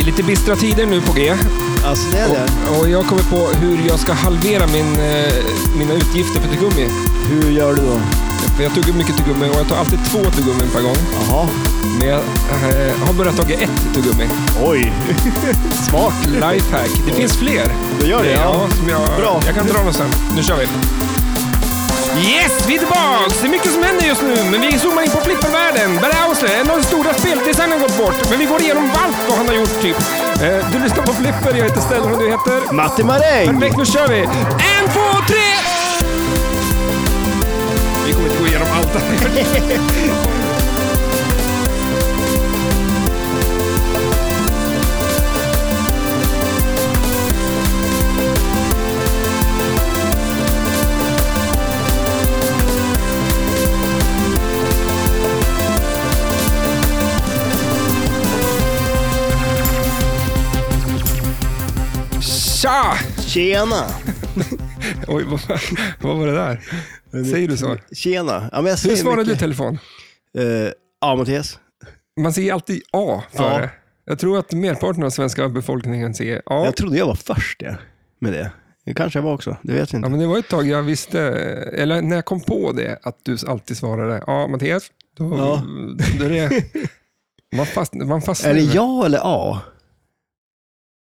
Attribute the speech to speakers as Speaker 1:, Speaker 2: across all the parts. Speaker 1: är lite bistra tider nu på G.
Speaker 2: Alltså det är det.
Speaker 1: Och, och jag kommer på hur jag ska halvera min, eh, mina utgifter för tuggummi.
Speaker 2: Hur gör du då?
Speaker 1: För jag tuggar mycket tuggummi och jag tar alltid två tuggummin per gång.
Speaker 2: Jaha.
Speaker 1: Men jag eh, har börjat ta ett tuggummi.
Speaker 2: Oj. Smart.
Speaker 1: Lifehack. Det finns fler.
Speaker 2: Du gör det?
Speaker 1: Ja,
Speaker 2: Ja.
Speaker 1: som jag,
Speaker 2: Bra.
Speaker 1: jag kan dra dem sen. Nu kör vi. Yes, vi är tillbaks! Det är mycket som händer just nu, men vi zoomar in på flippervärlden. Barry Ausler, en av de stora speldesignern, har gått bort. Men vi går igenom allt vad han har gjort, typ. Eh, Du lyssnar på Flipper, jag heter Stellan och du heter?
Speaker 2: Matti Maräng!
Speaker 1: Perfekt, nu kör vi! En, två, tre! Vi kommer inte gå igenom allt här. Tja!
Speaker 2: Tjena!
Speaker 1: Oj, vad, vad var det där? Säger du så?
Speaker 2: Tjena. Ja, men jag
Speaker 1: Hur
Speaker 2: säger
Speaker 1: svarar du i
Speaker 2: mycket.
Speaker 1: telefon?
Speaker 2: Eh, ja, Mattias.
Speaker 1: Man säger alltid A
Speaker 2: Ja.
Speaker 1: före. Jag tror att merparten av svenska befolkningen säger A.
Speaker 2: Jag trodde jag var först ja, med det. Det kanske jag var också. Det vet jag
Speaker 1: Ja,
Speaker 2: inte.
Speaker 1: men det var ett tag jag visste, eller när jag kom på det, att du alltid svarade A. Mattias, då,
Speaker 2: Ja.
Speaker 1: då är det... Man, fast, man fastnar.
Speaker 2: Är det
Speaker 1: ju.
Speaker 2: ja eller A?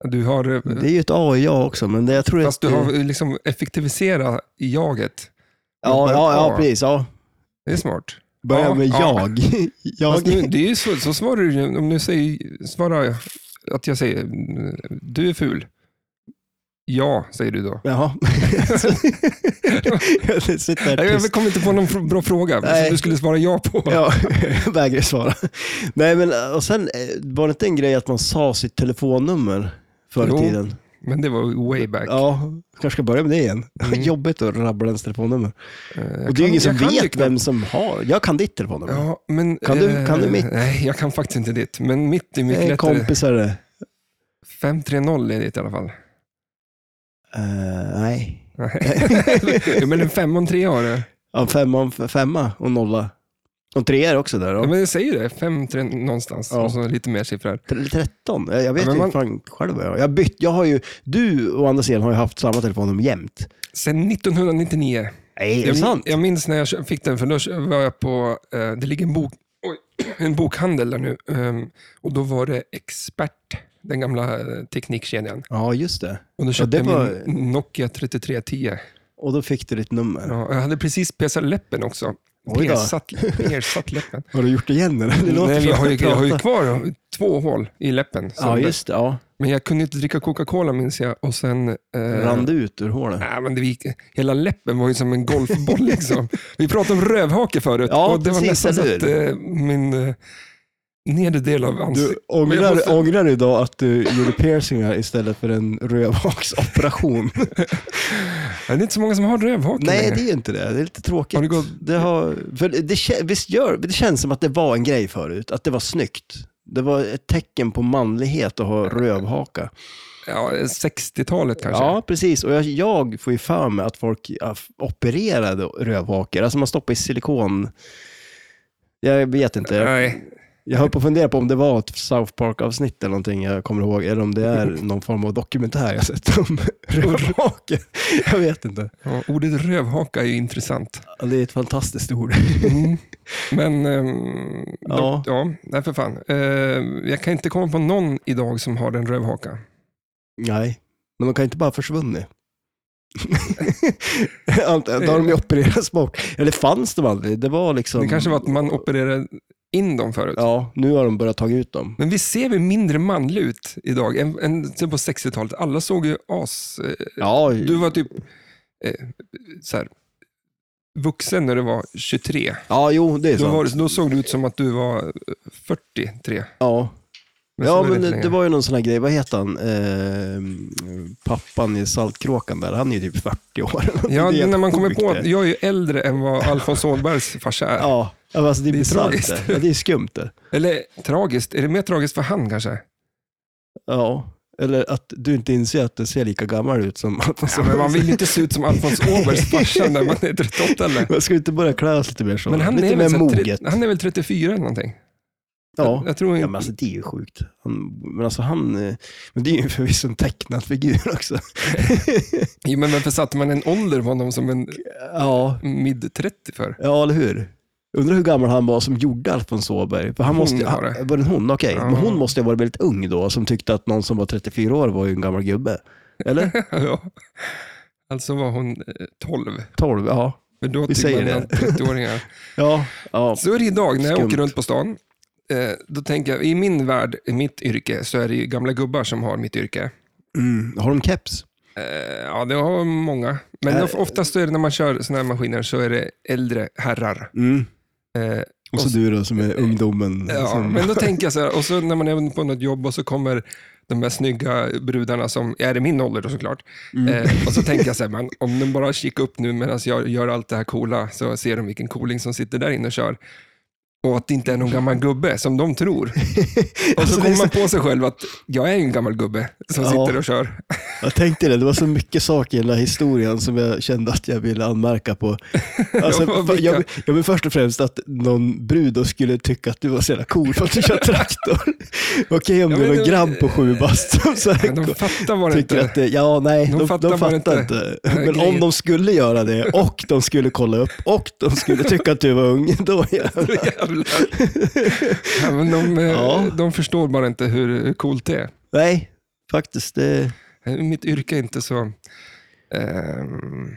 Speaker 1: Du har,
Speaker 2: Det är ju ett A i jag också, men det, jag tror
Speaker 1: fast du
Speaker 2: att...
Speaker 1: har liksom effektiviserat i jaget.
Speaker 2: ja, ja, ja, precis. Ja.
Speaker 1: Det är smart.
Speaker 2: Börja
Speaker 1: Ja,
Speaker 2: med
Speaker 1: ja.
Speaker 2: jag.
Speaker 1: Fast nu,
Speaker 2: jag.
Speaker 1: det är ju så, så svarar du ju- om du säger, svarar att jag säger mm, du är ful. Ja, säger du då.
Speaker 2: Jaha. jag sitter här tyst.
Speaker 1: Jag kom inte på någon fr- bra fråga
Speaker 2: Nej.
Speaker 1: som du skulle svara ja på.
Speaker 2: Ja, jag vägrar svara. Nej, men och sen eh, var det inte en grej att man sa sitt telefonnummer förr
Speaker 1: Jo.
Speaker 2: i tiden?
Speaker 1: Men det var way back.
Speaker 2: Ja, kanske ska börja med det igen.
Speaker 1: Mm.
Speaker 2: Jobbigt att rabbla ens telefonnummer.
Speaker 1: Eh, jag
Speaker 2: och det är ju
Speaker 1: kan-
Speaker 2: ingen som
Speaker 1: jag kan ju
Speaker 2: vet
Speaker 1: knappt-
Speaker 2: vem som har. Jag kan ditt telefonnummer.
Speaker 1: Ja, men, eh,
Speaker 2: Kan du- kan du mitt?
Speaker 1: Nej, jag kan faktiskt inte ditt. Men mitt är mycket
Speaker 2: Eh,
Speaker 1: lättare.
Speaker 2: kompisar. eh,
Speaker 1: 530 är ditt i alla fall.
Speaker 2: eh, nej.
Speaker 1: ja, men en 513 har du.
Speaker 2: Ja, femma, femma och nolla. Och tre är också där.
Speaker 1: Ja,
Speaker 2: Då.
Speaker 1: men jag säger det. 53 någonstans.
Speaker 2: Ja.
Speaker 1: Och så lite mer siffror.
Speaker 2: Tre- 13? Eh, Jag vet
Speaker 1: Ja, men
Speaker 2: inte
Speaker 1: man-
Speaker 2: fan själv. vad Jag har. jag har bytt. Jag har ju, du å andra sidan har ju haft samma telefonnummer jämt.
Speaker 1: Sen 1999.
Speaker 2: Nej, är det
Speaker 1: Jag, min-
Speaker 2: sant?
Speaker 1: jag minns när jag kö- fick den, för då kö- var jag på, eh, det ligger en, bok, oj, en bokhandel där nu, ehm, och då var det Expert, den gamla eh, teknikkedjan.
Speaker 2: Ja, just det.
Speaker 1: Och då köpte
Speaker 2: det var-
Speaker 1: jag min Nokia 3310.
Speaker 2: Och då fick du ditt nummer.
Speaker 1: Ja, jag hade precis pesat läppen också.
Speaker 2: Oj då.
Speaker 1: Persat, persat läppen.
Speaker 2: Har du gjort det igen eller? Det låter
Speaker 1: Nej,
Speaker 2: som
Speaker 1: jag, har ju,
Speaker 2: att
Speaker 1: jag har ju
Speaker 2: prata.
Speaker 1: kvar två hål i läppen. Så
Speaker 2: Ja,
Speaker 1: det-
Speaker 2: just det. Ja.
Speaker 1: Men jag kunde inte dricka Coca-Cola minns jag. Och sen... eh,
Speaker 2: Rann det ut ur hålet?
Speaker 1: Nej, men det gick, hela läppen var ju som en golfboll. liksom. Vi pratade om rövhake förut.
Speaker 2: Ja,
Speaker 1: och det var
Speaker 2: precis,
Speaker 1: nästan så
Speaker 2: eller
Speaker 1: att eh, min eh, nedre del av
Speaker 2: Du
Speaker 1: ansiktet... Men
Speaker 2: ångrar,
Speaker 1: jag måste-
Speaker 2: ångrar du idag att du gjorde piercingar istället för en rövhaksoperation?
Speaker 1: Det är inte så många som har rövhake
Speaker 2: Nej,
Speaker 1: längre.
Speaker 2: det är ju inte det. Det är lite tråkigt.
Speaker 1: Har det gått-
Speaker 2: det, har, för det, kä- visst gör, det känns som att det var en grej förut, att det var snyggt. Det var ett tecken på manlighet att ha rövhaka.
Speaker 1: Ja, 60-talet kanske.
Speaker 2: Ja, precis. Och jag, jag får ju för mig att folk ja, f- opererade rövhakor. Alltså man stoppar i silikon. Jag vet inte. Jag
Speaker 1: Nej,
Speaker 2: Jag höll på att fundera på om det var ett South Park-avsnitt eller någonting jag kommer ihåg, eller om det är någon form av dokumentär jag sett om rövhake. Jag vet inte.
Speaker 1: ja, ordet rövhaka är ju intressant.
Speaker 2: Ja, Det är ett fantastiskt ord.
Speaker 1: Mm. Men, ehm,
Speaker 2: Ja.
Speaker 1: då, ja, nej för fan. Eh, jag kan inte komma på någon idag som har en rövhaka.
Speaker 2: Nej, men de kan inte bara ha försvunnit. Ant- Då har de ju opererats bort. Eller fanns de aldrig? Det var liksom...
Speaker 1: Det kanske var att man opererade in dem förut.
Speaker 2: Ja, nu har de börjat ta ut dem.
Speaker 1: Men vi ser vi mindre manlig ut idag än, än sen på 60-talet. Alla såg ju as... eh,
Speaker 2: Ja,
Speaker 1: Du var typ eh, så här, vuxen när du var 23.
Speaker 2: ja jo, det är
Speaker 1: Då,
Speaker 2: sant.
Speaker 1: var, då såg du ut som att du var eh, 43.
Speaker 2: Ja.
Speaker 1: Men så
Speaker 2: ja,
Speaker 1: var
Speaker 2: men
Speaker 1: lite
Speaker 2: det,
Speaker 1: längre.
Speaker 2: det var ju någon sån här grej, vad heter han, eh, pappan i Saltkråkan där, han är ju typ 40 år.
Speaker 1: Ja,
Speaker 2: Det är
Speaker 1: när man
Speaker 2: helt
Speaker 1: kommer
Speaker 2: sjukt
Speaker 1: på
Speaker 2: det.
Speaker 1: att jag är ju äldre än vad Alfons Åbergs farsa är.
Speaker 2: Ja, ja, men alltså det är,
Speaker 1: Det är
Speaker 2: bisarrt
Speaker 1: tragiskt.
Speaker 2: det. Ja, det är skumt det.
Speaker 1: Eller tragiskt, är det mer tragiskt för han kanske?
Speaker 2: Ja, eller att du inte inser att du ser lika gammal ut som Alfons.
Speaker 1: Ja, Alltså, men man vill ju inte se ut som Alfons Åbergs farsa när man är 38 eller?
Speaker 2: Man ska inte börja klä oss lite mer så?
Speaker 1: Men han
Speaker 2: lite
Speaker 1: är, väl
Speaker 2: mer
Speaker 1: så här tre-
Speaker 2: moget.
Speaker 1: han är väl 34 eller någonting?
Speaker 2: Ja.
Speaker 1: Jag tror
Speaker 2: Ja, men
Speaker 1: inte...
Speaker 2: alltså det är ju sjukt. Han, men alltså han, eh, men det är ju förvisso en tecknad figur också.
Speaker 1: Jo, men varför satte man en ålder på honom som en
Speaker 2: Ja,
Speaker 1: mid-30 för?
Speaker 2: ja eller hur? Undrar hur gammal han var som gjorde Alfons Åberg. För han
Speaker 1: Hon
Speaker 2: måste,
Speaker 1: var
Speaker 2: var,
Speaker 1: det.
Speaker 2: det. var det hon? Okej.
Speaker 1: Ja.
Speaker 2: Men hon måste ha varit väldigt ung då, som tyckte att någon som var 34 år var ju en gammal gubbe. Eller?
Speaker 1: ja. Alltså var hon eh, 12.
Speaker 2: 12, ja.
Speaker 1: För då
Speaker 2: Vi
Speaker 1: tycker
Speaker 2: säger
Speaker 1: man
Speaker 2: det.
Speaker 1: att 30-åringar.
Speaker 2: Ja, ja.
Speaker 1: Så är det idag när jag
Speaker 2: Skumt.
Speaker 1: åker runt på stan. Eh, Då tänker jag, i min värld, i mitt yrke, så är det ju gamla gubbar som har mitt yrke.
Speaker 2: Mm. Har de keps?
Speaker 1: Eh, Ja, det har många. Men
Speaker 2: Äh,
Speaker 1: of- oftast är det när man kör sådana här maskiner så är det äldre herrar.
Speaker 2: Mm.
Speaker 1: Eh,
Speaker 2: Och så
Speaker 1: Och- eh,
Speaker 2: du då som är ungdomen.
Speaker 1: Ja,
Speaker 2: som,
Speaker 1: men då tänker jag så här, och så när man är på något jobb och så kommer de här snygga brudarna som är i min ålder då såklart.
Speaker 2: Mm.
Speaker 1: Eh, och så tänker jag så här, man, om de bara kikar upp nu medan jag gör allt det här coola så ser de vilken cooling som sitter där inne och kör. Och att det inte är någon gammal gubbe som de tror. Och
Speaker 2: Alltså,
Speaker 1: så
Speaker 2: det
Speaker 1: kommer
Speaker 2: är
Speaker 1: man på sig själv att jag är ju en gammal gubbe som
Speaker 2: Ja.
Speaker 1: sitter och kör.
Speaker 2: Jag tänkte det, det var så mycket saker i den här historien som jag kände att jag ville anmärka på. Alltså,
Speaker 1: Ja,
Speaker 2: jag,
Speaker 1: vilka?
Speaker 2: jag, men först och främst att någon brud då skulle tycka att du var så jävla cool för att du kör traktor. Okej om
Speaker 1: Ja,
Speaker 2: det
Speaker 1: men
Speaker 2: var en
Speaker 1: det-
Speaker 2: grabb på sju bast som så här,
Speaker 1: Men de fattar vad det
Speaker 2: tycker
Speaker 1: inte...
Speaker 2: att det, ja nej,
Speaker 1: De
Speaker 2: de, de
Speaker 1: fattar
Speaker 2: fattar,
Speaker 1: bara inte
Speaker 2: inte.
Speaker 1: den här
Speaker 2: Men om
Speaker 1: grejen.
Speaker 2: de skulle göra det och de skulle kolla upp och de skulle tycka att du var ung, då jävlar.
Speaker 1: Jävlar. ja, men de, eh,
Speaker 2: Ja.
Speaker 1: de förstår bara inte hur hur coolt det är.
Speaker 2: Nej, faktiskt. Det,
Speaker 1: Eh, Mitt yrke är inte så... ehm,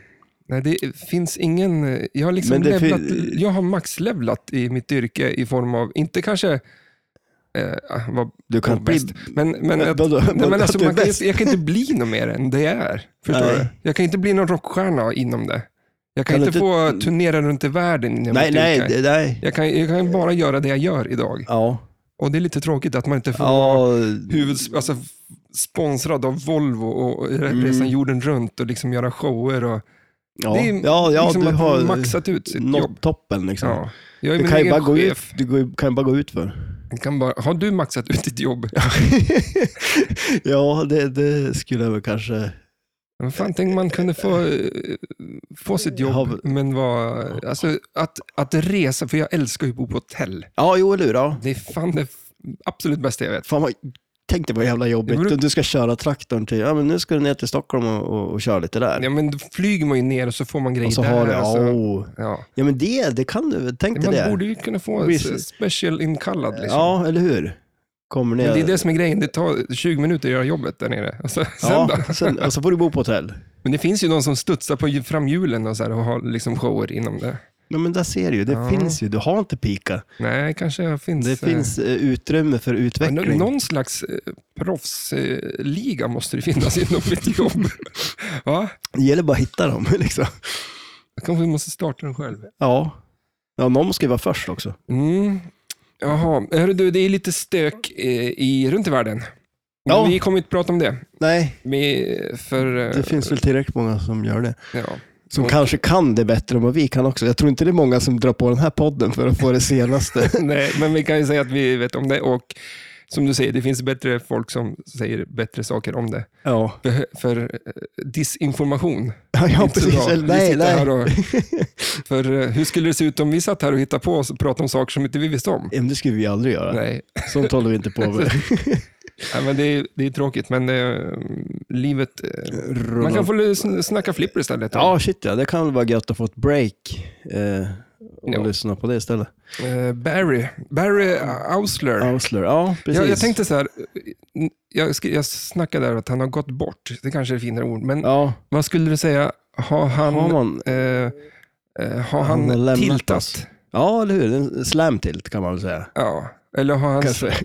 Speaker 1: nej, det finns ingen... eh, Jag har, liksom
Speaker 2: Men det fin-
Speaker 1: levlat, jag har maxlevlat i mitt yrke i form av, inte kanske... Eh, vad,
Speaker 2: du kan
Speaker 1: vad
Speaker 2: bli... Eh,
Speaker 1: bäst. Men, men, att,
Speaker 2: Vadå?
Speaker 1: nej, men alltså,
Speaker 2: Att du är
Speaker 1: man kan,
Speaker 2: bäst?
Speaker 1: ju- jag kan inte bli något mer än det jag är. Förstår
Speaker 2: Nej.
Speaker 1: du? Jag kan inte bli någon rockstjärna inom det. Jag kan,
Speaker 2: Kan du
Speaker 1: inte,
Speaker 2: inte-
Speaker 1: få turnera runt i världen inom
Speaker 2: Nej,
Speaker 1: mitt
Speaker 2: nej,
Speaker 1: yrke.
Speaker 2: det- nej.
Speaker 1: Jag kan, jag kan bara göra det jag gör idag.
Speaker 2: Ja.
Speaker 1: Och det är lite tråkigt att man inte får
Speaker 2: Ja,
Speaker 1: huvuds, alltså, f- sponsrad av Volvo och re-
Speaker 2: Mm.
Speaker 1: resan jorden runt och liksom göra shower. Och,
Speaker 2: ja,
Speaker 1: det är
Speaker 2: ja, ja
Speaker 1: liksom
Speaker 2: du
Speaker 1: att
Speaker 2: har
Speaker 1: maxat ut sitt jobb.
Speaker 2: nått toppen. Liksom.
Speaker 1: Ja. Jag är
Speaker 2: Du
Speaker 1: min
Speaker 2: kan ju bara
Speaker 1: egen
Speaker 2: gå ut,
Speaker 1: chef.
Speaker 2: du går ju- kan ju bara gå ut för.
Speaker 1: Jag Kan bara, har du maxat ut ditt jobb?
Speaker 2: ja, det, det skulle jag väl kanske...
Speaker 1: Men fan, tänk man kunde få, eh, få sitt jobb,
Speaker 2: Har-
Speaker 1: men vara... Alltså, att, att resa, för jag älskar ju att bo på hotell.
Speaker 2: Ja, jo, eller hur? Ja.
Speaker 1: Det är fan det f- absolut bästa jag vet.
Speaker 2: Fan, vad, tänk dig vad jävla
Speaker 1: Det
Speaker 2: jobbigt.
Speaker 1: beror-
Speaker 2: Du, du ska köra traktorn till, ja men nu ska du ner till Stockholm och, och, och köra lite där.
Speaker 1: Ja, men då flyger man ju ner och så får man grejer
Speaker 2: och så
Speaker 1: där.
Speaker 2: har du, ja,
Speaker 1: och så,
Speaker 2: åh.
Speaker 1: ja.
Speaker 2: ja men det, det kan du, väl- tänk dig
Speaker 1: alltså. Man
Speaker 2: det.
Speaker 1: borde ju kunna få
Speaker 2: Visst.
Speaker 1: en special inkallad. Liksom.
Speaker 2: Ja, eller hur? Kommer ner.
Speaker 1: Men det är det som är grejen, det tar 20 minuter att göra jobbet där nere. Och så, sen då.
Speaker 2: ja, sen, och så får du bo på hotell.
Speaker 1: Men det finns ju de som studsar på framhjulen och, så här, och har liksom shower inom det.
Speaker 2: Ja, men där ser du ju, det
Speaker 1: Ja.
Speaker 2: finns ju, du har inte pika.
Speaker 1: Nej, kanske finns...
Speaker 2: Det
Speaker 1: eh,
Speaker 2: finns eh, utrymme för
Speaker 1: ja,
Speaker 2: utveckling.
Speaker 1: nå- Någon slags eh, proffsliga måste det finnas inom mitt jobb. Va?
Speaker 2: Det gäller bara att hitta dem. Liksom.
Speaker 1: Jag kanske måste starta den själv.
Speaker 2: Ja. ja, någon ska ju vara först också.
Speaker 1: Mm. Jaha, hörru du, det är lite stök eh, i, runt i världen. Men
Speaker 2: Ja.
Speaker 1: Vi kommer inte prata om det.
Speaker 2: Nej,
Speaker 1: Vi, för, eh,
Speaker 2: det finns väl tillräckligt många som gör det.
Speaker 1: ja.
Speaker 2: Som
Speaker 1: Ja.
Speaker 2: kanske kan det bättre än vad vi kan också. Jag tror inte det är många som drar på den här podden för att få det senaste.
Speaker 1: Nej, men vi kan ju säga att vi vet om det och som du säger, det finns bättre folk som säger bättre saker om det.
Speaker 2: ja.
Speaker 1: Behö- För eh, disinformation.
Speaker 2: Ja,
Speaker 1: är
Speaker 2: ja
Speaker 1: inte så
Speaker 2: precis.
Speaker 1: bra.
Speaker 2: Eller,
Speaker 1: Vi
Speaker 2: nej,
Speaker 1: sitter
Speaker 2: nej.
Speaker 1: här och- För eh, hur skulle det se ut om vi satt här och hittade på oss och pratade om saker som inte vi visste om?
Speaker 2: Ja, men Det skulle vi aldrig göra.
Speaker 1: Nej,
Speaker 2: Sånt håller vi inte på med.
Speaker 1: Nej men det, är, det är tråkigt, men eh, livet... eh, Man kan få sn- snacka flipper istället. då.
Speaker 2: Ja, shit ja. Det kan väl vara gött att få ett break eh, och
Speaker 1: Ja.
Speaker 2: lyssna på det istället.
Speaker 1: Eh, Barry, Barry eh, Ausler.
Speaker 2: Ausler, ja precis.
Speaker 1: jag, jag tänkte så här, eh, jag, sk- jag snackade där att han har gått bort, det kanske är ett finare ord, men
Speaker 2: Ja,
Speaker 1: vad skulle du säga, har han,
Speaker 2: har man...
Speaker 1: eh, eh, har
Speaker 2: Han
Speaker 1: han,
Speaker 2: har lämnat
Speaker 1: tiltat?
Speaker 2: oss. Ja, eller hur? En slam tilt kan man väl säga.
Speaker 1: Ja, eller har hans
Speaker 2: Kanske.
Speaker 1: eh,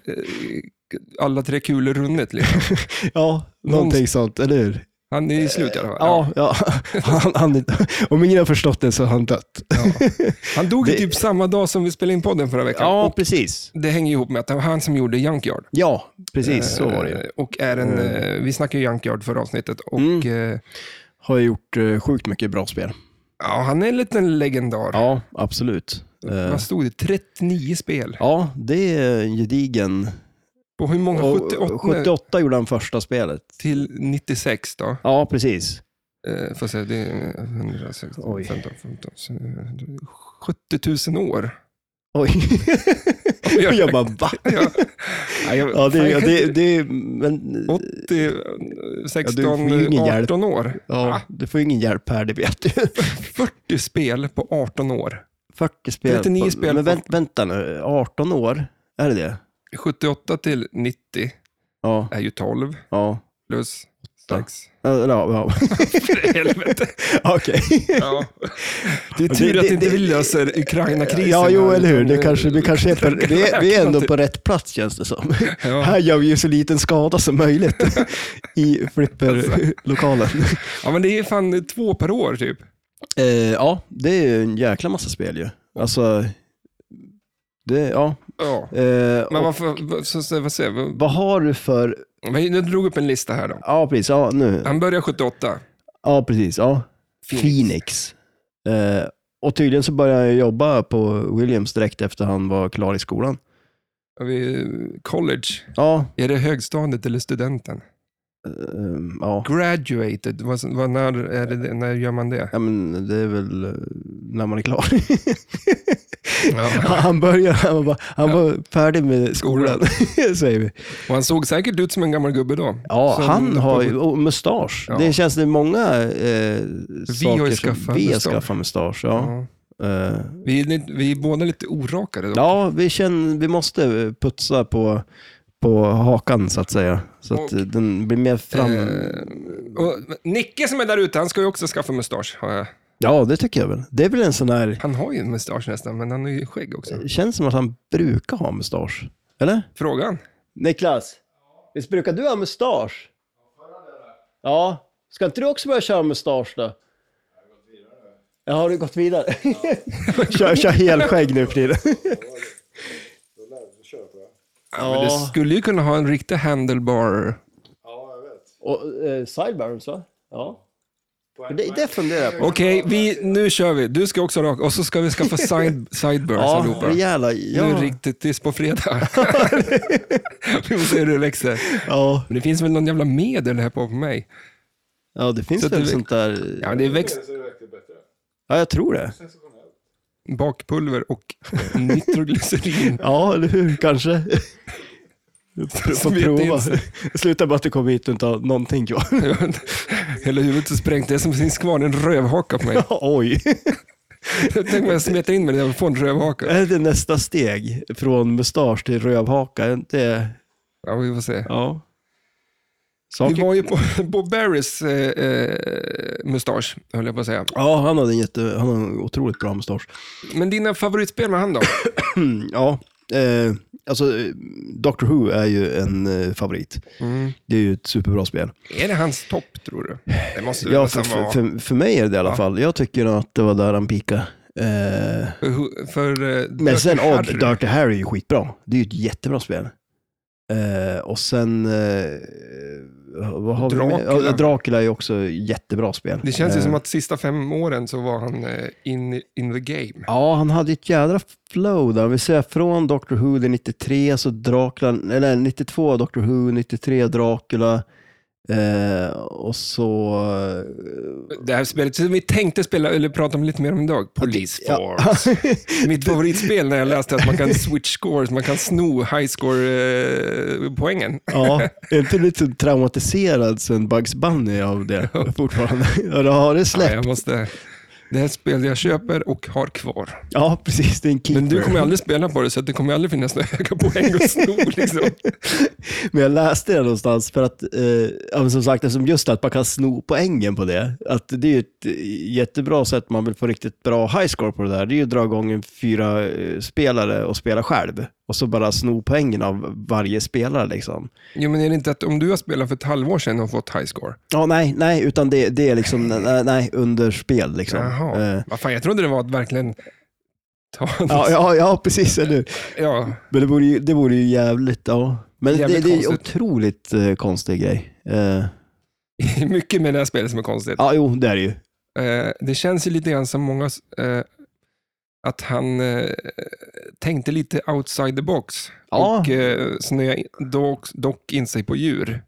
Speaker 1: alla tre kulor runnit? Liksom.
Speaker 2: Ja, någonting sånt, eller hur?
Speaker 1: Han är i slut i alla fall.
Speaker 2: Ja, ja. Han, han, om ingen har förstått det så har han dött.
Speaker 1: Ja. Han dog ju
Speaker 2: Det-
Speaker 1: typ samma dag som vi spelade in podden förra veckan.
Speaker 2: Ja,
Speaker 1: Och
Speaker 2: precis.
Speaker 1: det hänger ihop med att det var han som gjorde Junkyard.
Speaker 2: Ja, precis. Så var det ju. Mm.
Speaker 1: Eh, Och är en, eh, vi snackade ju Junkyard förra avsnittet och eh,
Speaker 2: Har ju gjort eh, sjukt mycket bra spel.
Speaker 1: ja, han är en liten legendar.
Speaker 2: Ja, absolut. Eh,
Speaker 1: Vad stod det? 39 spel.
Speaker 2: Ja, det är en gedigen.
Speaker 1: På hur många?
Speaker 2: Och
Speaker 1: 78,
Speaker 2: 78 gjorde han första spelet.
Speaker 1: till 96 då?
Speaker 2: Ja, precis.
Speaker 1: Eh, får se, det är 100, 16,
Speaker 2: Oj.
Speaker 1: 15, 15, 70 000 år.
Speaker 2: Oj. Och jag bara, va?
Speaker 1: Ja. Ja, jag,
Speaker 2: Ja, det,
Speaker 1: fan,
Speaker 2: ja,
Speaker 1: jag
Speaker 2: det, det, men,
Speaker 1: 80,
Speaker 2: Ja, du
Speaker 1: 16,
Speaker 2: får ju ingen hjälp.
Speaker 1: 18 år.
Speaker 2: ja, du får ju ingen hjälp här, det vet du.
Speaker 1: 40 spel på 18 år.
Speaker 2: 40 spel.
Speaker 1: 39
Speaker 2: på,
Speaker 1: spel
Speaker 2: Men
Speaker 1: på-
Speaker 2: vänt, vänta nu, 18 år, är det det?
Speaker 1: 78 till 90
Speaker 2: Ja,
Speaker 1: är ju 12
Speaker 2: ja.
Speaker 1: plus 6.
Speaker 2: Eller, ja,
Speaker 1: För helvete.
Speaker 2: ja. okej.
Speaker 1: Ja. Det är
Speaker 2: Det-
Speaker 1: tur
Speaker 2: det-
Speaker 1: att inte
Speaker 2: det-
Speaker 1: vi löser Ukraina-krisen.
Speaker 2: Ja, jo,
Speaker 1: här,
Speaker 2: eller hur.
Speaker 1: utan
Speaker 2: Det
Speaker 1: vi-
Speaker 2: kanske, vi kanske är på, det, vi är ändå på rätt plats, känns det som.
Speaker 1: Ja.
Speaker 2: Här gör vi ju så liten skada som möjligt i flipperlokalen.
Speaker 1: ja, men det är fan två per år typ.
Speaker 2: Eh, ja, det är ju en jäkla massa spel ju. Alltså, det, ja.
Speaker 1: Ja.
Speaker 2: Eh,
Speaker 1: Men
Speaker 2: och
Speaker 1: varför, vad, så, så, vad säger jag?
Speaker 2: vad har du för...
Speaker 1: Vi- Nu drog upp en lista här då.
Speaker 2: Ja, precis. Ja, nu.
Speaker 1: Han börjar 78.
Speaker 2: Ja, precis. Ja.
Speaker 1: Phoenix.
Speaker 2: Phoenix. Eh, och tydligen så började jag jobba på Williams direkt efter han var klar i skolan.
Speaker 1: Har vi college.
Speaker 2: Ja,
Speaker 1: Är det högstadiet eller studenten?
Speaker 2: ehm, ja.
Speaker 1: Graduated, vad, vad, när, är det, när gör man det?
Speaker 2: ja men det är väl eh, när man är klar.
Speaker 1: Ja.
Speaker 2: han började, han var, bara, han var färdig med skolan, säger vi.
Speaker 1: Och han såg säkert ut som en gammal gubbe då.
Speaker 2: Ja,
Speaker 1: Som-
Speaker 2: han har ju och mustasch.
Speaker 1: Ja.
Speaker 2: Det känns det är många eh, saker
Speaker 1: har ju
Speaker 2: som
Speaker 1: skaffat
Speaker 2: vi har
Speaker 1: mustasch.
Speaker 2: skaffat mustasch. Ja.
Speaker 1: Ja.
Speaker 2: Eh,
Speaker 1: Vi, är, lite- vi är båda lite orakade då.
Speaker 2: ja, vi, känner, vi måste putsa på, på hakan så att säga. Så att
Speaker 1: Och,
Speaker 2: eh, den blir mer fram...
Speaker 1: Eh, och Nicke som är där ute, han ska ju också skaffa mustasch. har jag-
Speaker 2: Ja, det tycker jag väl. Det är väl en sån här...
Speaker 1: Han har ju en mustasch nästan, men han har ju skägg också.
Speaker 2: känns som att han brukar ha mustasch. Eller?
Speaker 1: Frågan?
Speaker 2: Niklas, visst brukar du ha mustasch? Ja, ska inte du också börja köra mustasch då? Ja, har du gått vidare? kör, kör helskägg nu för tiden.
Speaker 1: Ja. Men du skulle ju kunna ha en riktig handlebar.
Speaker 3: Ja, jag vet.
Speaker 2: Och eh, sideburns va? Ja. För Det, det funderar jag på.
Speaker 1: Okej, vi, nu kör vi. Du ska också raka och så ska vi skaffa side, sideburns
Speaker 2: Ja,
Speaker 1: allihopa.
Speaker 2: rejäla.
Speaker 1: Nu är det
Speaker 2: Ja.
Speaker 1: riktigt tills på fredag. vi får se hur det växer.
Speaker 2: Ja.
Speaker 1: Men det finns väl någon jävla medel här på, på mig?
Speaker 2: ja, det finns
Speaker 1: Så
Speaker 2: väl
Speaker 1: det-
Speaker 2: sånt där.
Speaker 1: Ja, det är växt,
Speaker 3: Det ser riktigt bättre.
Speaker 2: Ja, jag tror det.
Speaker 3: Sensationellt.
Speaker 1: bakpulver och nitroglycerin.
Speaker 2: Ja, eller hur? Kanske. Får
Speaker 1: Smet in
Speaker 2: prova.
Speaker 1: sig.
Speaker 2: Sluta bara att du kommer hit och inte har någonting kvar.
Speaker 1: Hela huvudet är sprängt. Det som finns kvar är en rövhaka på mig.
Speaker 2: Oj.
Speaker 1: Tänk om jag smetar in mig där och får en rövhaka.
Speaker 2: Är det nästa steg? Från mustasch till rövhaka? Är Det,
Speaker 1: Ja, vi får se.
Speaker 2: ja.
Speaker 1: Vi
Speaker 2: Saker...
Speaker 1: var ju på Bob Barrys eh, eh, mustasch, höll jag på att säga.
Speaker 2: Ja, han hade en, jätte, han hade en otroligt bra mustasch.
Speaker 1: Men dina favoritspel med han då?
Speaker 2: Mm, ja, eh, alltså eh, Doctor Who är ju en eh, favorit. Det är ju ett superbra spel.
Speaker 1: Är det hans topp, tror du? Det måste det
Speaker 2: Ja, för,
Speaker 1: nästan
Speaker 2: för,
Speaker 1: vara.
Speaker 2: för, för mig är det det i alla
Speaker 1: Typ Ja.
Speaker 2: fall. Jag tycker att det var där han peakade. Eh,
Speaker 1: För, för eh,
Speaker 2: men sen,
Speaker 1: Dirty
Speaker 2: ja,
Speaker 1: Harry.
Speaker 2: Dirty Harry är ju skitbra. Det är ju ett jättebra spel. Eh, och sen, eh, vad har vi
Speaker 1: Dracula.
Speaker 2: med? Ja, Dracula är ju också ett jättebra spel.
Speaker 1: Det känns ju
Speaker 2: Eh,
Speaker 1: som att sista fem åren så var han eh, in, in the game.
Speaker 2: Ja, han hade ju ett jädra flow där. Vi ser från Doctor Who det är 93, så Dracula, eller 92 Doctor Who, 93 Dracula. Eh, och så...
Speaker 1: Det här spelet som vi tänkte spela, eller prata om lite mer om idag, Police
Speaker 2: Ja.
Speaker 1: Force. Mitt favoritspel när jag läste att man kan switch scores, man kan sno high eh, score-poängen.
Speaker 2: ja, är inte du lite traumatiserad sen Bugs Bunny av det fortfarande? Eller har det
Speaker 1: Ja,
Speaker 2: släppt?
Speaker 1: jag måste... Det här är ett spel jag köper och har kvar.
Speaker 2: Ja, precis. Det är en keeper.
Speaker 1: Men du kommer aldrig spela på det, så att det kommer aldrig finnas några höga poäng att sno. Liksom.
Speaker 2: Men jag läste det någonstans för att, eh, ja, men som sagt, eftersom just att man kan sno poängen på det. Att det är ju ett eh, jättebra sätt man vill få riktigt bra high score på det där. Det är ju att dra igång en fyra eh, spelare och spela själv. Och så bara sno poängen av varje spelare liksom.
Speaker 1: Jo, men är det inte att om du har spelat för ett halvår sedan och fått high score?
Speaker 2: Ja, nej, nej, utan det, det är liksom, nej, nej, under spel liksom.
Speaker 1: Jaha.
Speaker 2: Eh,
Speaker 1: Vad fan, jag trodde det var att verkligen ta...
Speaker 2: Ja, ja, ja, precis, eller hur?
Speaker 1: ja.
Speaker 2: Men det vore ju, det vore ju jävligt, ja. Men
Speaker 1: Jävligt
Speaker 2: det, det är ju
Speaker 1: konstigt.
Speaker 2: otroligt eh, konstig grej. Eh,
Speaker 1: mycket med det här spelet som är konstigt.
Speaker 2: ja, jo, det är det ju.
Speaker 1: Eh, det känns ju lite grann som många, eh, att han eh, tänkte lite outside the box
Speaker 2: Ja.
Speaker 1: och eh, snöade in- dock, dock in sig på djur.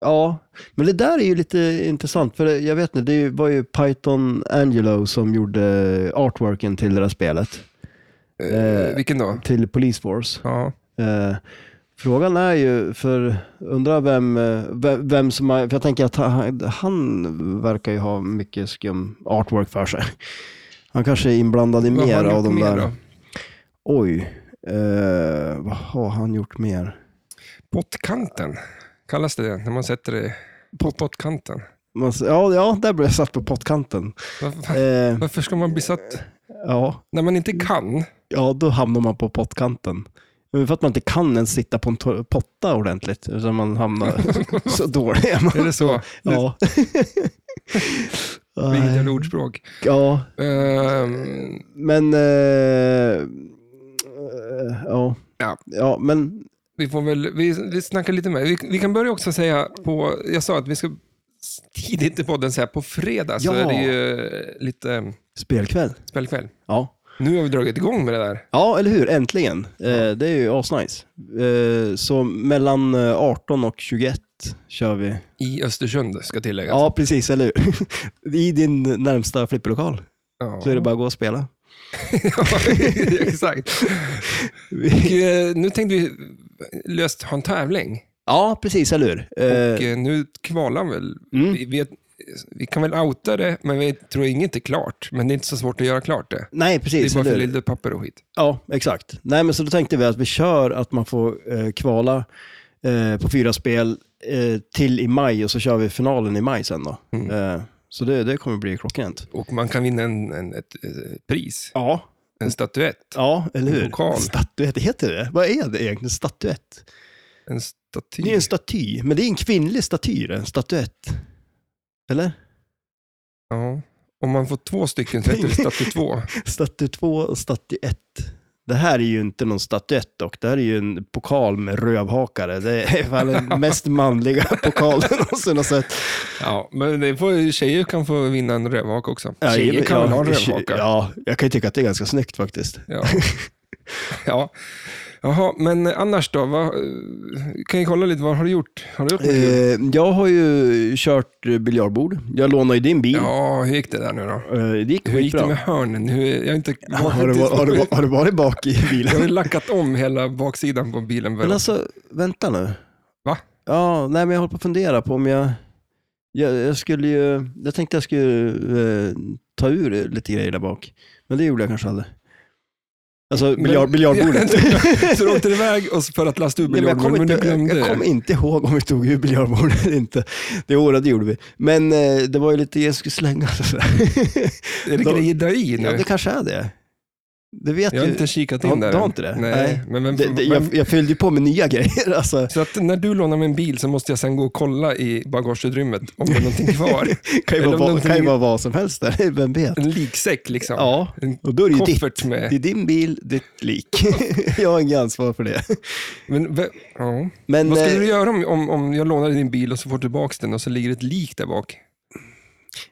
Speaker 2: Ja, men det där är ju lite intressant, för jag vet inte, det var ju Python Angelo som gjorde artworken till det där spelet. Eh,
Speaker 1: Vilken då?
Speaker 2: till Police Force.
Speaker 1: Ja.
Speaker 2: Eh, frågan är ju, för undrar vem, eh, vem, vem som har, för jag tänker att han, han verkar ju ha mycket skum artwork för sig. Han kanske är inblandad i
Speaker 1: Vad har
Speaker 2: mer
Speaker 1: han
Speaker 2: av
Speaker 1: gjort
Speaker 2: de
Speaker 1: mer
Speaker 2: där.
Speaker 1: då?
Speaker 2: Oj, eh, vad har han gjort mer?
Speaker 1: Pottkanten kallas det när man sätter det på pottkanten.
Speaker 2: Man, s- ja, ja, där blev jag satt på pottkanten.
Speaker 1: Varför,
Speaker 2: Eh,
Speaker 1: varför ska man bli satt?
Speaker 2: ja,
Speaker 1: När man inte kan?
Speaker 2: ja, då hamnar man på pottkanten. Men för att man inte kan ens sitta på en to- potta ordentligt, utan man hamnar så dålig. är man.
Speaker 1: Är det så?
Speaker 2: Ja.
Speaker 1: Det är
Speaker 2: Nej.
Speaker 1: inget jävla ordspråk.
Speaker 2: Ja,
Speaker 1: Ehm,
Speaker 2: men... eh, eh, ja.
Speaker 1: Ja.
Speaker 2: ja, men...
Speaker 1: vi får väl, vi, vi snackar lite mer. Vi, vi kan börja också säga på, jag sa att vi ska tidigt i podden säga på fredag så
Speaker 2: Ja.
Speaker 1: är det ju eh, lite eh,
Speaker 2: Spelkväll.
Speaker 1: spelkväll.
Speaker 2: Ja.
Speaker 1: Nu har vi dragit igång med det där.
Speaker 2: ja, eller hur? Äntligen. Eh, det är ju asnice. Eh, så mellan eh, 18 och 21 kör vi.
Speaker 1: I Östersund ska tilläggas.
Speaker 2: Ja, precis, eller hur? I din närmsta flipperlokal.
Speaker 1: Ja.
Speaker 2: Så är det bara att gå och spela.
Speaker 1: Exakt. Och, eh, nu tänkte vi löst ha en tävling.
Speaker 2: Ja, precis, eller hur? Eh,
Speaker 1: Och eh, nu kvalar väl.
Speaker 2: Mm.
Speaker 1: Vi, vet, vi kan väl outa det, men vi tror inget är klart. Men det är inte så svårt att göra klart det.
Speaker 2: nej,
Speaker 1: Det
Speaker 2: precis.
Speaker 1: är bara
Speaker 2: eller
Speaker 1: för
Speaker 2: hur?
Speaker 1: lite papper och skit.
Speaker 2: Ja, exakt. Nej, men så då tänkte vi att vi kör att man får eh, kvala eh, på fyra spel eh, till i maj och så kör vi finalen i maj sen då.
Speaker 1: Mm.
Speaker 2: Eh, så det, det kommer bli klockrent.
Speaker 1: Och man kan vinna en, en, ett, eh, pris,
Speaker 2: Ja.
Speaker 1: en statyett.
Speaker 2: Ja, eller hur?
Speaker 1: En pokal.
Speaker 2: Statuett, heter det Vad är det egentligen? Statuett?
Speaker 1: En
Speaker 2: Det är
Speaker 1: staty.
Speaker 2: en staty, men det är en kvinnlig staty, det, en statuett. Eller?
Speaker 1: Ja. Om man får två stycken så heter det staty två.
Speaker 2: Staty 2 och staty 1. Det här är ju inte någon statyett dock, det här är ju en pokal med rövhakare. Det är fan den mest manliga pokalen någonsin har sett.
Speaker 1: Ja, men det får, tjejer kan få vinna en rövhaka också.
Speaker 2: Ja,
Speaker 1: tjejer kan
Speaker 2: ja,
Speaker 1: väl ha en
Speaker 2: tje-
Speaker 1: rövhaka?
Speaker 2: Ja, jag kan ju tycka att det är ganska snyggt faktiskt.
Speaker 1: Ja. ja. Jaha, men annars då? Vad, kan jag kolla lite, vad har du gjort? Har du gjort något kul?
Speaker 2: Eh, jag har ju kört eh, biljardbord. Jag lånade ju din bil.
Speaker 1: Ja, hur gick det där nu då?
Speaker 2: Eh, det gick
Speaker 1: Hur gick det
Speaker 2: skitbra.
Speaker 1: med hörnen? Hur, jag har inte...
Speaker 2: Har du, var- har, du, var- har du varit bak i
Speaker 1: jag har
Speaker 2: bilen?
Speaker 1: ju lackat om hela baksidan på bilen.
Speaker 2: Men
Speaker 1: Bara.
Speaker 2: alltså, vänta nu.
Speaker 1: Va?
Speaker 2: Ja, nej men jag håller på att fundera på om jag... Jag, jag skulle ju... Jag tänkte jag skulle eh, ta ur lite grejer där bak. Men det gjorde jag kanske aldrig. Alltså biljard, biljardbordet.
Speaker 1: Så du åkte iväg och så för att lasta ur
Speaker 2: Nej, men jag,
Speaker 1: biljardbordet,
Speaker 2: kommer
Speaker 1: men
Speaker 2: inte,
Speaker 1: du glömde
Speaker 2: jag kommer
Speaker 1: det.
Speaker 2: inte ihåg om vi tog ur biljardbordet eller inte. Det året gjorde vi. Men eh, det var ju lite, jag skulle slänga och sådär.
Speaker 1: Är det
Speaker 2: Då-
Speaker 1: grejer där i nu?
Speaker 2: Ja, det kanske är det. Det vet
Speaker 1: jag har
Speaker 2: ju.
Speaker 1: inte kikat
Speaker 2: Har-
Speaker 1: in där
Speaker 2: du har
Speaker 1: än.
Speaker 2: inte det?
Speaker 1: Nej,
Speaker 2: Nej.
Speaker 1: men vem,
Speaker 2: det, det, jag, jag fyllde ju på med nya grejer. Alltså,
Speaker 1: Så att när du lånar min bil så måste jag sen gå och kolla i bagageutrymmet om det är någonting kvar.
Speaker 2: kan ju
Speaker 1: Eller
Speaker 2: vara,
Speaker 1: om
Speaker 2: vad-
Speaker 1: någonting-
Speaker 2: kan ju vara vad som helst där, vem vet.
Speaker 1: En liksäck liksom.
Speaker 2: Ja,
Speaker 1: En
Speaker 2: och då är det ju ditt.
Speaker 1: koffert med.
Speaker 2: Det är din bil, ditt lik. jag har inget ansvar för det.
Speaker 1: Men, ve- ja.
Speaker 2: Men,
Speaker 1: Vad skulle
Speaker 2: eh,
Speaker 1: du göra om, om, om jag lånade din bil och så får tillbaka den och så ligger ett lik där bak?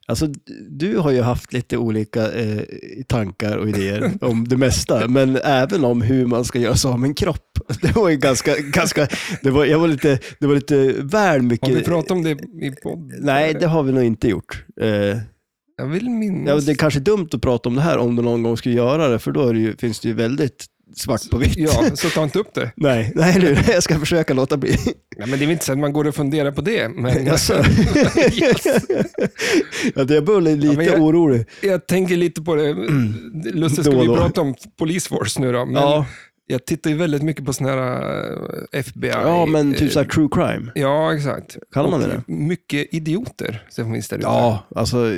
Speaker 2: Alltså, du har ju haft lite olika eh, tankar och idéer om det mesta, men även om hur man ska göra sig av med en kropp. Det var ju ganska, ganska det var, jag var lite, det var lite väl mycket.
Speaker 1: Har vi pratat om det i podden?
Speaker 2: Nej, det har vi nog inte gjort. Eh,
Speaker 1: Jag vill
Speaker 2: ja,
Speaker 1: minnas.
Speaker 2: det är kanske dumt att prata om det här om du någon gång skulle göra det, för då är det ju, finns det ju väldigt svart på vitt.
Speaker 1: Ja, så ta inte upp det.
Speaker 2: Nej, nej, eller hur? jag ska försöka låta bli.
Speaker 1: Nej, men det är väl inte så att man går och funderar på det. Men jag,
Speaker 2: Jaså? ja, det- jag börjar bli lite
Speaker 1: jag-
Speaker 2: orolig.
Speaker 1: jag tänker lite på det. Lustigt
Speaker 2: Mm. Då
Speaker 1: skulle
Speaker 2: och
Speaker 1: vi
Speaker 2: då.
Speaker 1: prata om Police Force nu då. Men
Speaker 2: Ja.
Speaker 1: Jag tittar ju väldigt mycket på sådana här eh, FBI.
Speaker 2: Ja, men
Speaker 1: eh,
Speaker 2: typ såhär true crime.
Speaker 1: Ja, exakt.
Speaker 2: Kallar man
Speaker 1: Och
Speaker 2: det det?
Speaker 1: Mycket idioter som finns där ute.
Speaker 2: Ja, alltså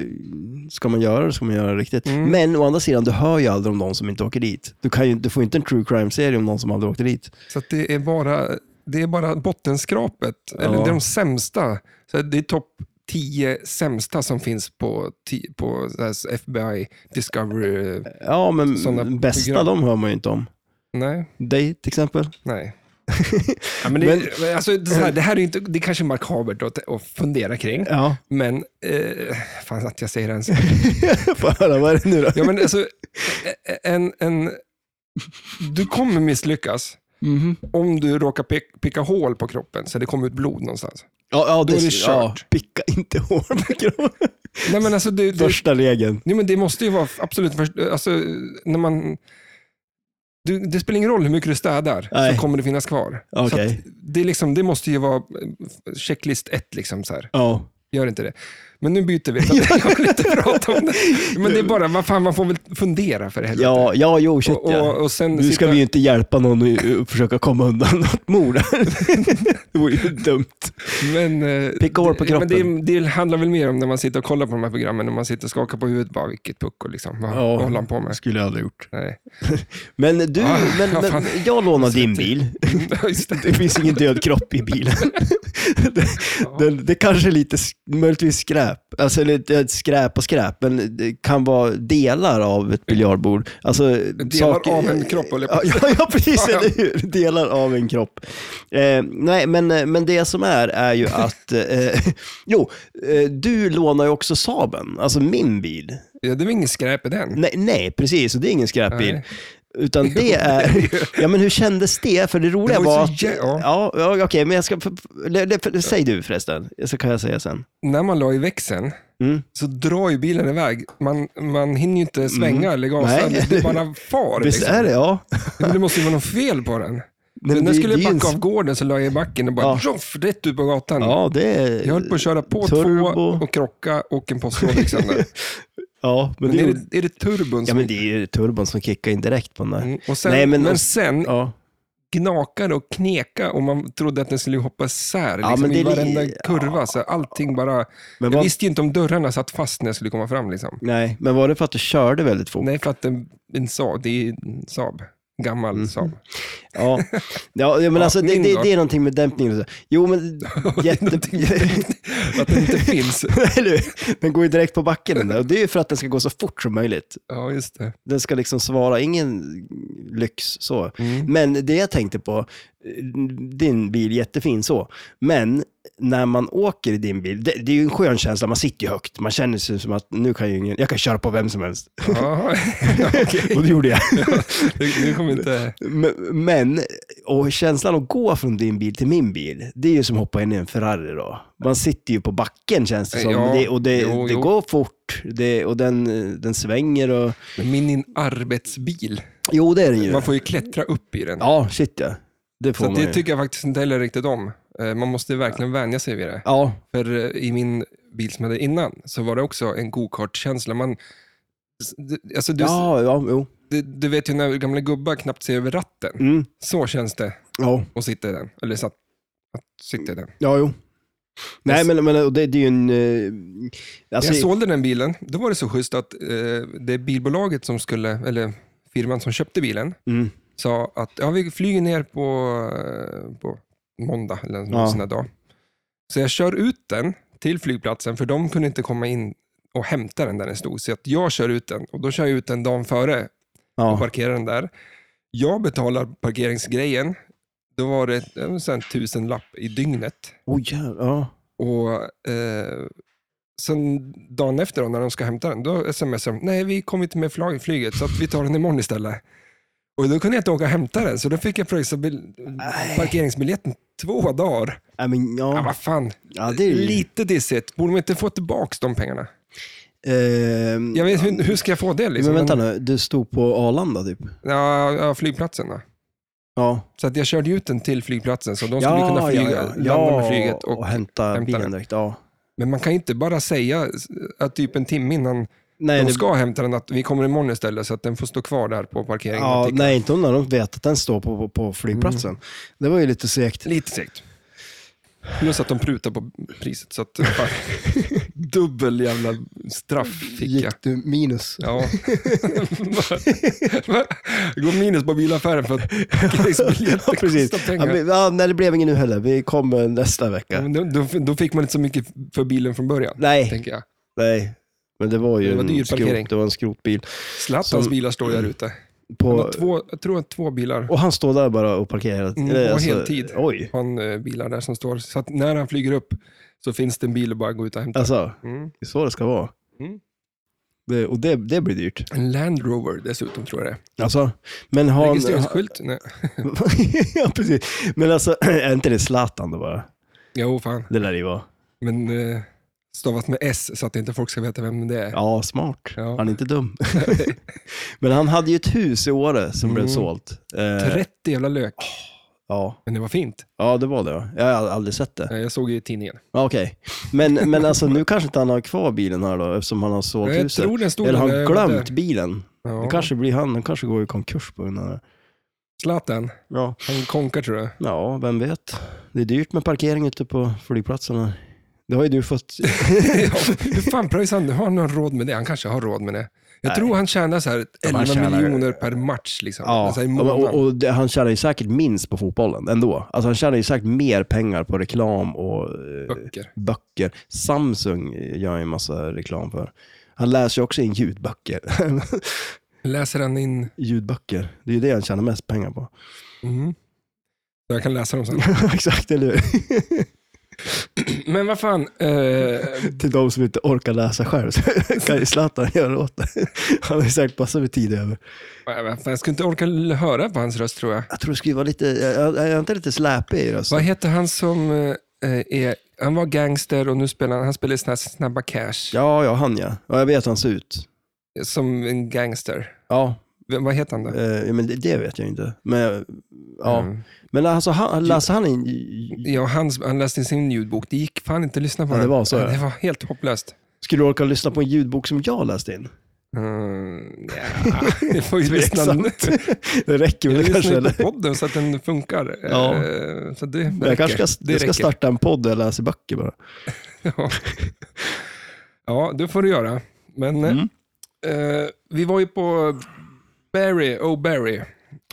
Speaker 2: ska man göra det ska man göra det riktigt.
Speaker 1: Mm.
Speaker 2: Men å andra sidan, du hör ju aldrig om någon som inte åker dit. Du, kan ju, du får inte en true crime-serie om någon som aldrig åkte dit.
Speaker 1: Så att det är bara, det är bara bottenskrapet. Eller det är de sämsta. Så att det är topp 10 sämsta som finns på, ti- på så här FBI, Discovery.
Speaker 2: Ja, men
Speaker 1: Sådana
Speaker 2: bästa
Speaker 1: program.
Speaker 2: de hör man ju inte om.
Speaker 1: Nej,
Speaker 2: Dig till exempel.
Speaker 1: nej. ja, men det,
Speaker 2: Men-
Speaker 1: men, alltså, det, här, det här är ju inte, det är kanske makabert att, att fundera kring,
Speaker 2: Ja,
Speaker 1: men eh, fan att jag säger det ens.
Speaker 2: får höra. Vad är det nu då?
Speaker 1: Ja, men alltså, en, en, du kommer misslyckas
Speaker 2: Mhm.
Speaker 1: om du råkar pick, picka hål på kroppen så det kommer ut blod någonstans.
Speaker 2: Ja, ja,
Speaker 1: Då är det
Speaker 2: ja,
Speaker 1: kört.
Speaker 2: Picka inte hår på kroppen.
Speaker 1: Nej, men alltså, det, det,
Speaker 2: Första regeln.
Speaker 1: Nej, men det måste ju vara absolut först, alltså, när man Du, det spelar ingen roll hur mycket du städar,
Speaker 2: Nej.
Speaker 1: så kommer det finnas kvar. Så
Speaker 2: Okej.
Speaker 1: att det, är liksom, det måste ju vara eh, checklist ett. Liksom, så här.
Speaker 2: Ja.
Speaker 1: Gör inte det. Men nu byter vi. Jag vill inte prata om det. Men det är bara, vad fan, man får väl fundera för helvete.
Speaker 2: Ja, ja, jo, shit
Speaker 1: och, och,
Speaker 2: ja.
Speaker 1: och sen
Speaker 2: Nu ska
Speaker 1: sitta-
Speaker 2: vi ju inte hjälpa någon att eh, försöka komma undan något mord. det vore ju dumt.
Speaker 1: Men, eh,
Speaker 2: Picka hår på
Speaker 1: det- Men
Speaker 2: kroppen.
Speaker 1: det, det handlar väl mer om när man sitter och kollar på de här programmen, när man sitter och skakar på huvudet, bara vilket pucko liksom. Vad, vad håller han på med?
Speaker 2: skulle jag aldrig gjort.
Speaker 1: Nej.
Speaker 2: Men du,
Speaker 1: Ah,
Speaker 2: men,
Speaker 1: ja, fan.
Speaker 2: men jag lånar din bil.
Speaker 1: Just det.
Speaker 2: Det finns ingen död kropp i bilen. det, den- det kanske är lite, sk- möjligtvis skräp. Alltså eller inte skräp och skräp, men det kan vara delar av ett biljardbord. Alltså, delar
Speaker 1: av en kropp, höll jag på
Speaker 2: ja,
Speaker 1: att
Speaker 2: ja, ja, precis.
Speaker 1: Ja, ja.
Speaker 2: Eller hur? Delar av en kropp. Eh, nej, men, eh, men det som är, är ju att... Eh, jo, eh, du lånar ju också Saben, alltså min bil.
Speaker 1: Ja, det var ingen skräp i den.
Speaker 2: Nej, nej precis. Och det är ingen skräpbil.
Speaker 1: Nej.
Speaker 2: Utan det är... Ja, men hur kändes det? För det roliga
Speaker 1: Det
Speaker 2: var...
Speaker 1: var ju
Speaker 2: var
Speaker 1: så jä- ja.
Speaker 2: ja, ja okej, men jag ska... för- för- det- för- Säg du förresten, så kan jag säga sen.
Speaker 1: När man la i växeln
Speaker 2: Mm.
Speaker 1: så drar ju bilen iväg. Man, man hinner ju inte svänga eller gasa.
Speaker 2: Nej.
Speaker 1: Det bara far. liksom.
Speaker 2: Visst är det? Ja.
Speaker 1: Men det måste ju vara något fel på den.
Speaker 2: Men
Speaker 1: Men när
Speaker 2: det-
Speaker 1: skulle
Speaker 2: det är
Speaker 1: jag
Speaker 2: ju
Speaker 1: backa
Speaker 2: en-
Speaker 1: av gården så la jag i backen och bara
Speaker 2: Ja.
Speaker 1: tjoff, rätt ut på gatan.
Speaker 2: Ja, det är...
Speaker 1: Jag höll på att köra på två
Speaker 2: Turbo.
Speaker 1: och krocka och en postlåda. Liksom där.
Speaker 2: Ja, men,
Speaker 1: Men
Speaker 2: det...
Speaker 1: är
Speaker 2: Är
Speaker 1: det, är det turbon
Speaker 2: Ja,
Speaker 1: som
Speaker 2: men det är ju turbon som kickar in direkt på den där.
Speaker 1: Mm, Och sen,
Speaker 2: Nej,
Speaker 1: men,
Speaker 2: men-
Speaker 1: sen
Speaker 2: Ja.
Speaker 1: gnakade och knekade och man trodde att den skulle hoppa isär liksom,
Speaker 2: men det
Speaker 1: i
Speaker 2: är li-
Speaker 1: varenda kurva. Så allting bara...
Speaker 2: Men
Speaker 1: Jag
Speaker 2: vad-
Speaker 1: visste ju inte om dörrarna satt fast när jag skulle komma fram. Liksom.
Speaker 2: Nej, men var det för att du körde väldigt fort?
Speaker 1: Nej, för att en, en Saab, det är en Saab. Gammal
Speaker 2: Mm.
Speaker 1: Saab.
Speaker 2: Ja, ja ja, men
Speaker 1: Ja,
Speaker 2: alltså det,
Speaker 1: min då?
Speaker 2: det, det är någonting med dämpningen. och så. Jo, men jätte...
Speaker 1: Att den inte finns.
Speaker 2: Eller hur? Den går ju direkt på backen den där. Och det är ju för att den ska gå så fort som möjligt.
Speaker 1: Ja, just det.
Speaker 2: Den ska liksom svara, ingen lyx så.
Speaker 1: Mm.
Speaker 2: Men det jag tänkte på, eh, din bil jättefin så, men när man åker i din bil, det, det är ju en skön känsla, man sitter ju högt, man känner sig som att nu kan ju ingen, jag kan köra på vem som helst.
Speaker 1: Ja,
Speaker 2: Och det gjorde jag.
Speaker 1: det, det kommer inte...
Speaker 2: Men, men, och känslan att gå från din bil till min bil, det är ju som att hoppa in i en Ferrari då. Man sitter ju på backen känns det som.
Speaker 1: Ja,
Speaker 2: det, och det,
Speaker 1: jo,
Speaker 2: det
Speaker 1: jo.
Speaker 2: går fort det, och den, den svänger och...
Speaker 1: Men Min arbetsbil.
Speaker 2: Jo, det är den ju.
Speaker 1: Man får ju klättra upp i den.
Speaker 2: Ja, shit ja. Det
Speaker 1: så
Speaker 2: får
Speaker 1: att
Speaker 2: man
Speaker 1: det
Speaker 2: ju.
Speaker 1: tycker jag faktiskt inte heller riktigt om. Eh, Man måste verkligen vänja sig vid det.
Speaker 2: Ja,
Speaker 1: För eh, i min bil som jag hade innan så var det också en go-kart-känsla. Man, s- d- alltså du,
Speaker 2: ja, ja, jo.
Speaker 1: du, du vet ju när gamla gubbar knappt ser över ratten.
Speaker 2: Mm.
Speaker 1: Så känns det
Speaker 2: Ja,
Speaker 1: att sitta i den. Eller satt, att sitta i den.
Speaker 2: ja, jo. Nej, men, men och det, det är ju en... eh, Alltså,
Speaker 1: När jag sålde den bilen, då var det så schysst att eh, det bilbolaget som skulle, eller firman som köpte bilen,
Speaker 2: mm,
Speaker 1: sa att ja, vi flyger ner på, eh, på måndag eller någon
Speaker 2: Ja.
Speaker 1: sån här dag. Så jag kör ut den till flygplatsen för de kunde inte komma in och hämta den där den stod. Så att jag kör ut den och då kör jag ut den dagen före och
Speaker 2: ja.
Speaker 1: parkerar den där. Jag betalar parkeringsgrejen. Då var det eh, så här en tusenlapp i dygnet.
Speaker 2: Oj, jävlar. Ja.
Speaker 1: Och eh, sen dagen efter då, när de ska hämta den, då smsar de, nej vi kom inte med flag- flyget så att vi tar den imorgon istället. Och då kunde jag inte åka och hämta den, så då fick jag pröjsa bil- parkeringsbiljetten två dagar.
Speaker 2: Nej, men
Speaker 1: Ja,
Speaker 2: ja.
Speaker 1: vad fan.
Speaker 2: Ja, det är ju...
Speaker 1: Lite dissigt. Borde man inte få tillbaka de pengarna?
Speaker 2: Ehm,
Speaker 1: Jag vet, hur, hur ska jag få det? Liksom?
Speaker 2: men vänta nu, du stod på Arlanda typ?
Speaker 1: Ja, ja, flygplatsen då.
Speaker 2: Ja.
Speaker 1: Så att jag körde ut den till flygplatsen, så de skulle kunna flyga, landa med flyget. Och,
Speaker 2: och hämta
Speaker 1: hämta den.
Speaker 2: bilen direkt. Ja.
Speaker 1: Men man kan ju inte bara säga att typ en timme innan
Speaker 2: Nej,
Speaker 1: de
Speaker 2: det,
Speaker 1: ska hämta den, att vi kommer imorgon istället så att den får stå kvar där på parkeringen.
Speaker 2: ja,
Speaker 1: Att det-
Speaker 2: nej, inte om när de vet att den står på, på,
Speaker 1: Mm.
Speaker 2: på flygplatsen. Det var ju lite segt.
Speaker 1: Lite segt. Plus att de prutar på priset, så att fan, dubbel jävla straff fick jag.
Speaker 2: Gick du minus?
Speaker 1: Ja. Gå minus på bilaffären för att
Speaker 2: Ja,
Speaker 1: parkeringsbiljetter
Speaker 2: precis.
Speaker 1: kostar
Speaker 2: Ja,
Speaker 1: pengar.
Speaker 2: men, ja, nej, det blev ingen nu heller. Vi kommer nästa
Speaker 1: Ja,
Speaker 2: vecka.
Speaker 1: men då, då, då fick man inte så mycket för bilen från början,
Speaker 2: Nej,
Speaker 1: tänker jag.
Speaker 2: nej. Men det var ju
Speaker 1: Det var dyr
Speaker 2: en,
Speaker 1: parkering.
Speaker 2: skrot, det var en skrotbil.
Speaker 1: Zlatans
Speaker 2: Som-
Speaker 1: bilar står där ute. Han har
Speaker 2: På,
Speaker 1: två, jag tror att två bilar
Speaker 2: och han står där bara och parkerar.
Speaker 1: Mm,
Speaker 2: Eller,
Speaker 1: och heltid.
Speaker 2: Eh, alltså, Oj.
Speaker 1: har han eh, bilar där som står. Så att när han flyger upp så finns det en bil och bara gå ut och hämta.
Speaker 2: Alltså,
Speaker 1: Mm.
Speaker 2: det är så det ska vara.
Speaker 1: Mm.
Speaker 2: Det, och det, det blir dyrt.
Speaker 1: En Land Rover dessutom tror jag det
Speaker 2: Alltså, men
Speaker 1: är.
Speaker 2: har,
Speaker 1: Registreringsskylt? Nej.
Speaker 2: ja, precis. Men alltså, är inte det Zlatan då bara?
Speaker 1: Jo, fan.
Speaker 2: Det lär det ju vara.
Speaker 1: Men eh, Stavat med S så att inte folk ska veta vem det är.
Speaker 2: Ja, smart.
Speaker 1: Ja.
Speaker 2: Han är inte dum. Men han hade ju ett hus i Åre som blev
Speaker 1: Mm.
Speaker 2: sålt. Eh,
Speaker 1: 30 jävla lök.
Speaker 2: ja.
Speaker 1: Men det var fint.
Speaker 2: ja, det var det. va? Jag har aldrig sett det.
Speaker 1: Nej, Jag såg ju i tidningen.
Speaker 2: Ja, Okej, men, men alltså nu kanske inte han har kvar bilen här då, eftersom han har sålt
Speaker 1: Jag
Speaker 2: huset.
Speaker 1: tror den stod
Speaker 2: Eller har
Speaker 1: där när
Speaker 2: han
Speaker 1: jag var
Speaker 2: glömt
Speaker 1: där.
Speaker 2: bilen?
Speaker 1: Ja.
Speaker 2: Det kanske blir han, han kanske går i konkurs på grund av det.
Speaker 1: Zlatan,
Speaker 2: Ja.
Speaker 1: han konkar tror jag.
Speaker 2: ja, vem vet. Det är dyrt med parkering ute på flygplatserna. Det har ju du fått.
Speaker 1: Ja, Hur fan pröjsar han? Har han någon råd med det? Han kanske har råd med det. Jag
Speaker 2: Nej.
Speaker 1: tror han tjänar så här
Speaker 2: men
Speaker 1: 11
Speaker 2: han tjänar-
Speaker 1: miljoner per match. Liksom.
Speaker 2: Ja,
Speaker 1: Alltså, i månaden.
Speaker 2: och, och det, han tjänar ju säkert minst på fotbollen ändå. Alltså han tjänar ju säkert mer pengar på reklam och eh,
Speaker 1: Böcker.
Speaker 2: böcker. Samsung gör ju en massa reklam för. Han läser ju också in ljudböcker.
Speaker 1: Läser han in...
Speaker 2: ljudböcker, det är ju det han tjänar mest pengar på.
Speaker 1: Mm. Jag kan läsa dem sen.
Speaker 2: Exakt, eller hur?
Speaker 1: Men vad fan. Eh,
Speaker 2: Till de som inte orkar läsa själv så kan ju Zlatan göra åt det. Han har ju säkert massor med tid över.
Speaker 1: vad fan, jag skulle inte orka l- höra på hans röst tror jag.
Speaker 2: Jag tror det skulle vara lite, jag, jag är inte lite släpig i
Speaker 1: Vad
Speaker 2: rösten?
Speaker 1: heter han som eh, är... Han var gangster och nu spelar han, han spelar i såna här Snabba Cash.
Speaker 2: Ja, ja, han ja. Ja, jag vet hur han ser ut.
Speaker 1: Som en gangster.
Speaker 2: Ja,
Speaker 1: V- vad heter han då?
Speaker 2: eh, ja, men det, det vet jag inte. Men, ja.
Speaker 1: Mm.
Speaker 2: men alltså, han, läser han in...
Speaker 1: Ja, han, han läste in sin ljudbok. Det gick fan inte att lyssna på
Speaker 2: Ja, det
Speaker 1: den.
Speaker 2: var så, ja.
Speaker 1: Det var helt hopplöst.
Speaker 2: Skulle du orka lyssna på en ljudbok som jag läste in?
Speaker 1: Mm, ja, vi får ju lyssna nu.
Speaker 2: Tveksamt. det räcker väl
Speaker 1: Jag
Speaker 2: det
Speaker 1: lyssnar
Speaker 2: kanske?
Speaker 1: ju
Speaker 2: Eller?
Speaker 1: på podden så att den funkar.
Speaker 2: Ja.
Speaker 1: Eh, Så det räcker.
Speaker 2: Jag kanske ska,
Speaker 1: det
Speaker 2: jag ska
Speaker 1: räcker.
Speaker 2: starta en podd där jag läser böcker bara.
Speaker 1: Ja. ja, det får du göra. Men
Speaker 2: Mm.
Speaker 1: eh, vi var ju på Barry, oh Barry.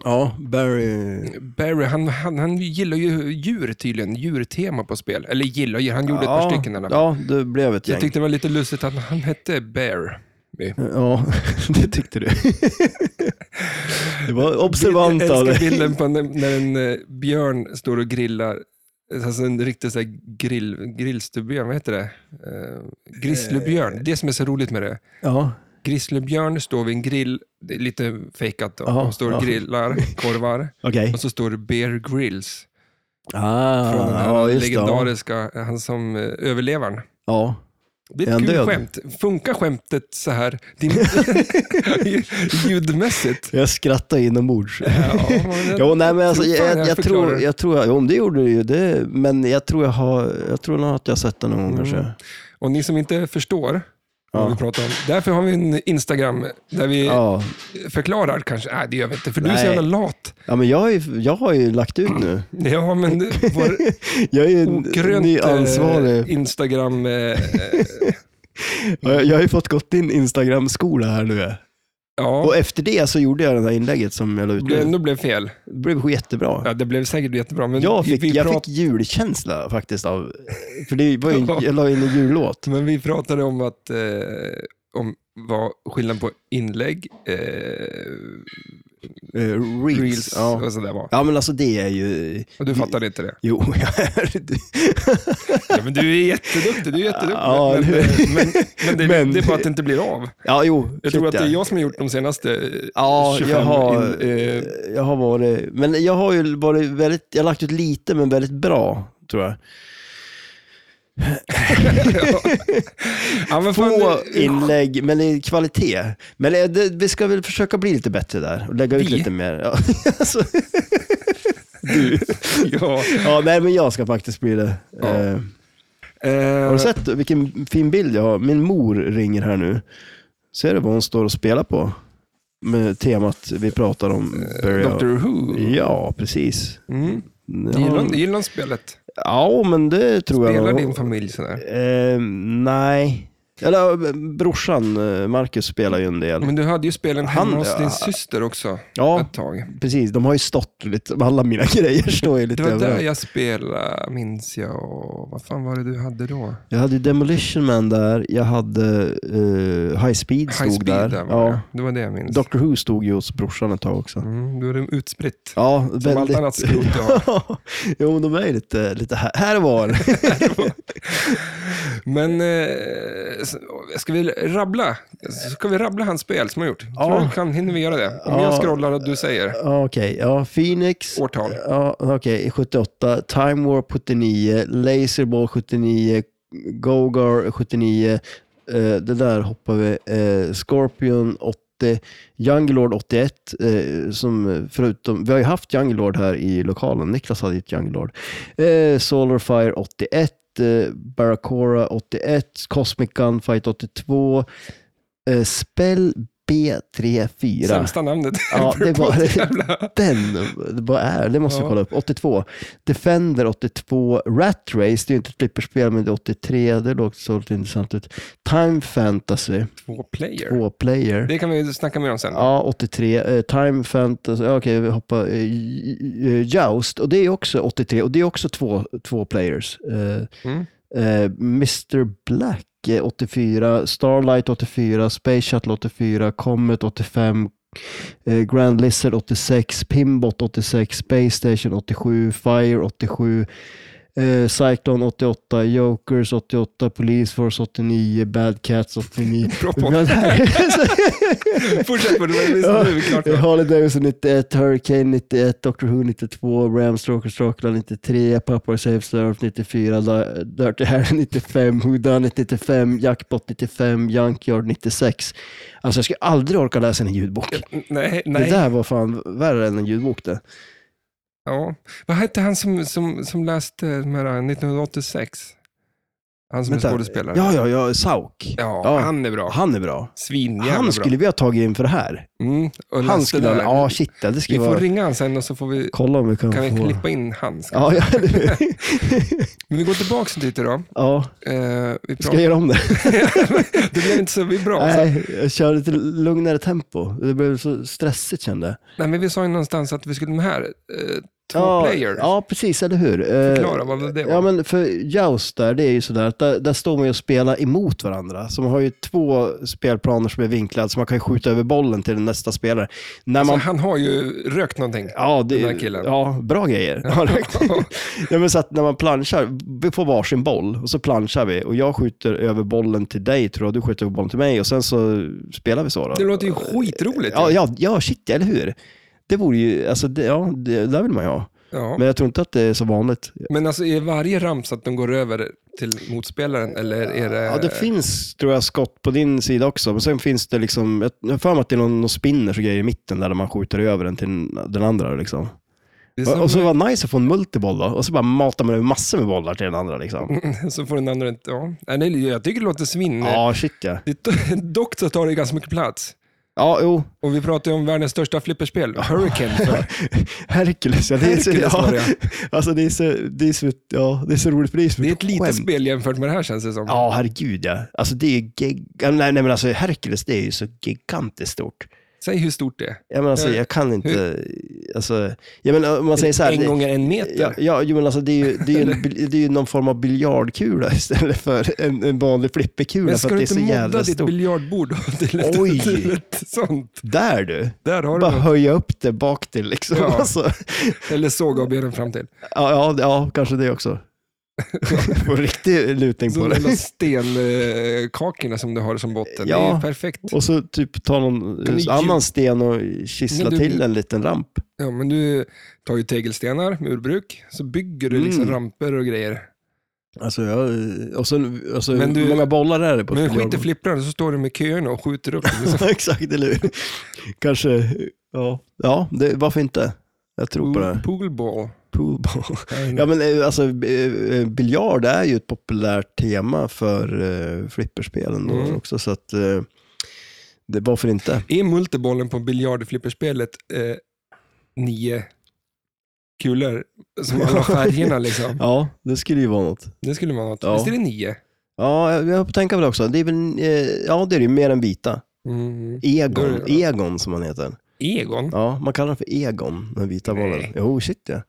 Speaker 2: Ja, Barry...
Speaker 1: Barry, han, han, han gillar ju djur tydligen, djurtema på spel. Eller gillar djur, han gjorde ett par stycken. i alla fall.
Speaker 2: Ja, det blev ett
Speaker 1: Jag
Speaker 2: gäng.
Speaker 1: tyckte det var lite lustigt att han hette Bear.
Speaker 2: Ja, det tyckte du. Det var observant
Speaker 1: Jag
Speaker 2: av
Speaker 1: älskar
Speaker 2: dig.
Speaker 1: bilden på när, när en eh, björn står och grillar. Alltså en riktig så här grill, grillstubjörn, vad heter det? Eh,
Speaker 2: Eh.
Speaker 1: grizzlybjörn, det som är så roligt med det.
Speaker 2: Ja,
Speaker 1: Grizzlybjörn står vid en grill, det är lite fejkat då.
Speaker 2: Jaha,
Speaker 1: De står och
Speaker 2: ja.
Speaker 1: grillar korvar
Speaker 2: okej.
Speaker 1: och så står det Bear Grylls.
Speaker 2: Ah,
Speaker 1: Från den här
Speaker 2: ja, just det. Ja.
Speaker 1: legendariska, han som eh, överlevaren.
Speaker 2: ja.
Speaker 1: Det
Speaker 2: Är
Speaker 1: är
Speaker 2: han
Speaker 1: ett kul
Speaker 2: död?
Speaker 1: skämt. Funkar skämtet så här din, ljudmässigt?
Speaker 2: Jag skrattar inombords.
Speaker 1: Ja, men-
Speaker 2: Jo, nej, men alltså,
Speaker 1: Tror fan
Speaker 2: jag, jag,
Speaker 1: förklarar
Speaker 2: tror,
Speaker 1: det.
Speaker 2: jag tror, jo, men det gjorde du ju, det, men jag tror jag har, jag tror nog att jag har sett den någon gång
Speaker 1: Mm.
Speaker 2: kanske.
Speaker 1: Och ni som inte förstår
Speaker 2: Ja.
Speaker 1: vad vi pratar om, därför har vi en Instagram där vi
Speaker 2: Ja.
Speaker 1: förklarar kanske. Nej, det gör vi inte, för du är så
Speaker 2: Nej.
Speaker 1: jävla lat.
Speaker 2: ja, men jag har, ju, jag har ju lagt ut nu.
Speaker 1: Ja, men du- vår
Speaker 2: Jag är ju
Speaker 1: ogrönt
Speaker 2: ny
Speaker 1: eh,
Speaker 2: ansvarig.
Speaker 1: Instagram... eh,
Speaker 2: Ja, Jag, jag har ju fått gått in Instagram-skola här nu.
Speaker 1: Ja,
Speaker 2: Och efter det så gjorde jag det här inlägget som jag la ut
Speaker 1: det
Speaker 2: nu.
Speaker 1: ändå blev fel.
Speaker 2: Det blev jättebra.
Speaker 1: Ja, det blev säkert jättebra, men
Speaker 2: Jag fick,
Speaker 1: vi,
Speaker 2: jag
Speaker 1: prat-
Speaker 2: fick julkänsla faktiskt av, för det var ju, jag la in en jullåt.
Speaker 1: men vi pratade om att eh, om vad skillnaden på inlägg, eh,
Speaker 2: Eh, reels.
Speaker 1: reels
Speaker 2: Ja.
Speaker 1: och sådär var.
Speaker 2: ja, men alltså det är ju,
Speaker 1: Och du fattade inte det.
Speaker 2: jo, jag är det.
Speaker 1: Ja, men du är jätteduktig, du är jätteduktig.
Speaker 2: Ja,
Speaker 1: men,
Speaker 2: det-
Speaker 1: men, men, det,
Speaker 2: Men-
Speaker 1: det är bara att det inte blir av.
Speaker 2: Ja, jo.
Speaker 1: Jag tror
Speaker 2: shit,
Speaker 1: att det
Speaker 2: ja.
Speaker 1: är jag som har gjort de senaste eh,
Speaker 2: Ja,
Speaker 1: 25
Speaker 2: jag har,
Speaker 1: in, eh,
Speaker 2: jag har varit, men jag har ju varit väldigt, jag har lagt ut lite men väldigt bra, tror jag.
Speaker 1: ja, men fan,
Speaker 2: Få
Speaker 1: eh,
Speaker 2: inlägg, men i kvalitet. Men eh, det, vi ska väl försöka bli lite bättre där och lägga ut
Speaker 1: Vi?
Speaker 2: lite mer. Ja, alltså,
Speaker 1: Ja.
Speaker 2: ja, nej men jag ska faktiskt bli det. Eh, Har
Speaker 1: Eh,
Speaker 2: du sett vilken fin bild jag har? Min mor ringer här nu. Ser du vad hon står och spelar på? Med temat vi pratar om. Barry Allen.
Speaker 1: Doctor Who.
Speaker 2: Ja, precis.
Speaker 1: Eh, Mm.
Speaker 2: Ja,
Speaker 1: Gillar hon- Gillar hon spelet?
Speaker 2: ja, men det tror
Speaker 1: Spelar
Speaker 2: jag. nog.
Speaker 1: din familj sådär?
Speaker 2: Eh, nej. Eller eh, brorsan eh, Marcus spelar ju en del.
Speaker 1: Men du hade ju spelen hemma
Speaker 2: Han-
Speaker 1: hos din
Speaker 2: ja.
Speaker 1: syster också
Speaker 2: ja,
Speaker 1: ett tag.
Speaker 2: precis. De har ju stått lite. Alla mina grejer står ju
Speaker 1: Det
Speaker 2: lite
Speaker 1: var där
Speaker 2: överallt.
Speaker 1: jag spelade, minns jag. Och vad fan var det du hade då?
Speaker 2: Jag hade ju Demolition Man där. Jag hade eh, High Speed stod
Speaker 1: High Speed
Speaker 2: där.
Speaker 1: där var
Speaker 2: ja.
Speaker 1: det. Det var det jag minns.
Speaker 2: Doctor Who stod ju hos brorsan ett tag också.
Speaker 1: Mm, då är det utspritt.
Speaker 2: Ja,
Speaker 1: Som allt annat skrot du har.
Speaker 2: jo, men de är ju lite, lite här, här var.
Speaker 1: Men eh, s- ska vi rabbla? Ska vi rabbla hans spel som har gjort?
Speaker 2: Ja.
Speaker 1: Tror du kan, hinner vi göra det? Om
Speaker 2: Ja.
Speaker 1: jag scrollar och du säger
Speaker 2: Ja, Okej, ja, Phoenix.
Speaker 1: årtal.
Speaker 2: Ja, okej, 78. Time Warp 79. Laserball 79. Gogar 79, eh, det där hoppar vi. Eh, Scorpion 80, Jungle Lord 81, eh, som förutom, vi har ju haft Jungle Lord här i lokalen, Niklas hade ju ett Jungle Lord. Eh, Solar Fire 81, eh, Barracora 81, Cosmic Gunfight 82, eh, Spell B34.
Speaker 1: Sämsta namnet.
Speaker 2: Ja, det var
Speaker 1: Jävla-
Speaker 2: den, vad är det? måste
Speaker 1: Ja.
Speaker 2: jag kolla upp. 82. Defender 82. Rat Race, det är ju inte ett flipperspel, men det är 83. Det låg så lite intressant ut. Time Fantasy,
Speaker 1: Två player.
Speaker 2: två player.
Speaker 1: Det kan vi snacka mer om sen.
Speaker 2: Ja, 83. Eh, Time Fantasy, ja, okej vi hoppar. Eh, J- J- Joust, och det är också 83. Och det är också två, två players. Eh,
Speaker 1: Mm.
Speaker 2: eh, Mr Black eh, 84, Starlight 84, Space Shuttle 84, Comet 85, eh, Grand Lizard 86, Pimbot 86, Space Station 87, Fire 87, eh, Cyclone 88, Jokers 88, Police Force 89, Bad Cats 89.
Speaker 1: Bra podd. Fortsätt på det, men visst, nu är vi klart.
Speaker 2: Ja, Harley Davidson 91, Hurricane 91, Doctor Who 92, Ram Stroker Strokla 93, Papa Safe Surf 94, Di- Dirty Harry 95, Who Done It 95, Jackpot 95, Junkyard 96. Alltså jag skulle aldrig orka läsa en ljudbok.
Speaker 1: Nej,
Speaker 2: Det
Speaker 1: nej.
Speaker 2: där var fan värre än en ljudbok det.
Speaker 1: Ja. Vad hette han som, som, som läste de här 1986? Han som
Speaker 2: Vänta.
Speaker 1: är skådespelare.
Speaker 2: Ja, ja, ja, Sauk.
Speaker 1: Ja,
Speaker 2: Ja.
Speaker 1: han är bra.
Speaker 2: Han är bra.
Speaker 1: Svinjävla bra.
Speaker 2: Han skulle vi ha tagit in för det här.
Speaker 1: Mm, och
Speaker 2: Han
Speaker 1: läste
Speaker 2: skulle
Speaker 1: där.
Speaker 2: ha, ja shit, det
Speaker 1: Vi
Speaker 2: skulle
Speaker 1: får
Speaker 2: vara...
Speaker 1: ringa han sen och så får vi,
Speaker 2: Kolla om vi kan,
Speaker 1: kan vi
Speaker 2: få...
Speaker 1: klippa in han. ska-
Speaker 2: Ja, ja, det-
Speaker 1: Men vi går tillbaka lite då.
Speaker 2: ja,
Speaker 1: Eh, vi
Speaker 2: ska jag
Speaker 1: pratar.
Speaker 2: göra om det?
Speaker 1: Det blev inte så bra. Nej.
Speaker 2: Nej, jag kör lite lugnare tempo. Det blev så stressigt kände jag.
Speaker 1: nej, men vi sa ju någonstans att vi skulle med här. Eh, två
Speaker 2: ja,
Speaker 1: player.
Speaker 2: Ja, precis, eller hur? Eh,
Speaker 1: Förklara vad det var.
Speaker 2: Ja, men för Joust där, det är ju sådär att där, där står man ju och spelar emot varandra. Så man har ju två spelplaner som är vinklade, så man kan ju skjuta över bollen till nästa spelare. När
Speaker 1: Så
Speaker 2: man
Speaker 1: han har ju rökt någonting.
Speaker 2: Ja, det,
Speaker 1: Alltså, Den där killen.
Speaker 2: ja, bra grejer. Ja, det- ja, men så att när man planchar, vi får varsin boll och så planchar vi och jag skjuter över bollen till dig tror jag, du skjuter över bollen till mig och sen så spelar vi så. Då.
Speaker 1: Det låter ju skitroligt.
Speaker 2: Ja, ja, ja, shit, eller hur? Det vore ju, alltså det, ja, det där vill man ju ha.
Speaker 1: Ja.
Speaker 2: Men jag tror inte att det är så vanligt.
Speaker 1: Men alltså är varje ramsa att de går över till motspelaren eller är det...
Speaker 2: Ja, det finns, tror jag, skott på din sida också. Men sen finns det liksom, jag- jag har för mig att det är någon, någon spinners och grejer i mitten där man skjuter över den till den andra. Liksom.
Speaker 1: det är
Speaker 2: Och,
Speaker 1: som,
Speaker 2: och så var det nice att få en multiboll då. Och så bara matar man över massor med bollar till den andra. Liksom.
Speaker 1: så får den andra inte... Ja. Nej, nej, jag tycker det låter svinn.
Speaker 2: Ja, shit ja.
Speaker 1: Det, dock så tar det ganska mycket plats.
Speaker 2: Ja, jo.
Speaker 1: Och vi pratar ju om världens största flipperspel, Hurricane. För.
Speaker 2: Hercules, ja. Det är så,
Speaker 1: Hercules var det,
Speaker 2: ja. Alltså det är så, det är så, ja, det är så roligt för det är, så
Speaker 1: Det är ett
Speaker 2: mycket
Speaker 1: litet
Speaker 2: skämt.
Speaker 1: spel jämfört med det här känns det som.
Speaker 2: Ja, herregud ja. Alltså det är ju gig... ja, nej, nej, men alltså Hercules, det är ju så gigantiskt stort.
Speaker 1: Säg hur stort det är.
Speaker 2: Jag menar alltså,
Speaker 1: Hur-
Speaker 2: jag kan inte, alltså, jag menar om man säger så här.
Speaker 1: en
Speaker 2: det-
Speaker 1: gånger en meter.
Speaker 2: Ja, ja jo, men alltså det är ju, det är ju, en, bil- det är ju någon form av biljardkula istället för en, en vanlig flipperkula
Speaker 1: Men
Speaker 2: för
Speaker 1: ska
Speaker 2: att
Speaker 1: du
Speaker 2: det är så
Speaker 1: inte modda
Speaker 2: jävla
Speaker 1: ditt
Speaker 2: stort.
Speaker 1: biljardbord till ett,
Speaker 2: Oj.
Speaker 1: till ett sånt?
Speaker 2: Där du!
Speaker 1: Där har du
Speaker 2: Bara
Speaker 1: något.
Speaker 2: höja upp det bak till liksom.
Speaker 1: Ja.
Speaker 2: Alltså,
Speaker 1: Eller såga av benen fram till.
Speaker 2: ja, ja, ja, kanske det också. Få riktig lutning
Speaker 1: Så
Speaker 2: på
Speaker 1: de
Speaker 2: det.
Speaker 1: där stenkakorna som du har som botten.
Speaker 2: Ja.
Speaker 1: Det är ju perfekt.
Speaker 2: Och så typ ta någon
Speaker 1: Kan du
Speaker 2: eh,
Speaker 1: ju-
Speaker 2: annan sten och kissla
Speaker 1: Men du-
Speaker 2: till en liten ramp.
Speaker 1: Ja, men du tar ju tegelstenar, murbruk, så bygger du liksom
Speaker 2: Mm.
Speaker 1: ramper och grejer.
Speaker 2: Alltså, jag, och sen, alltså
Speaker 1: Men du-
Speaker 2: hur många bollar är det på ett
Speaker 1: Men skit i
Speaker 2: biljardbord?
Speaker 1: flipprarna så står du med köerna och skjuter upp. dem.
Speaker 2: Exakt, eller hur? Kanske, ja. Ja, det, varför inte? Jag tror på det.
Speaker 1: Poolball.
Speaker 2: Poolball. Ja, men eh, alltså, eh, eh, biljard är ju ett populärt tema för uh, flipperspelen då
Speaker 1: Mm.
Speaker 2: också, så att eh, det, varför inte?
Speaker 1: Är multibollen på biljardflipperspelet eh, nio kulor som alla färgerna liksom?
Speaker 2: Ja, det skulle ju vara något.
Speaker 1: Det skulle vara något.
Speaker 2: Ja.
Speaker 1: Visst är det nio?
Speaker 2: Ja, jag, jag får tänka på det också. Det är väl, eh, ja, det är ju mer än vita.
Speaker 1: Mm. Då är
Speaker 2: Egon,
Speaker 1: det-
Speaker 2: Egon som han heter.
Speaker 1: Egon?
Speaker 2: Ja, man kallar den för Egon, den vita
Speaker 1: Nej.
Speaker 2: bollen. Jo, shit ja.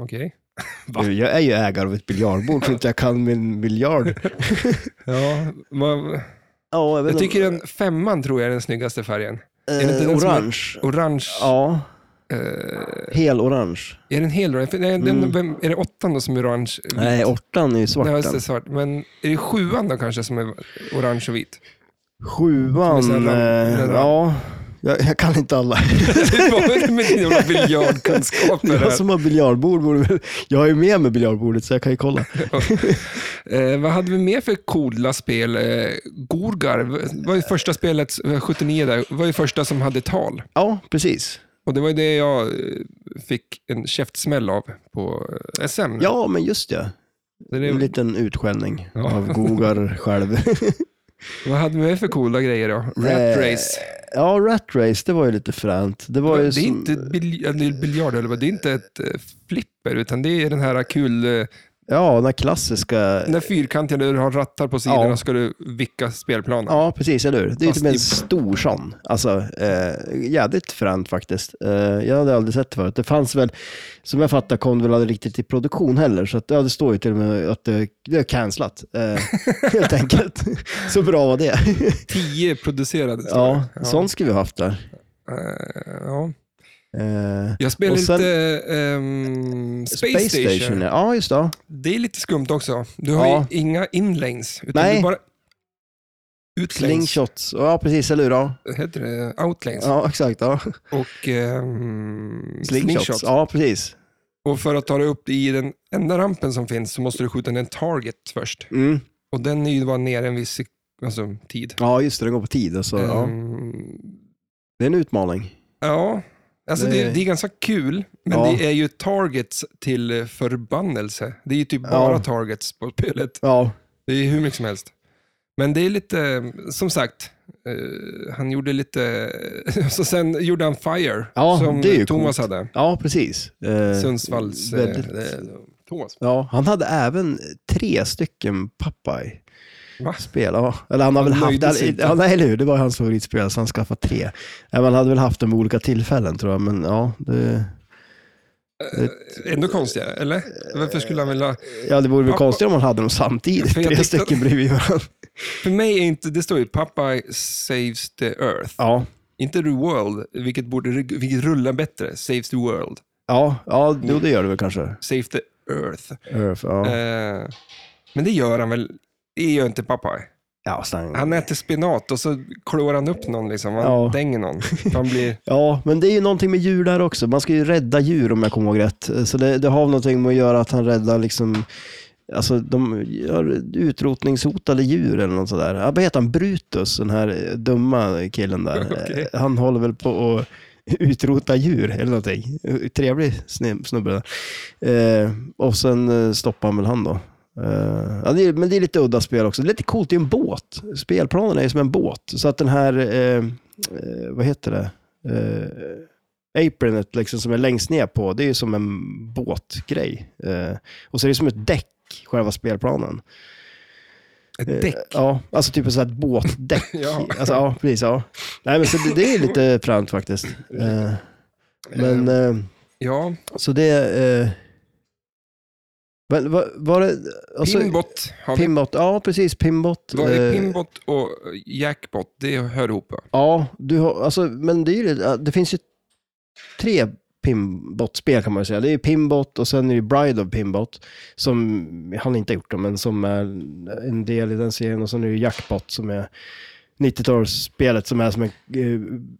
Speaker 1: Okej. Va?
Speaker 2: Nu, Jag är ju ägare av ett biljardbord, så inte jag kan min biljard.
Speaker 1: Ja, vad-
Speaker 2: Ja, vet
Speaker 1: jag
Speaker 2: inte
Speaker 1: tycker den femman tror jag är den snyggaste färgen. är
Speaker 2: om-
Speaker 1: det inte
Speaker 2: eh,
Speaker 1: den som är-
Speaker 2: orange.
Speaker 1: Orange.
Speaker 2: Ja,
Speaker 1: Eh,
Speaker 2: hel orange.
Speaker 1: är den hel? Nej, den,
Speaker 2: Mm.
Speaker 1: vem, är det åttan då som är orange?
Speaker 2: Nej, ortan är ju svart.
Speaker 1: Nej, Mm. just
Speaker 2: den.
Speaker 1: det, svart. Men är det sjuan då kanske som är orange och vit?
Speaker 2: Sjuan,
Speaker 1: Som är sån här ram-
Speaker 2: eh,
Speaker 1: den där-
Speaker 2: ja. Jag, jag kan inte alla.
Speaker 1: Det var väl med dina jävla biljardkunskaper
Speaker 2: Jag
Speaker 1: här.
Speaker 2: som har biljardbord borde väl... Jag har ju med mig biljardbordet så jag kan ju kolla.
Speaker 1: Eh, vad hade vi mer för coola spel? Eh, Gorgar var ju första spelet, eh, 79 där, var ju första som hade tal.
Speaker 2: Ja, precis.
Speaker 1: Och det var ju det jag eh, fick en käftsmäll av på eh, SM.
Speaker 2: Ja, men just det.
Speaker 1: Det är
Speaker 2: En
Speaker 1: det,
Speaker 2: liten utskällning
Speaker 1: Ja.
Speaker 2: av Gogar själv.
Speaker 1: vad hade vi mer för coola grejer då? Rat
Speaker 2: Eh,
Speaker 1: Race.
Speaker 2: Ja, Rat Race, det var ju lite fränt. Det var
Speaker 1: Det
Speaker 2: ju
Speaker 1: är
Speaker 2: som...
Speaker 1: inte ett bilj- eller biljard, eller vad, det är inte ett eh, flipper, utan det är den här kul, eh,
Speaker 2: Ja, den här klassiska...
Speaker 1: den där fyrkantiga där du har rattar på sidorna
Speaker 2: Ja.
Speaker 1: och ska du vicka spelplanen.
Speaker 2: Ja, precis, eller hur? Det är ju
Speaker 1: Fast
Speaker 2: typ en
Speaker 1: i-
Speaker 2: stor sån. Alltså, eh, jävligt fränt faktiskt. Eh, jag hade aldrig sett det förut. Det fanns väl, som jag fattar kom det väl aldrig riktigt i produktion heller, så att, ja, det står ju till och med att det, det är cancelat, eh, helt enkelt. så bra var det.
Speaker 1: Tio producerade. så-
Speaker 2: ja, sånt skulle vi haft där.
Speaker 1: Eh, ja.
Speaker 2: Eh,
Speaker 1: Jag spelar
Speaker 2: Och sen-
Speaker 1: lite ehm, Space, Station.
Speaker 2: ja. Ja, just det.
Speaker 1: Det är lite skumt också. Du har
Speaker 2: Ja.
Speaker 1: ju inga inlanes, utan
Speaker 2: Nej.
Speaker 1: du bara utlanes.
Speaker 2: Slingshots. Ja, precis, eller hur? Ja,
Speaker 1: Heter det? Outlanes.
Speaker 2: ja exakt. Ja.
Speaker 1: Och ehm,
Speaker 2: Slingshots.
Speaker 1: slingshots.
Speaker 2: Ja, precis.
Speaker 1: Och för att ta dig upp i den enda rampen som finns så måste du skjuta ner en target först.
Speaker 2: Mm.
Speaker 1: Och den är ju bara ner en viss sek- alltså, tid.
Speaker 2: Ja, just det. Den går på tid. Alltså. Ja.
Speaker 1: Ehm,
Speaker 2: Det är en utmaning.
Speaker 1: ja. Alltså det,
Speaker 2: Det-
Speaker 1: är- det är ganska kul, men
Speaker 2: Ja.
Speaker 1: det är ju targets till eh, förbannelse. Det är ju typ
Speaker 2: Ja.
Speaker 1: bara targets på spelet.
Speaker 2: Ja,
Speaker 1: Det är hur mycket som helst. Men det är lite, som sagt, eh, han gjorde lite, så sen gjorde han Fire,
Speaker 2: Ja,
Speaker 1: som
Speaker 2: det är ju
Speaker 1: Thomas
Speaker 2: coolt.
Speaker 1: hade.
Speaker 2: ja precis. Eh,
Speaker 1: Sundsvalls... eh,
Speaker 2: väldigt-
Speaker 1: eh, Thomas.
Speaker 2: Ja, han hade även tre stycken Popeye-spel.
Speaker 1: Va?
Speaker 2: Ja. Eller han har
Speaker 1: Han
Speaker 2: väl haft,
Speaker 1: nöjde sig
Speaker 2: eller,
Speaker 1: inte.
Speaker 2: ja, nej, eller hur, det var hans favoritspel, så han skaffade tre. Ja, men han hade väl haft dem vid olika tillfällen tror jag, men ja, det,
Speaker 1: Eh, Ändå konstigare, eller? Varför skulle han vilja...
Speaker 2: ja, det vore väl
Speaker 1: Pappa-
Speaker 2: konstigt om han hade dem samtidigt,
Speaker 1: För jag
Speaker 2: tre
Speaker 1: tyckte-
Speaker 2: stycken bredvid varandra.
Speaker 1: För mig är inte, det står ju Popeye saves the earth.
Speaker 2: Ja,
Speaker 1: Inte the world, vilket, borde, vilket rullar bättre. Saves the world.
Speaker 2: ja, ja jo, det gör det väl kanske.
Speaker 1: Save the earth.
Speaker 2: Earth, Ja,
Speaker 1: Eh, men det gör han väl? Det gör inte Popeye.
Speaker 2: ja, sen,
Speaker 1: Han äter spenat och så klår han upp någon, liksom. han
Speaker 2: Ja.
Speaker 1: dänger någon. Han blir,
Speaker 2: Ja, men det är ju någonting med djur där också. Man ska ju rädda djur om jag kommer ihåg rätt. Så det, det har väl någonting med att göra att han räddar liksom, alltså de gör utrotningshotade djur eller något sådär. Ja, Vad heter han? Brutus, den här eh, dumma killen där.
Speaker 1: Okej.
Speaker 2: Eh, Han håller väl på att utrota djur eller någonting. Eh, Trevlig sne- snubbe där. Eh, och sen eh, stoppar han väl han då. Eh, ja, det är, men det är lite udda spel också. Det är lite coolt, det är en båt. Spelplanen är ju som en båt. Så att den här, eh, eh, vad heter det? eh, apronet liksom, som är längst ner på, det är ju som en båtgrej. Eh, och så är det som ett däck, själva spelplanen.
Speaker 1: ett däck.
Speaker 2: Eh, ja, alltså typ ett sånt här båtdäck.
Speaker 1: Ja.
Speaker 2: Alltså, ja, precis. Ja. Nej, men så det, det är lite fränt faktiskt. Eh, men, eh,
Speaker 1: Ja,
Speaker 2: så det... Eh, men vad- var det... Alltså,
Speaker 1: Pimbot har vi.
Speaker 2: Pimbot, ja precis. Pimbot.
Speaker 1: Vad är
Speaker 2: eh,
Speaker 1: Pimbot och eh, Jackbot? Det hör ihop va?
Speaker 2: Ja, du har, alltså, men det, är ju, det- det finns ju tre Pimbot-spel kan man ju säga. Det är ju Pimbot och sen är det Bride of Pimbot, som han inte har gjort dem, men som är en del i den serien. Och sen är det ju Jackpot som är 90-talsspelet som är som en...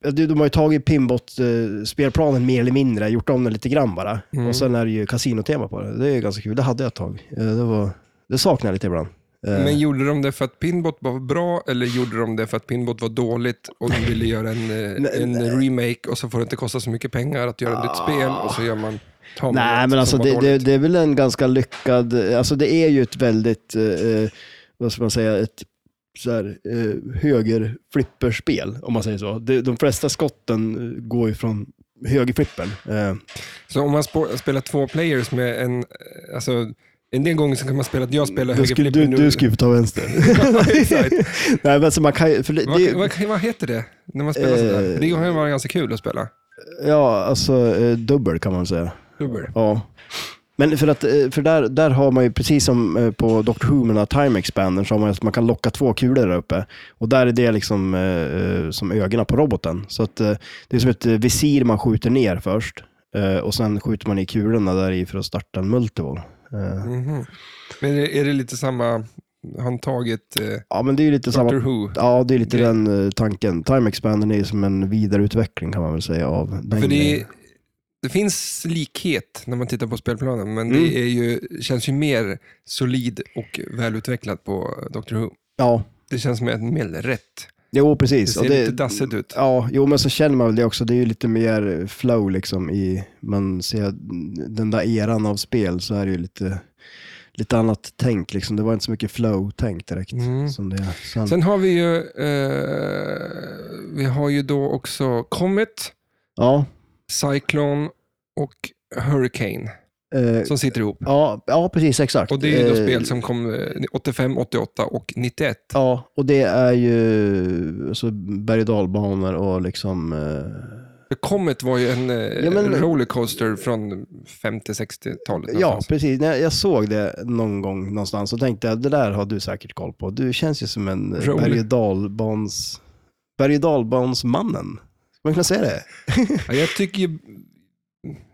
Speaker 2: eh, de- De har ju tagit Pimbot-spelplanen mer eller mindre, gjort om den lite grann bara.
Speaker 1: Mm.
Speaker 2: Och sen är det ju kasinotema på det. Det är ju ganska kul. Det hade jag ett tag. Eh, Det, var, det saknar jag lite ibland. Eh,
Speaker 1: Men gjorde de det för att Pinbot var bra eller gjorde de det för att Pinbot var dåligt och de ville göra en, eh,
Speaker 2: Nej, Ah.
Speaker 1: en remake och så får det inte kosta så mycket pengar att göra ett nytt spel och så gör man tar man
Speaker 2: Nej,
Speaker 1: något
Speaker 2: men alltså
Speaker 1: som var
Speaker 2: det, det,
Speaker 1: dåligt.
Speaker 2: det är väl en ganska lyckad, alltså det är ju ett väldigt, eh, eh, vad ska man säga, ett så här, eh, högerflipperspel, om man säger så. De, de flesta skotten eh, går ju från högerflippen. Eh,
Speaker 1: Så om man spo- spelar två players med en, eh, alltså en del gånger så kan man spela att jag spelar
Speaker 2: du, skulle, du,
Speaker 1: högerflippen
Speaker 2: du skulle ju ta vänster.
Speaker 1: Exakt.
Speaker 2: Nej, men alltså man kan ju, för det,
Speaker 1: Vad,
Speaker 2: det,
Speaker 1: vad, vad heter det när man spelar sådär?
Speaker 2: Eh.
Speaker 1: Det kan ju vara ganska kul att spela.
Speaker 2: ja, alltså eh, dubbel kan man säga.
Speaker 1: Dubbel.
Speaker 2: Ja. Men för att, eh, för där, där har man ju, precis som eh, på Dr. Who med den här Time Expander, så har man ju att man kan locka två kulor där uppe. Och där är det liksom eh, eh, som ögonen på roboten. Så att eh, det är som ett eh, visir man skjuter ner först. eh, Och sen skjuter man i kulorna där i för att starta en multivol. Eh,
Speaker 1: Mhm. Men är det, är det lite samma han tagit eh,
Speaker 2: Ja, men det är ju lite
Speaker 1: Doctor
Speaker 2: samma...
Speaker 1: Who?
Speaker 2: Ja, det är lite
Speaker 1: Grej.
Speaker 2: den eh, tanken. Time Expander är ju som en vidareutveckling kan man väl säga av den
Speaker 1: För det,
Speaker 2: grejen.
Speaker 1: det finns likhet när man tittar på spelplanen, men
Speaker 2: Mm.
Speaker 1: det är ju, känns ju mer solid och välutvecklat på Doctor Who.
Speaker 2: Ja,
Speaker 1: Det känns mer, mer rätt.
Speaker 2: jo
Speaker 1: Det
Speaker 2: precis.
Speaker 1: ser
Speaker 2: Och
Speaker 1: lite dassigt ut.
Speaker 2: Ja, jo men så känner man väl det också. Det är ju lite mer flow liksom i, man ser den där eran av spel så är det ju lite, lite annat tänk liksom. Det var inte så mycket flow-tänk direkt.
Speaker 1: Mm.
Speaker 2: Som det är. Sen,
Speaker 1: Sen har vi ju, eh, vi har ju då också Comet,
Speaker 2: ja,
Speaker 1: Cyclone och Hurricane
Speaker 2: eh,
Speaker 1: som sitter ihop.
Speaker 2: ja, ja, precis exakt.
Speaker 1: Och det är ju då
Speaker 2: Eh,
Speaker 1: spel som kom eh, 85, 88 och 91.
Speaker 2: Ja, och det är ju så berg och dalbanor och liksom... Eh,
Speaker 1: För Comet var ju en eh,
Speaker 2: Ja, men-
Speaker 1: rollercoaster från 50-60-talet.
Speaker 2: ja,
Speaker 1: någonstans.
Speaker 2: precis. När jag såg det någon gång någonstans och tänkte jag, det där har du säkert koll på. Du känns ju som en
Speaker 1: Rolig.
Speaker 2: berg och dalbans... Berg och dalbansmannen. Ska man kunna säga det?
Speaker 1: Ja, jag tycker ju,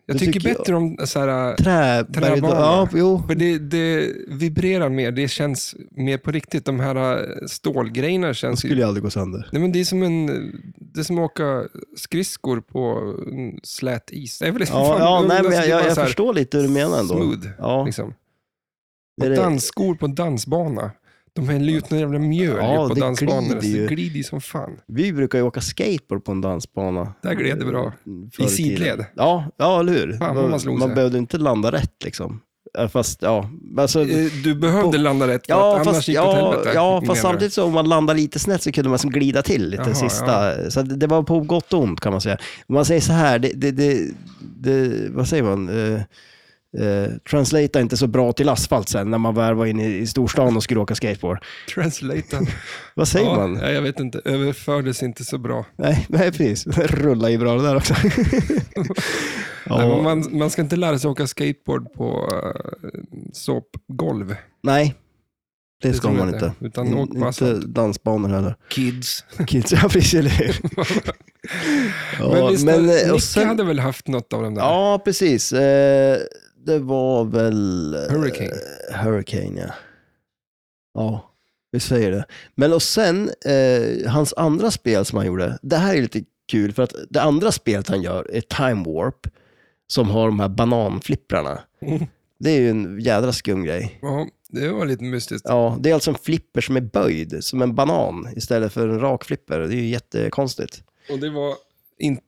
Speaker 1: jag
Speaker 2: Det
Speaker 1: tycker,
Speaker 2: tycker jag.
Speaker 1: bättre om så här,
Speaker 2: Trä... berg och dal- Ja, jo.
Speaker 1: för det, det vibrerar mer, det känns mer på riktigt. De här eh, stålgrejerna
Speaker 2: De
Speaker 1: känns ju
Speaker 2: skulle ju aldrig gå sönder.
Speaker 1: Nej, men det, är som en, det är som att åka skridskor på en slät is. Det är väl
Speaker 2: Ja,
Speaker 1: fan-
Speaker 2: ja nej, men
Speaker 1: alltså,
Speaker 2: jag,
Speaker 1: det är bara
Speaker 2: jag, jag
Speaker 1: så här
Speaker 2: förstår lite hur du menar ändå.
Speaker 1: Smooth,
Speaker 2: Ja,
Speaker 1: liksom. Och
Speaker 2: Är det-
Speaker 1: dansskor på en dansbana. De häller ut en jävla mjöl
Speaker 2: Ja,
Speaker 1: ju på
Speaker 2: det
Speaker 1: dansbanorna.
Speaker 2: glider ju.
Speaker 1: Det glider ju som fan.
Speaker 2: vi brukar ju åka skateboard på en dansbana.
Speaker 1: Där gled det bra.
Speaker 2: förr
Speaker 1: I
Speaker 2: tiden.
Speaker 1: sidled.
Speaker 2: Ja, ja, eller hur?
Speaker 1: Fan, vad
Speaker 2: man
Speaker 1: man slog sig.
Speaker 2: behövde inte landa rätt liksom. Eh, Fast, ja, alltså,
Speaker 1: Eh, Du behövde landa rätt, för
Speaker 2: ja,
Speaker 1: att annars
Speaker 2: fast,
Speaker 1: gick det åt
Speaker 2: ja,
Speaker 1: helvete.
Speaker 2: ja,
Speaker 1: menar
Speaker 2: fast
Speaker 1: du?
Speaker 2: samtidigt så om man landar lite snett så kunde man som glida till lite
Speaker 1: Jaha,
Speaker 2: sista. Så att det var på gott och ont kan man säga. Om man säger så här, det, det, det, det, vad säger man? Uh, translata inte så bra till asfalt sen när man väl var inne i i storstan och skulle åka skateboard.
Speaker 1: Translated.
Speaker 2: Vad säger
Speaker 1: ja,
Speaker 2: man?
Speaker 1: nej, Jag vet inte, överfördes inte så bra.
Speaker 2: Nej, nej, precis. Rulla ju bra det där också. ja.
Speaker 1: Nej, men man, man ska inte lära sig åka skateboard på uh, såpgolv.
Speaker 2: Nej, det
Speaker 1: Det
Speaker 2: ska
Speaker 1: tror jag
Speaker 2: man inte.
Speaker 1: Utan
Speaker 2: In-
Speaker 1: åk på
Speaker 2: inte
Speaker 1: asfalt.
Speaker 2: dansbanor heller.
Speaker 1: Kids.
Speaker 2: Kids, ja precis, eller hur? Ja,
Speaker 1: men visst,
Speaker 2: eh, och
Speaker 1: Nicke
Speaker 2: sen-
Speaker 1: hade väl haft något av de där?
Speaker 2: Ja, precis. Eh, Det var väl... eh,
Speaker 1: Hurricane.
Speaker 2: Hurricane, ja. Ja, vi säger det. Men och sen, eh, hans andra spel som han gjorde, det här är lite kul för att det andra spelet han gör är Time Warp, som har de här bananflipprarna.
Speaker 1: Mm.
Speaker 2: Det är ju en jädra skum grej.
Speaker 1: Ja, det var lite mystiskt.
Speaker 2: Ja, det är alltså en flipper som är böjd, som en banan, istället för en rak flipper. Det är ju jättekonstigt.
Speaker 1: Och det var in...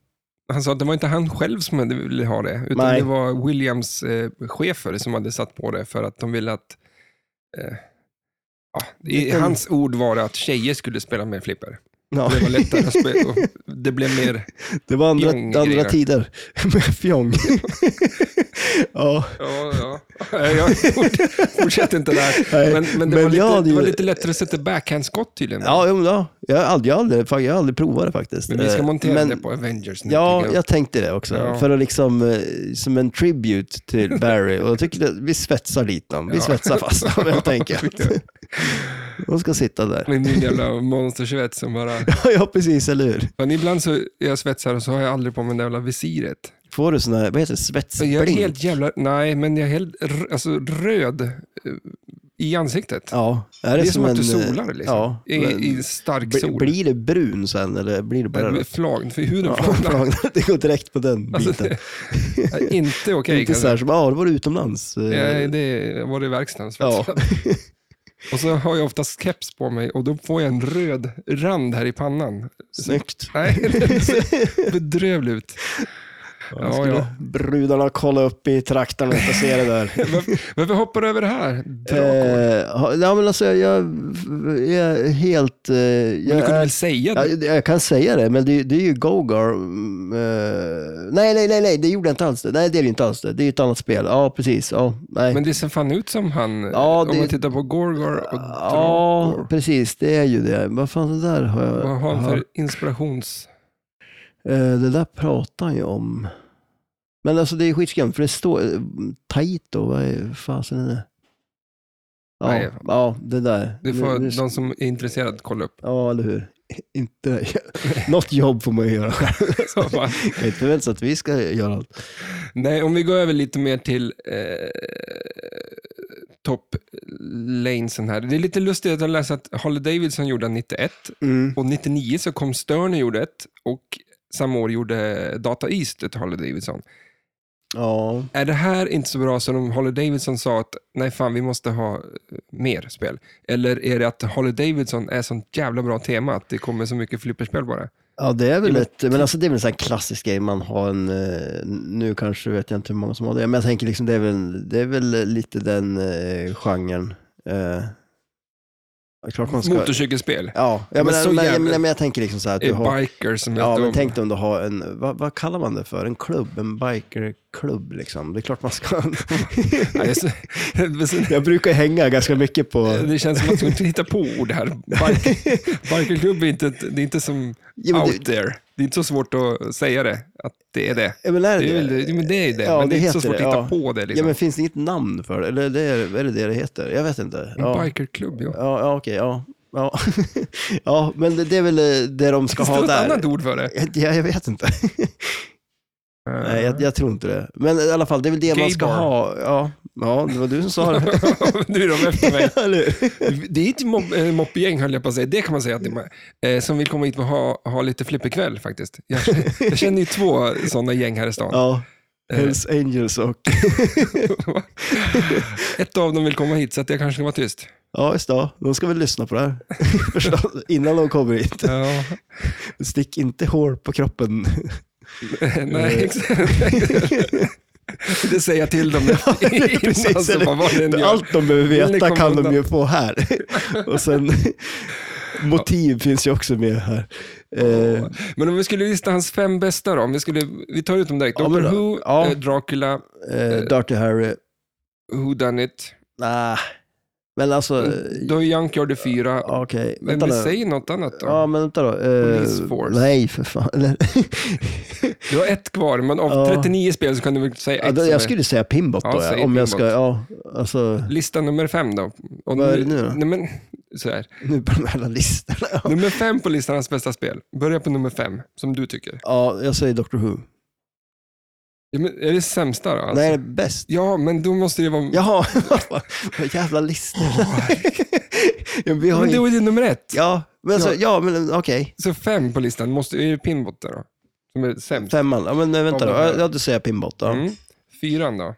Speaker 1: Han sa att det var inte han själv som ville ha det, utan
Speaker 2: Nej.
Speaker 1: det var Williams eh, chefer som hade satt på det för att de ville att... Eh, ja, i
Speaker 2: Liten-
Speaker 1: hans ord var det att tjejer skulle spela mer flipper.
Speaker 2: Ja.
Speaker 1: Det var lättare att spela. och Det blev mer...
Speaker 2: Det var andra,
Speaker 1: Fjong
Speaker 2: andra
Speaker 1: grejer.
Speaker 2: tider med fjong. ja,
Speaker 1: Ja, ja. Jag fortsätter inte där.
Speaker 2: nej.
Speaker 1: Men, men det,
Speaker 2: Men
Speaker 1: var
Speaker 2: jag
Speaker 1: lite,
Speaker 2: hade
Speaker 1: det var
Speaker 2: ju-
Speaker 1: lite lättare att sätta backhandskott tydligen.
Speaker 2: ja, jo, men ja. Jag, har aldrig, jag, har aldrig, fan, jag har aldrig provat det faktiskt.
Speaker 1: men vi ska
Speaker 2: Eh,
Speaker 1: montera
Speaker 2: men-
Speaker 1: det på Avengers nu.
Speaker 2: Ja,
Speaker 1: tycker
Speaker 2: jag tänkte det också.
Speaker 1: Ja.
Speaker 2: För att liksom, eh, som en tribute till Barry. Och jag tycker att vi svetsar dit dem. Vi
Speaker 1: Ja.
Speaker 2: svetsar fast dem helt enkelt.
Speaker 1: Tyckte jag.
Speaker 2: De ska sitta där.
Speaker 1: Med min jävla monstersvets som bara...
Speaker 2: ja, precis, eller hur?
Speaker 1: Men ibland så är jag svetsar och så har jag aldrig på mig det jävla visiret.
Speaker 2: Får du sån här, vad heter det,
Speaker 1: Så jag är
Speaker 2: svetsblink?
Speaker 1: helt jävla... Nej, men jag är helt r- alltså, röd eh, i ansiktet.
Speaker 2: Ja,
Speaker 1: det, är som, att du
Speaker 2: en, eh,
Speaker 1: solar liksom.
Speaker 2: Ja,
Speaker 1: I,
Speaker 2: men-
Speaker 1: I stark
Speaker 2: Bli-
Speaker 1: sol.
Speaker 2: Blir det brun sen eller blir det bara
Speaker 1: Nej, Flag, för huden
Speaker 2: Ja,
Speaker 1: flagnar.
Speaker 2: flagnar. Det går direkt på den biten.
Speaker 1: Alltså, det- Nej, inte okej.
Speaker 2: inte så
Speaker 1: kanske.
Speaker 2: här som, ja, det var utomlands. Eh,
Speaker 1: Nej, det var det i verkstaden.
Speaker 2: ja.
Speaker 1: svetsade. Och så har jag oftast keps på mig och då får jag en röd rand här i pannan.
Speaker 2: Snyggt.
Speaker 1: Nej, det ser bedrövligt ut.
Speaker 2: Ja,
Speaker 1: Ja,
Speaker 2: skulle
Speaker 1: ja.
Speaker 2: Brudarna kolla upp i trakten och inte se det där.
Speaker 1: Varför, varför hoppar du över det här? Drakor.
Speaker 2: Eh, ha- ja, men alltså, jag, jag är helt... Eh,
Speaker 1: Men du
Speaker 2: jag,
Speaker 1: kunde väl
Speaker 2: är,
Speaker 1: säga
Speaker 2: ja,
Speaker 1: det?
Speaker 2: jag, jag kan säga det, men det, det är ju Gogar. mm, Eh, nej, nej, nej, nej, det gjorde jag inte alls. Det. Nej, det är det inte alls. Det. det är ju ett annat spel. Ja, precis. Ja, nej.
Speaker 1: Men det ser fan ut som han,
Speaker 2: Ja,
Speaker 1: om
Speaker 2: det-
Speaker 1: man tittar på Gorgor och
Speaker 2: ja,
Speaker 1: Dragor.
Speaker 2: precis. Det är ju det. Vad fan, det där har jag
Speaker 1: Vad har han
Speaker 2: hört.
Speaker 1: för inspirations...
Speaker 2: Eh, Det där pratar han ju om. Men alltså det är skitskumt, för det står eh, Taito, vad är fasen är det? Ja,
Speaker 1: Nej.
Speaker 2: ja, det där.
Speaker 1: Det
Speaker 2: Nu-
Speaker 1: får
Speaker 2: nu-
Speaker 1: de som är intresserade kolla upp.
Speaker 2: Ja, eller hur. Inte, något jobb får man ju göra själv.
Speaker 1: Så bara-
Speaker 2: Jag är inte förväntat att vi ska göra allt.
Speaker 1: Nej, om vi går över lite mer till eh, topp lanesen här. Det är lite lustigt att jag läste att Harley Davidson gjorde en 91
Speaker 2: Mm.
Speaker 1: och 99 så kom Stern och gjorde ett och samma år gjorde Data East ett Harley Davidson.
Speaker 2: Ja.
Speaker 1: Är det här inte så bra som om Harley Davidson sa att nej fan, vi måste ha eh, mer spel? Eller är det att Harley Davidson är sånt jävla bra tema att det kommer så mycket flipperspel bara?
Speaker 2: Ja, det är väl
Speaker 1: Jo, men-
Speaker 2: ett, men alltså det är väl en sån här klassisk grej man har en, eh, nu kanske vet jag inte hur många som har det, men jag tänker liksom det är väl, det är väl lite den eh, genren. Eh, ja, klart man ska...
Speaker 1: Motorcykelspel?
Speaker 2: Ja,
Speaker 1: Men
Speaker 2: jag men,
Speaker 1: så
Speaker 2: men, men,
Speaker 1: jävla-
Speaker 2: men, men jag tänker liksom så här att du
Speaker 1: Är
Speaker 2: har...
Speaker 1: biker som
Speaker 2: Ja,
Speaker 1: heter
Speaker 2: men
Speaker 1: om-
Speaker 2: tänk dig om du har en, vad, vad kallar man det för? En klubb, en bikerklubb liksom. Det är klart man ska...
Speaker 1: Nej, det är så- det är så-
Speaker 2: jag brukar hänga ganska mycket på...
Speaker 1: Det känns som att man ska inte hitta på ord här. Bike- Bikerklubb är inte, det är inte som
Speaker 2: Ja, men
Speaker 1: out there. Det är inte så svårt att säga det, att det är det.
Speaker 2: Ja, men är
Speaker 1: Det är,
Speaker 2: det
Speaker 1: väl, det, men det är ju det,
Speaker 2: Ja,
Speaker 1: men det,
Speaker 2: det
Speaker 1: är inte så
Speaker 2: heter
Speaker 1: svårt
Speaker 2: det,
Speaker 1: att hitta
Speaker 2: ja.
Speaker 1: på det.
Speaker 2: Ja,
Speaker 1: Liksom.
Speaker 2: men finns det inget namn för det? Eller det är, är det det det heter? Jag vet inte.
Speaker 1: En
Speaker 2: Ja.
Speaker 1: Bikerklubb, ja.
Speaker 2: Ja, ja okej, ja. Ja. ja, men det det är väl eh, det de ska
Speaker 1: Finns
Speaker 2: ha
Speaker 1: det något annat
Speaker 2: där.
Speaker 1: ord för det?
Speaker 2: Ja, jag vet inte. Nej, jag, jag tror inte det. Men i alla fall, det är väl det man ska
Speaker 1: Gaybar.
Speaker 2: ha. Ja, ja, det var du som sa det.
Speaker 1: nu är de efter mig.
Speaker 2: Eller hur?
Speaker 1: Det är ett mob- eh, moppegäng, höll jag på att säga. Det kan man säga att det är. eh, Som vill komma hit och ha, ha lite flipperkväll faktiskt. Jag, jag känner ju två sådana gäng här i stan.
Speaker 2: ja,
Speaker 1: Eh,
Speaker 2: Hells Angels och...
Speaker 1: Ett av dem vill komma hit, så att jag kanske ska vara tyst.
Speaker 2: Ja, just det. De ska väl lyssna på det här. Förstås, innan de kommer hit.
Speaker 1: Ja.
Speaker 2: Stick inte hår på kroppen. Mm.
Speaker 1: Nej, exakt. Det säger jag till dem innan,
Speaker 2: Precis,
Speaker 1: så
Speaker 2: eller-
Speaker 1: bara, vad den gör.
Speaker 2: Allt de behöver
Speaker 1: Vill ni
Speaker 2: veta
Speaker 1: komma
Speaker 2: kan
Speaker 1: undan?
Speaker 2: de ju få här. Och sen, motiv finns ju också med här. Eh,
Speaker 1: Men om vi skulle lista hans fem bästa då? Om vi, skulle, vi tar ut dem direkt.
Speaker 2: Ja,
Speaker 1: Doctor
Speaker 2: men-
Speaker 1: Who,
Speaker 2: ja.
Speaker 1: eh, Dracula,
Speaker 2: eh, Dirty Harry,
Speaker 1: Who Done It.
Speaker 2: nah. Men alltså,
Speaker 1: Då är Junkyard i fyra.
Speaker 2: eh, okej.
Speaker 1: Men
Speaker 2: Vänta
Speaker 1: vi
Speaker 2: nu.
Speaker 1: säger något annat då.
Speaker 2: Ja, men vänta då. Eh,
Speaker 1: Police Force.
Speaker 2: nej, för fan. Eller-
Speaker 1: Du har ett kvar, men av
Speaker 2: Ja.
Speaker 1: 39 spel så kan du väl säga
Speaker 2: ja,
Speaker 1: ett
Speaker 2: då,
Speaker 1: som är-
Speaker 2: jag skulle säga Pimbot
Speaker 1: Ja,
Speaker 2: då,
Speaker 1: säg
Speaker 2: ja, om jag ska,
Speaker 1: Pimbot.
Speaker 2: ja, alltså,
Speaker 1: Lista nummer fem då. Och
Speaker 2: Vad är det nu då?
Speaker 1: Nej, men, så här.
Speaker 2: nu på de här listorna. Ja.
Speaker 1: Nummer fem på listan hans bästa spel. Börja på nummer fem, som du tycker.
Speaker 2: Ja, jag säger Doctor
Speaker 1: Alltså.
Speaker 2: Who.
Speaker 1: Ja, men, är det sämsta då? Alltså?
Speaker 2: Nej, det är bäst.
Speaker 1: Ja, men då måste det vara...
Speaker 2: Jaha, vad jävla listor. ja, vi har
Speaker 1: men
Speaker 2: ju-
Speaker 1: då är det nummer ett.
Speaker 2: Ja, men alltså,
Speaker 1: Ja.
Speaker 2: ja. men okej.
Speaker 1: Så fem på listan, måste, är det Pinbot där då? Som är sämst.
Speaker 2: Femman. Ja, men nej, vänta då.
Speaker 1: Ja, men-
Speaker 2: Ja, då säger jag Pimbot då.
Speaker 1: Mm. Fyran då?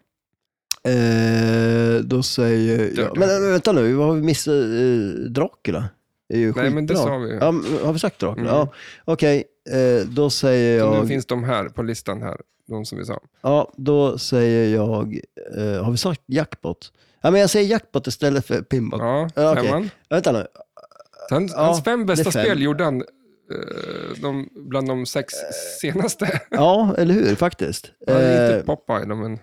Speaker 2: Eh, då säger jag... Men, men vänta nu, vad har vi missat? Eh, Dracula? Det är ju
Speaker 1: Nej, men det
Speaker 2: skitbra.
Speaker 1: sa vi ju.
Speaker 2: Ja, men har vi sagt Dracula?
Speaker 1: Mm.
Speaker 2: Ja, okej. Eh, då säger
Speaker 1: Så Nu
Speaker 2: jag...
Speaker 1: finns de här på listan här, de som vi sa.
Speaker 2: Ja, då säger jag... Eh, har vi sagt Jackpot? Ja, men jag säger Jackpot istället för Pimbot.
Speaker 1: Ja,
Speaker 2: Ja, okej.
Speaker 1: femman.
Speaker 2: Vänta nu.
Speaker 1: Hans,
Speaker 2: Ja,
Speaker 1: hans fem bästa
Speaker 2: det är fem.
Speaker 1: spel gjorde han eh, de, bland de sex
Speaker 2: Eh,
Speaker 1: senaste.
Speaker 2: Ja, eller hur? Faktiskt.
Speaker 1: Han är inte
Speaker 2: Eh,
Speaker 1: Popeye då, men...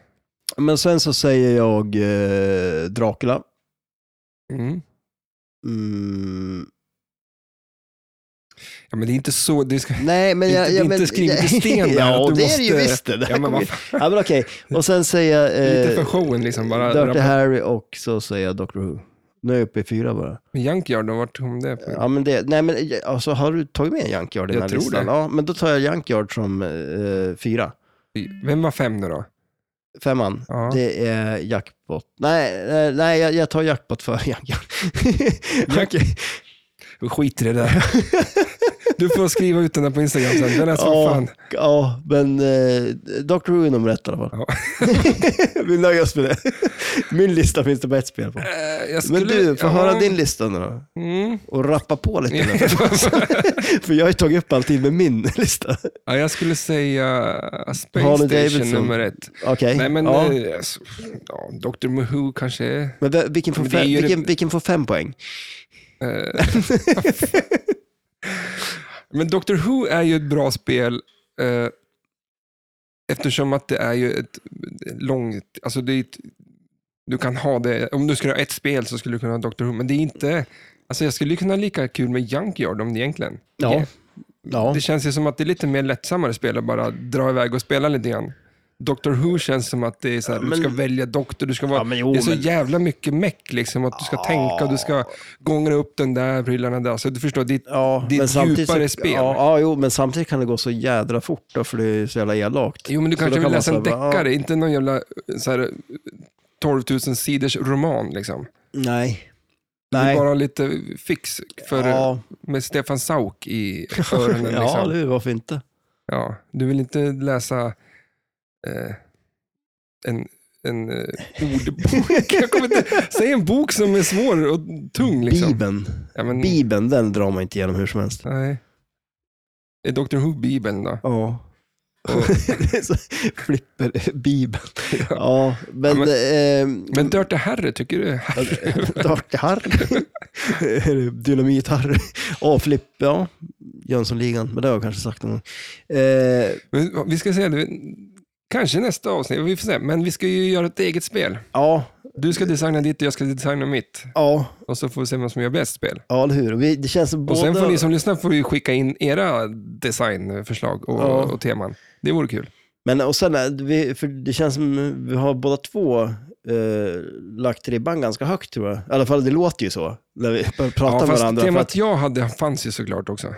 Speaker 2: men sen så säger jag eh, Dracula.
Speaker 1: Mm.
Speaker 2: Mm.
Speaker 1: Ja, men det är inte så... Det ska...
Speaker 2: Nej, men
Speaker 1: Det är
Speaker 2: jag...
Speaker 1: inte-
Speaker 2: jag
Speaker 1: det är
Speaker 2: men,
Speaker 1: inte skrivet i sten där,
Speaker 2: Ja,
Speaker 1: att du
Speaker 2: det är det ju
Speaker 1: måste-
Speaker 2: visst det. det här
Speaker 1: Ja, men
Speaker 2: kommer
Speaker 1: vad
Speaker 2: ju-
Speaker 1: fan,
Speaker 2: ja, men okej. Och sen säger
Speaker 1: lite
Speaker 2: jag
Speaker 1: för
Speaker 2: eh,
Speaker 1: showen liksom bara.
Speaker 2: Dirty
Speaker 1: Dirty
Speaker 2: Harry och så säger jag Doctor Who. Nu är jag uppe i fyra bara.
Speaker 1: Junkyard, då, vart kom det? På?
Speaker 2: Ja, men det, nej, men alltså, har du tagit med Junkyard i
Speaker 1: Jag
Speaker 2: den här
Speaker 1: tror
Speaker 2: listan?
Speaker 1: det.
Speaker 2: Ja, men då tar jag Junkyard som eh, fyra.
Speaker 1: Vem var fem nu då?
Speaker 2: Femman.
Speaker 1: Ja.
Speaker 2: Det är jackpot. Nej, eh, nej jag, jag tar jackpot för Junkyard.
Speaker 1: Jack-
Speaker 2: Okej.
Speaker 1: Skit i det där. Du får skriva ut den där på Instagram sen. Den är som
Speaker 2: Ja,
Speaker 1: Alltså, fan.
Speaker 2: ja, men eh, Doctor Who är nummer ett i alla fall.
Speaker 1: Ja.
Speaker 2: Vi nöjer oss med det. Min lista finns det bara ett spel på.
Speaker 1: Eh, jag
Speaker 2: Men
Speaker 1: skulle-
Speaker 2: du, får
Speaker 1: ja.
Speaker 2: höra din lista nu då.
Speaker 1: Mm.
Speaker 2: Och rappa på lite nu. För jag har ju tagit upp allting med min lista.
Speaker 1: Ja, jag skulle säga Space
Speaker 2: Harley
Speaker 1: Station
Speaker 2: Davidson.
Speaker 1: nummer ett.
Speaker 2: Okej.
Speaker 1: Nej, men
Speaker 2: ja.
Speaker 1: eh, alltså, ja, Dr. Who kanske är...
Speaker 2: men ve- vilken, får
Speaker 1: men det är
Speaker 2: fem,
Speaker 1: ju det-
Speaker 2: vilken, vilken får fem poäng?
Speaker 1: Eh, men Doctor Who är ju ett bra spel eh, eftersom att det är ju ett långt... Alltså det är ett, du kan ha det, om du skulle ha ett spel så skulle du kunna ha Doctor Who, men det är inte... Alltså jag skulle ju kunna ha lika kul med Junkyard om det egentligen.
Speaker 2: Ja.
Speaker 1: Det-
Speaker 2: Ja.
Speaker 1: Det känns ju som att det är lite mer lättsammare spel att bara dra iväg och spela lite grann. Doctor Who känns som att det är så här, du
Speaker 2: men-
Speaker 1: ska välja doktor, du ska vara...
Speaker 2: Ja, men jo,
Speaker 1: det är så
Speaker 2: men-
Speaker 1: jävla mycket meck liksom, att du ska tänka och du ska
Speaker 2: Ah.
Speaker 1: gångra upp den där prylarna där. Så du förstår, det är ett
Speaker 2: Ja,
Speaker 1: det är ett
Speaker 2: samtidigt
Speaker 1: djupare
Speaker 2: så,
Speaker 1: spel.
Speaker 2: Ja, ja, jo, men samtidigt kan det gå så jädra fort då, för det är så jävla elakt.
Speaker 1: Jo, men du
Speaker 2: Så
Speaker 1: kanske
Speaker 2: då
Speaker 1: vill
Speaker 2: kan man
Speaker 1: läsa en
Speaker 2: säga bara,
Speaker 1: eh, deckare, inte någon jävla så här, 12 000 sidors roman. Liksom.
Speaker 2: Nej.
Speaker 1: Det är
Speaker 2: Nej.
Speaker 1: bara lite fix för, eh,
Speaker 2: ja,
Speaker 1: med Stefan Sauk i öronen.
Speaker 2: ja
Speaker 1: liksom.
Speaker 2: du, varför inte?
Speaker 1: ja, du vill inte läsa eh, en, en eh, ordbok. Jag kommer inte, säg en bok som är svår och tung. Liksom.
Speaker 2: Bibeln.
Speaker 1: Ja, men,
Speaker 2: Bibeln, den drar man inte igenom hur som helst.
Speaker 1: Nej. Är Dr Who-bibeln då?
Speaker 2: Ja.
Speaker 1: Och-
Speaker 2: Så Flipper Bibeln. Ja, men...
Speaker 1: Ja,
Speaker 2: ehm,
Speaker 1: Men Dirty Harry, tycker du? Harry?
Speaker 2: Dark Harry. Dynamit Harry. Ja, Flipp, ja. Jönssonligan, men det har jag kanske sagt någon gång. Eh,
Speaker 1: Men Vi ska säga det, kanske nästa avsnitt, vi får se. Men vi ska ju göra ett eget spel.
Speaker 2: ja,
Speaker 1: Du ska designa ditt och jag ska designa mitt.
Speaker 2: ja,
Speaker 1: Och så får vi se vem som gör bäst spel.
Speaker 2: ja, eller hur. Vi, det känns
Speaker 1: Och sen får
Speaker 2: både...
Speaker 1: ni som lyssnar får ju skicka in era designförslag och,
Speaker 2: Ja.
Speaker 1: och teman. Det vore kul.
Speaker 2: Men och sen, är vi, för det känns som eh, vi har båda två eh, lagt ribban ganska högt tror jag. I alla fall det låter ju så, när vi börjar prata
Speaker 1: Ja,
Speaker 2: med
Speaker 1: fast
Speaker 2: varandra. För,
Speaker 1: temat jag hade fanns ju såklart också.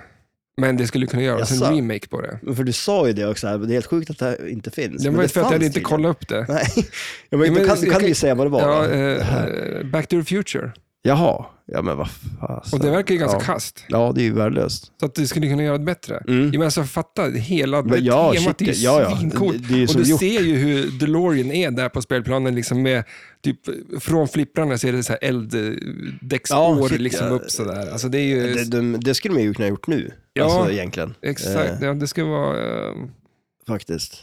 Speaker 1: Men det skulle kunna göras en
Speaker 2: Jaså?
Speaker 1: remake på det.
Speaker 2: att, för du sa ju det också, här, men det är helt sjukt att det här inte finns.
Speaker 1: Det
Speaker 2: Men
Speaker 1: var ju för att jag
Speaker 2: fanns
Speaker 1: hade inte
Speaker 2: tydligen.
Speaker 1: kollat upp det.
Speaker 2: Nej, ja, men,
Speaker 1: Ja, men
Speaker 2: då kan, då
Speaker 1: jag
Speaker 2: kan
Speaker 1: kan-
Speaker 2: du ju säga vad det var.
Speaker 1: Ja,
Speaker 2: va? Det
Speaker 1: eh,
Speaker 2: här.
Speaker 1: eh, Back to the Future.
Speaker 2: Jaha, ja men vad fasen.
Speaker 1: Och det verkar ju ganska
Speaker 2: ja.
Speaker 1: kast.
Speaker 2: Ja, det är ju värdelöst.
Speaker 1: Så att du skulle kunna göra det bättre.
Speaker 2: Mm.
Speaker 1: Ja, men alltså fatta, hela det
Speaker 2: Men ja,
Speaker 1: temat
Speaker 2: shit,
Speaker 1: är ju
Speaker 2: ja, ja.
Speaker 1: svincoolt.
Speaker 2: Det- det är ju
Speaker 1: och
Speaker 2: som
Speaker 1: du
Speaker 2: gjort.
Speaker 1: ser ju hur DeLorean är där på spelplanen. Liksom med, typ, från flipprarna så är det så här elddäcksspår
Speaker 2: Ja, shit,
Speaker 1: liksom
Speaker 2: ja.
Speaker 1: upp sådär. Alltså det är ju...
Speaker 2: Det, de, det skulle man ju kunna ha gjort nu,
Speaker 1: Ja.
Speaker 2: alltså egentligen.
Speaker 1: Exakt,
Speaker 2: Eh,
Speaker 1: ja, det ska vara... eh,
Speaker 2: faktiskt.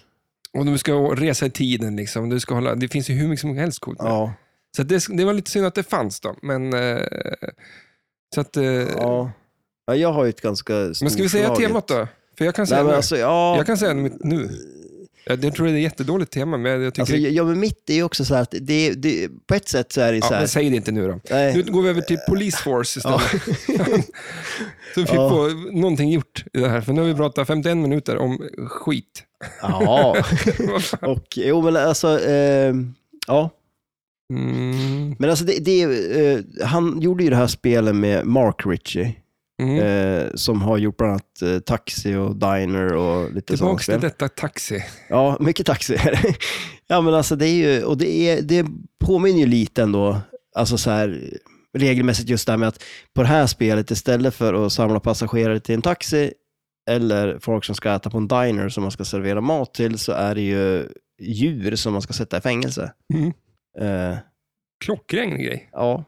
Speaker 1: Och du ska resa i tiden liksom. Du ska hålla, det finns ju hur mycket som helst coolt. med.
Speaker 2: Ja.
Speaker 1: Så att det, det var lite synd att det fanns då, men... eh, Så att... eh,
Speaker 2: ja. Ja, jag har ju ett ganska
Speaker 1: Men ska vi säga
Speaker 2: storslaget-
Speaker 1: temat då? För jag kan säga
Speaker 2: Nej, men
Speaker 1: nu.
Speaker 2: alltså, ja,
Speaker 1: Jag kan säga mitt nu. Jag, jag tror det är ett jättedåligt tema, men jag tycker...
Speaker 2: alltså, ja, men mitt är ju också så här att det, det, på ett sätt så är det ju
Speaker 1: ja,
Speaker 2: så här.
Speaker 1: men säg det inte nu då.
Speaker 2: nej,
Speaker 1: Nu går vi över till Police Force
Speaker 2: ja,
Speaker 1: istället. Så vi
Speaker 2: Ja.
Speaker 1: får någonting gjort i det här, för nu har vi pratat 51 minuter om skit.
Speaker 2: ja, och jo men alltså, eh, ja.
Speaker 1: Mm.
Speaker 2: Men alltså det, det eh, han gjorde ju det här spelet med Mark Ritchie,
Speaker 1: Mm.
Speaker 2: eh, som har gjort bland annat eh, Taxi och Diner och lite sådana
Speaker 1: Tillbaks
Speaker 2: spel.
Speaker 1: till detta taxi.
Speaker 2: Ja, mycket taxi är det. Ja, men alltså det är ju, och det, är, det påminner ju lite ändå, alltså så här regelmässigt just det här med att på det här spelet istället för att samla passagerare till en taxi eller folk som ska äta på en diner som man ska servera mat till så är det ju djur som man ska sätta i fängelse.
Speaker 1: Mm.
Speaker 2: Eh,
Speaker 1: Klockren grej.
Speaker 2: ja.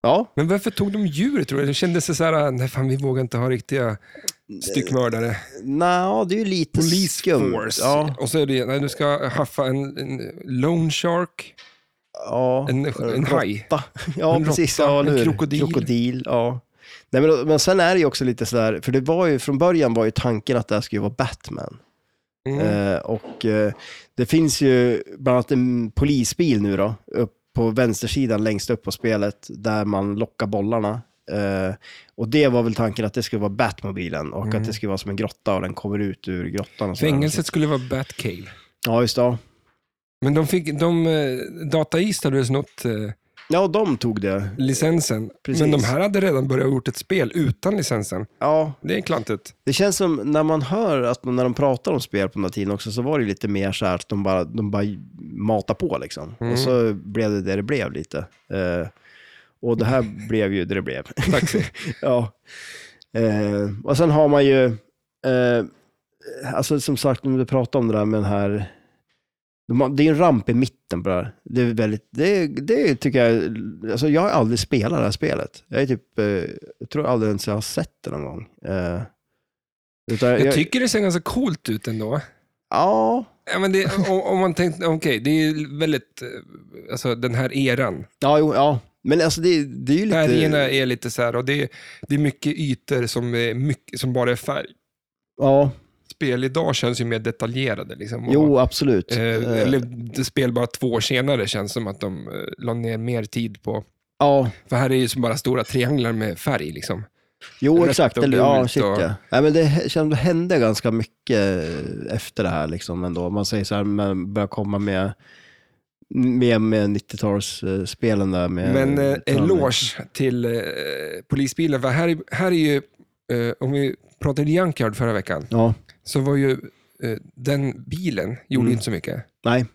Speaker 2: Ja,
Speaker 1: Men varför tog de djur tror du? Det kändes så här, nej fan vi vågar inte ha riktiga styckmördare.
Speaker 2: Nå, det är ju lite
Speaker 1: Police
Speaker 2: skumt.
Speaker 1: force.
Speaker 2: Eh, Ja,
Speaker 1: Och så är det, nej du ska haffa en, en loan shark,
Speaker 2: ja.
Speaker 1: en, en haj.
Speaker 2: råtta. Ja,
Speaker 1: En
Speaker 2: precis.
Speaker 1: råtta,
Speaker 2: ja, eller
Speaker 1: en
Speaker 2: hur?
Speaker 1: krokodil.
Speaker 2: krokodil ja. Nej, men, men sen är det ju också lite sådär, för det var ju, från början var ju tanken att det här skulle vara Batman.
Speaker 1: Mm.
Speaker 2: Eh, och eh, det finns ju bland annat en polisbil nu då, upp på vänstersidan längst upp på spelet, där man lockar bollarna. Eh, och det var väl tanken att det skulle vara Batmobilen och
Speaker 1: Mm.
Speaker 2: att det skulle vara som en grotta och den kommer ut ur grottan. Och sådär.
Speaker 1: Fängelset skulle vara Batcave.
Speaker 2: Ja, just det. ja.
Speaker 1: Men de fick, de, eh, Data East hade väl snott eh,
Speaker 2: Ja, de tog det.
Speaker 1: licensen.
Speaker 2: Precis.
Speaker 1: Men de här hade redan börjat gjort ett spel utan licensen.
Speaker 2: Ja,
Speaker 1: Det är klantigt.
Speaker 2: Det känns som när man hör att när de pratar om spel på den här tiden också så var det ju lite mer så här att de bara, de bara matar på liksom.
Speaker 1: Mm.
Speaker 2: Och så blev det det det blev lite. Eh, och det här blev ju det det blev.
Speaker 1: Taxi.
Speaker 2: ja. Eh, och sen har man ju, eh, alltså som sagt, om du pratar om det där med den här, de har- det är en ramp i mitten på det här. Det är väldigt, det, det tycker jag, alltså jag har aldrig spelat det här spelet. Jag är typ, eh, jag tror aldrig ens jag har sett det någon gång. Eh, utan
Speaker 1: Jag tycker det ser ganska coolt ut ändå.
Speaker 2: Ja,
Speaker 1: Ja, men det, om, om man tänkte, okej, det är väldigt, eh, alltså den här eran.
Speaker 2: ja, jo, ja. Men alltså det, det är ju lite...
Speaker 1: Färgerna är lite så här, och det, är- det är mycket ytor som, är mycket, som bara är färg.
Speaker 2: Ja,
Speaker 1: Spel idag känns ju mer detaljerade. Liksom, och,
Speaker 2: jo absolut.
Speaker 1: eh,
Speaker 2: Eh,
Speaker 1: eller det spel bara två år senare känns som att de eh, la ner mer tid på.
Speaker 2: ja,
Speaker 1: För här är ju som bara stora trianglar med färg. Liksom.
Speaker 2: jo
Speaker 1: rött
Speaker 2: exakt.
Speaker 1: och
Speaker 2: Eller, ja,
Speaker 1: gult
Speaker 2: shit,
Speaker 1: och-
Speaker 2: ja. Nej, men det hä- känns- det hände ganska mycket efter det här liksom ändå. Man säger så här, man börjar komma med, med, med 90-talsspelen där. Med,
Speaker 1: Men eh,
Speaker 2: Turner.
Speaker 1: eloge till eh, polisbilen, för här, är- här är ju, eh, om vi pratade Junkyard förra veckan,
Speaker 2: Ja,
Speaker 1: så var ju eh, den bilen, gjorde
Speaker 2: Mm.
Speaker 1: ju inte så mycket.
Speaker 2: nej.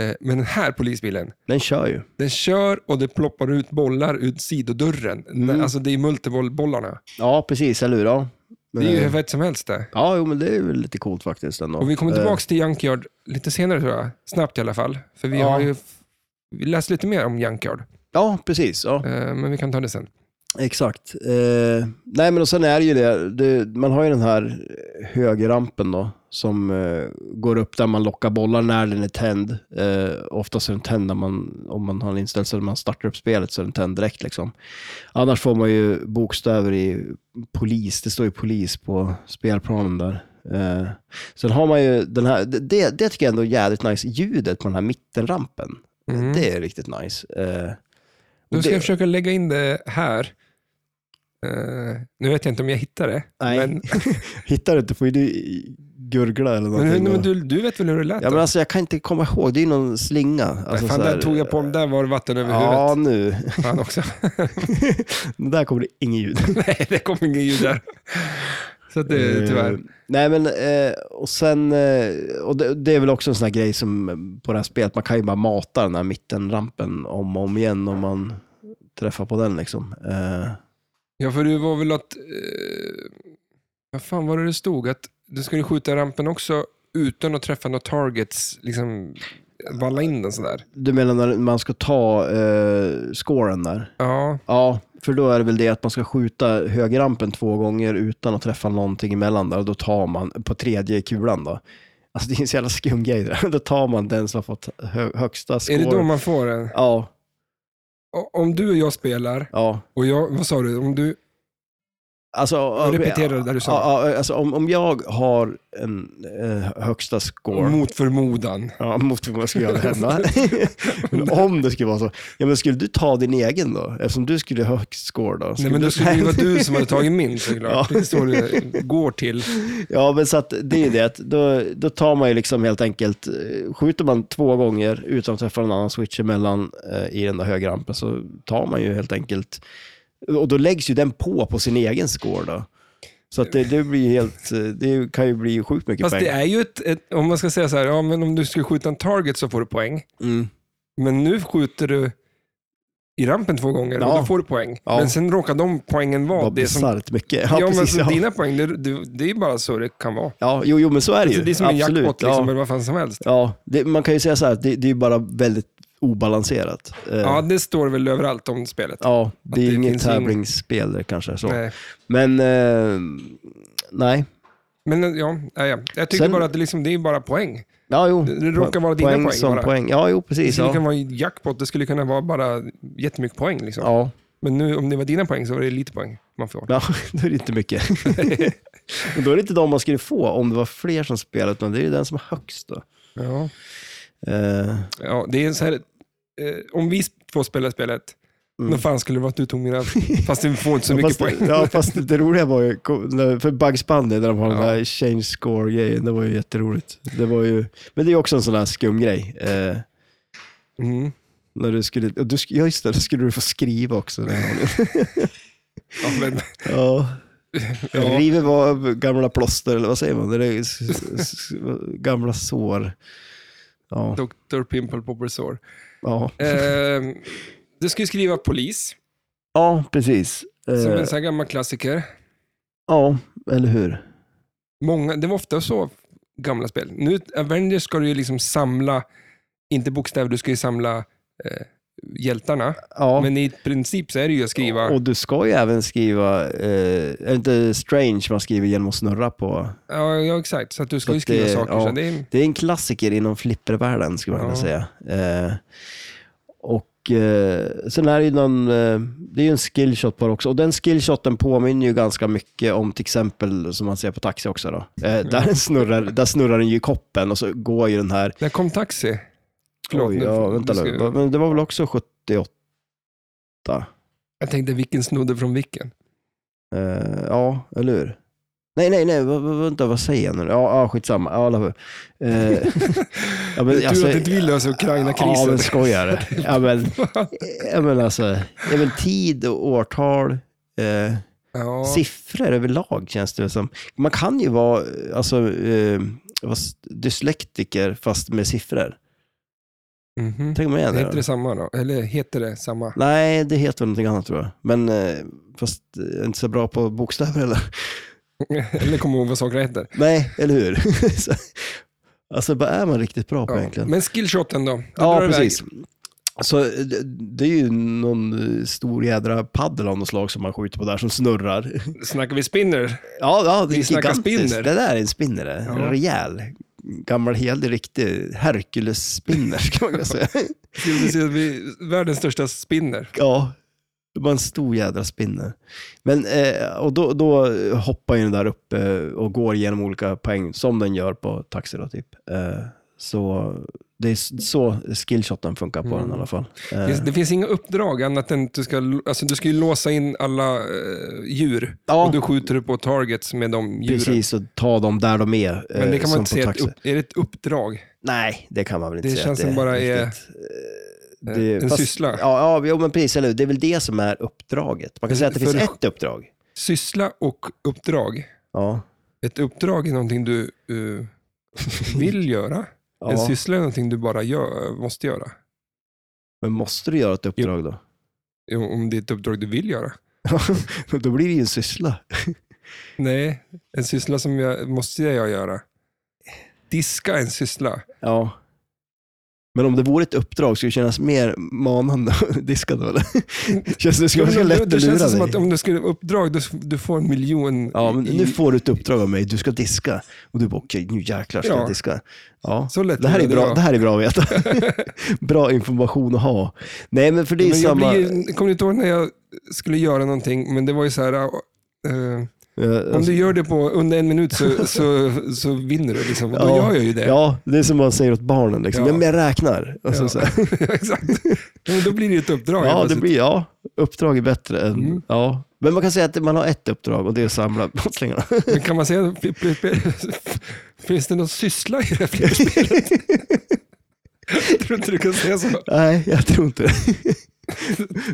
Speaker 1: Eh, Men den här polisbilen,
Speaker 2: Den kör ju.
Speaker 1: den kör och det ploppar ut bollar ut sidodörren.
Speaker 2: Mm.
Speaker 1: Alltså det är multibollbollarna.
Speaker 2: Ja, precis. Eller hur? Ja,
Speaker 1: Det är ju hur
Speaker 2: Eh,
Speaker 1: fett som helst det.
Speaker 2: ja jo, men det är väl lite coolt faktiskt ändå.
Speaker 1: Och vi kommer
Speaker 2: Eh,
Speaker 1: tillbaka till Junkyard lite senare tror jag. Snabbt i alla fall. För vi
Speaker 2: Ja.
Speaker 1: har ju f- vi läst lite mer om Junkyard.
Speaker 2: Ja, precis. Ja.
Speaker 1: Eh, Men vi kan ta det sen.
Speaker 2: Exakt. Eh, nej, men och sen är det ju det, det, man har ju den här högerrampen då, som eh, går upp där man lockar bollar när den är tänd. Eh, oftast är den tänd när man, om man har en inställd så när man startar upp spelet så är den tänd direkt liksom. Annars får man ju bokstäver i polis, det står ju polis på spelplanen där. Eh, sen har man ju den här, det- det, det tycker jag ändå är jävligt nice, ljudet på den här mittenrampen.
Speaker 1: Mm.
Speaker 2: Det är riktigt nice. Eh,
Speaker 1: Då ska
Speaker 2: det-
Speaker 1: jag försöka lägga in det här. Eh, nu vet jag inte om jag hittar det.
Speaker 2: Nej.
Speaker 1: Men,
Speaker 2: Hittar du inte får ju du gurgla eller
Speaker 1: men,
Speaker 2: någonting.
Speaker 1: hur- men
Speaker 2: då.
Speaker 1: du, du vet väl hur det lät?
Speaker 2: Ja
Speaker 1: då?
Speaker 2: men alltså jag kan inte komma ihåg, det är ju någon slinga. Alltså,
Speaker 1: Nej, fan,
Speaker 2: så här-
Speaker 1: där tog jag på den. Där var det vatten över
Speaker 2: Ja
Speaker 1: huvudet.
Speaker 2: nu,
Speaker 1: Fan också.
Speaker 2: där kommer det inget ljud.
Speaker 1: Nej, det kom inget ljud där. Så att det, tyvärr.
Speaker 2: Eh, Nej men, eh, och sen, eh, och det, det är väl också en sån här grej som eh, på det här spelet, man kan ju bara mata den här mittenrampen om och om igen om man träffar på den liksom. Eh,
Speaker 1: Ja, för det var väl att... Eh, vad fan var det det stod? Att du skulle skjuta rampen också utan att träffa några targets. Liksom valla in den sådär.
Speaker 2: Du menar när man ska ta eh, scoren där?
Speaker 1: Ja,
Speaker 2: Ja, för då är det väl det att man ska skjuta högerrampen två gånger utan att träffa någonting emellan där och då tar man på tredje kulan då. Alltså det är en så jävla skum grej där. Då tar man den som har fått hö- högsta score.
Speaker 1: är det då man får den?
Speaker 2: Ja,
Speaker 1: O- Om du och jag spelar
Speaker 2: ja.
Speaker 1: och jag... Vad sa du? Om du...
Speaker 2: Alltså,
Speaker 1: Repetera det där du sa.
Speaker 2: Ja, ja, alltså om, om jag har en eh, högsta score.
Speaker 1: Mot förmodan.
Speaker 2: Ja, mot vad skulle jag hända? Men om det skulle vara så. Ja, men skulle du ta din egen då? Eftersom du skulle ha högst score då?
Speaker 1: Nej, men då
Speaker 2: du-
Speaker 1: skulle det ju vara du som hade tagit min såklart.
Speaker 2: Ja.
Speaker 1: Det är så det går till.
Speaker 2: Ja, men så att det är ju det. att Då, då tar man ju liksom helt enkelt, eh, skjuter man två gånger utan att träffa någon annan switch emellan eh, i den där högerrampen så tar man ju helt enkelt, och då läggs ju den på på sin egen score då. Så att det, det blir ju helt, eh, det kan ju bli sjukt mycket
Speaker 1: Fast
Speaker 2: poäng.
Speaker 1: det är ju ett, ett... Om man ska säga så här, ja, men om du skulle skjuta en target så får du poäng.
Speaker 2: Mm.
Speaker 1: Men nu skjuter du i rampen två gånger och
Speaker 2: Ja.
Speaker 1: då får du poäng.
Speaker 2: Ja.
Speaker 1: Men sen råkar de poängen vara
Speaker 2: Vad
Speaker 1: det som...
Speaker 2: bisarrt mycket. Ja,
Speaker 1: Ja, men
Speaker 2: precis.
Speaker 1: så
Speaker 2: Ja.
Speaker 1: dina poäng, det, det, det är bara så det kan vara.
Speaker 2: ja, jo, jo, men så är det ju.
Speaker 1: Alltså, det är som en
Speaker 2: Absolut.
Speaker 1: jackpot, liksom,
Speaker 2: Ja,
Speaker 1: eller vad fan som helst.
Speaker 2: ja det, man kan ju säga så här, att det, det är ju bara väldigt obalanserat. Eh,
Speaker 1: Ja, det står väl överallt om spelet.
Speaker 2: ja, det är
Speaker 1: det
Speaker 2: ju inget
Speaker 1: finns ingen-
Speaker 2: tävlingsspel kanske. Så.
Speaker 1: Nej.
Speaker 2: Men eh, nej.
Speaker 1: Men ja, ja, ja. jag tycker
Speaker 2: Sen-
Speaker 1: bara att det, liksom, det är bara poäng.
Speaker 2: Ja, jo.
Speaker 1: Det råkar vara dina poäng
Speaker 2: som
Speaker 1: bara.
Speaker 2: poäng. Ja, jo,
Speaker 1: Det
Speaker 2: precis.
Speaker 1: skulle kunna
Speaker 2: Ja.
Speaker 1: vara jackpot, det skulle kunna vara bara jättemycket poäng. Liksom.
Speaker 2: Ja.
Speaker 1: Men nu, om det var dina poäng så var det lite poäng man får.
Speaker 2: ja, då är det inte mycket. Men då är det inte de man skulle få om det var fler som spelade, utan det är ju den som är högst. Då.
Speaker 1: Ja.
Speaker 2: Eh,
Speaker 1: Ja, det är så här, eh, om vi två spelar spelet, då fan skulle det vara att du tog mina, fast du får inte så mycket
Speaker 2: fast,
Speaker 1: poäng.
Speaker 2: Mm. ja, fast det roliga var ju, för Bugs Bunny, där de har den här change score-grejen, det var ju jätteroligt. Det var ju, men det är också en sån här skum grej. Eh,
Speaker 1: Mm.
Speaker 2: när du skulle, och du, sk- ja just det, då skulle du få skriva också. den gången.
Speaker 1: Ja, men,
Speaker 2: Ja.
Speaker 1: Ja.
Speaker 2: River var gamla plåster, eller vad säger man? Det är s- s- s- gamla sår. Ja,
Speaker 1: Dr. Pimple Popper Sore.
Speaker 2: ja.
Speaker 1: Eh, du ska ju skriva polis,
Speaker 2: ja precis.
Speaker 1: som
Speaker 2: Eh,
Speaker 1: en sån här gammal klassiker.
Speaker 2: ja, eller hur?
Speaker 1: Många, det var ofta så gamla spel. Nu, Avengers ska du ju liksom samla, inte bokstäver, du ska ju samla eh, hjältarna.
Speaker 2: Ja.
Speaker 1: Men i princip så är det ju att skriva.
Speaker 2: Och du ska ju även skriva, eh, är det inte strange man skriver genom att snurra på?
Speaker 1: ja, ja, exakt. Så att du ska
Speaker 2: Så
Speaker 1: ju
Speaker 2: att
Speaker 1: skriva
Speaker 2: det-
Speaker 1: saker.
Speaker 2: ja.
Speaker 1: Så det är,
Speaker 2: Det är en klassiker inom flippervärlden skulle man kunna säga. Eh, och eh, sen är det ju någon, eh, det är ju en skillshot på det också. Och den skillshoten påminner ju ganska mycket om till exempel som man ser på Taxi också då. Eh,
Speaker 1: Mm.
Speaker 2: där, snurrar, där snurrar den ju i koppen och så går ju den här,
Speaker 1: där kom Taxi. Förlåt,
Speaker 2: oj,
Speaker 1: nu-
Speaker 2: ja, vänta
Speaker 1: du ska-
Speaker 2: nu, Va- men det var väl också 78?
Speaker 1: Jag tänkte, vilken snodde från vilken?
Speaker 2: Eh, ja, eller hur? Nej, nej, nej, va- va- vänta, vad säger jag nu? Ja, ja skitsamma. Ja, alla- eh, ja, men
Speaker 1: Tur
Speaker 2: alltså-
Speaker 1: att du inte vill lösa
Speaker 2: Ja,
Speaker 1: Ukraina-krisen.
Speaker 2: men skojar ja, men, ja, men alltså, ja, men tid och årtal, eh,
Speaker 1: Ja,
Speaker 2: siffror överlag känns det som. Man kan ju vara alltså, eh, vad s- dyslektiker fast med siffror.
Speaker 1: Mhm.
Speaker 2: Tänk med
Speaker 1: Heter det
Speaker 2: det.
Speaker 1: samma då? Eller heter det samma?
Speaker 2: Nej, det heter väl någonting annat tror jag. Men eh, fast jag är inte så bra på bokstäver eller?
Speaker 1: Eller kommer ihåg vad saker heter?
Speaker 2: Nej, eller hur? Så- alltså vad är man riktigt bra på
Speaker 1: Ja.
Speaker 2: egentligen?
Speaker 1: Men skillshoten då? Då drar
Speaker 2: Ja,
Speaker 1: det
Speaker 2: precis.
Speaker 1: iväg.
Speaker 2: Så eh, det- det är ju någon eh, stor jädra paddel av något slag som man skjuter på där som snurrar.
Speaker 1: Snackar vi spinner?
Speaker 2: Ja, ja det är
Speaker 1: Vi snackar
Speaker 2: gigantiskt.
Speaker 1: spinner.
Speaker 2: Det där är en spinner, det. en
Speaker 1: Ja.
Speaker 2: rejäl. Gammal helig riktig Hercules-spinner kan man kunna säga.
Speaker 1: Skulle du säga att vi världens största spinner?
Speaker 2: ja, det var en stor jädra spinner. Men, eh, och då, då hoppar ju den där uppe och går igenom olika poäng som den gör på taxi då, typ. Eh, så det är s- så skillshoten funkar på
Speaker 1: Mm.
Speaker 2: den i alla fall. Eh,
Speaker 1: Det finns- Det finns inga uppdrag annat än att du ska, alltså du ska ju låsa in alla eh, djur.
Speaker 2: Ja.
Speaker 1: Och då skjuter du på targets med de djuren.
Speaker 2: precis, och ta dem där de är. eh,
Speaker 1: Men det kan man inte
Speaker 2: som på
Speaker 1: säga, ett
Speaker 2: taxi.
Speaker 1: upp, är det ett uppdrag?
Speaker 2: Nej, det kan man väl inte
Speaker 1: Det
Speaker 2: säga.
Speaker 1: känns
Speaker 2: att
Speaker 1: som bara är,
Speaker 2: riktigt. Eh,
Speaker 1: en syssla.
Speaker 2: Ja, ja jo, men precis. Eller hur? Det är väl det som är uppdraget. Man kan
Speaker 1: Men
Speaker 2: säga att det
Speaker 1: för-
Speaker 2: finns ett uppdrag.
Speaker 1: Syssla och uppdrag.
Speaker 2: Ja.
Speaker 1: Ett uppdrag är någonting du eh, vill göra. En
Speaker 2: ja.
Speaker 1: syssla är någonting du bara gör, måste göra.
Speaker 2: Men måste du göra ett uppdrag då?
Speaker 1: Om det är ett uppdrag du vill göra.
Speaker 2: då blir det ju en syssla.
Speaker 1: Nej, en syssla som jag måste jag göra. Diska en syssla.
Speaker 2: Ja. Men om det vore ett uppdrag skulle det kännas mer manande att diska då, eller? Känns det skulle vara
Speaker 1: det,
Speaker 2: lätt
Speaker 1: det
Speaker 2: att
Speaker 1: känns
Speaker 2: lura
Speaker 1: som att
Speaker 2: dig?
Speaker 1: om du skulle ha uppdrag, du, du får en miljon.
Speaker 2: Ja, men
Speaker 1: i-
Speaker 2: nu får du ett uppdrag av mig. Du ska diska. Och du bara, okej, nu jäklar ska
Speaker 1: Ja.
Speaker 2: jag diska. Ja.
Speaker 1: Så lätt
Speaker 2: Det här, är
Speaker 1: lurade
Speaker 2: bra,
Speaker 1: jag.
Speaker 2: det här är bra att veta. bra information att ha. Nej, men för det är
Speaker 1: men jag
Speaker 2: samma...
Speaker 1: blir, kommer du inte ihåg när jag skulle göra någonting, men det var ju så här, eh,
Speaker 2: Eh,
Speaker 1: om
Speaker 2: alltså-
Speaker 1: du gör det på under en minut så, så, så vinner du. Liksom. Och då
Speaker 2: Ja.
Speaker 1: gör jag ju det.
Speaker 2: Ja, det är som man säger åt barnen. Liksom.
Speaker 1: Ja.
Speaker 2: Men jag räknar. Och så,
Speaker 1: Ja.
Speaker 2: så här.
Speaker 1: Exakt. Men då blir det ju ett uppdrag.
Speaker 2: ja, det
Speaker 1: plötsligt.
Speaker 2: blir, ja, uppdrag är bättre än...
Speaker 1: Mm.
Speaker 2: Ja. Men man kan säga att man har ett uppdrag och det är att samla brottslingarna.
Speaker 1: Men kan man säga, f- f- f- finns det någon syssla i det här flipperspelet? Jag tror inte du kan säga så.
Speaker 2: Nej, jag tror inte det.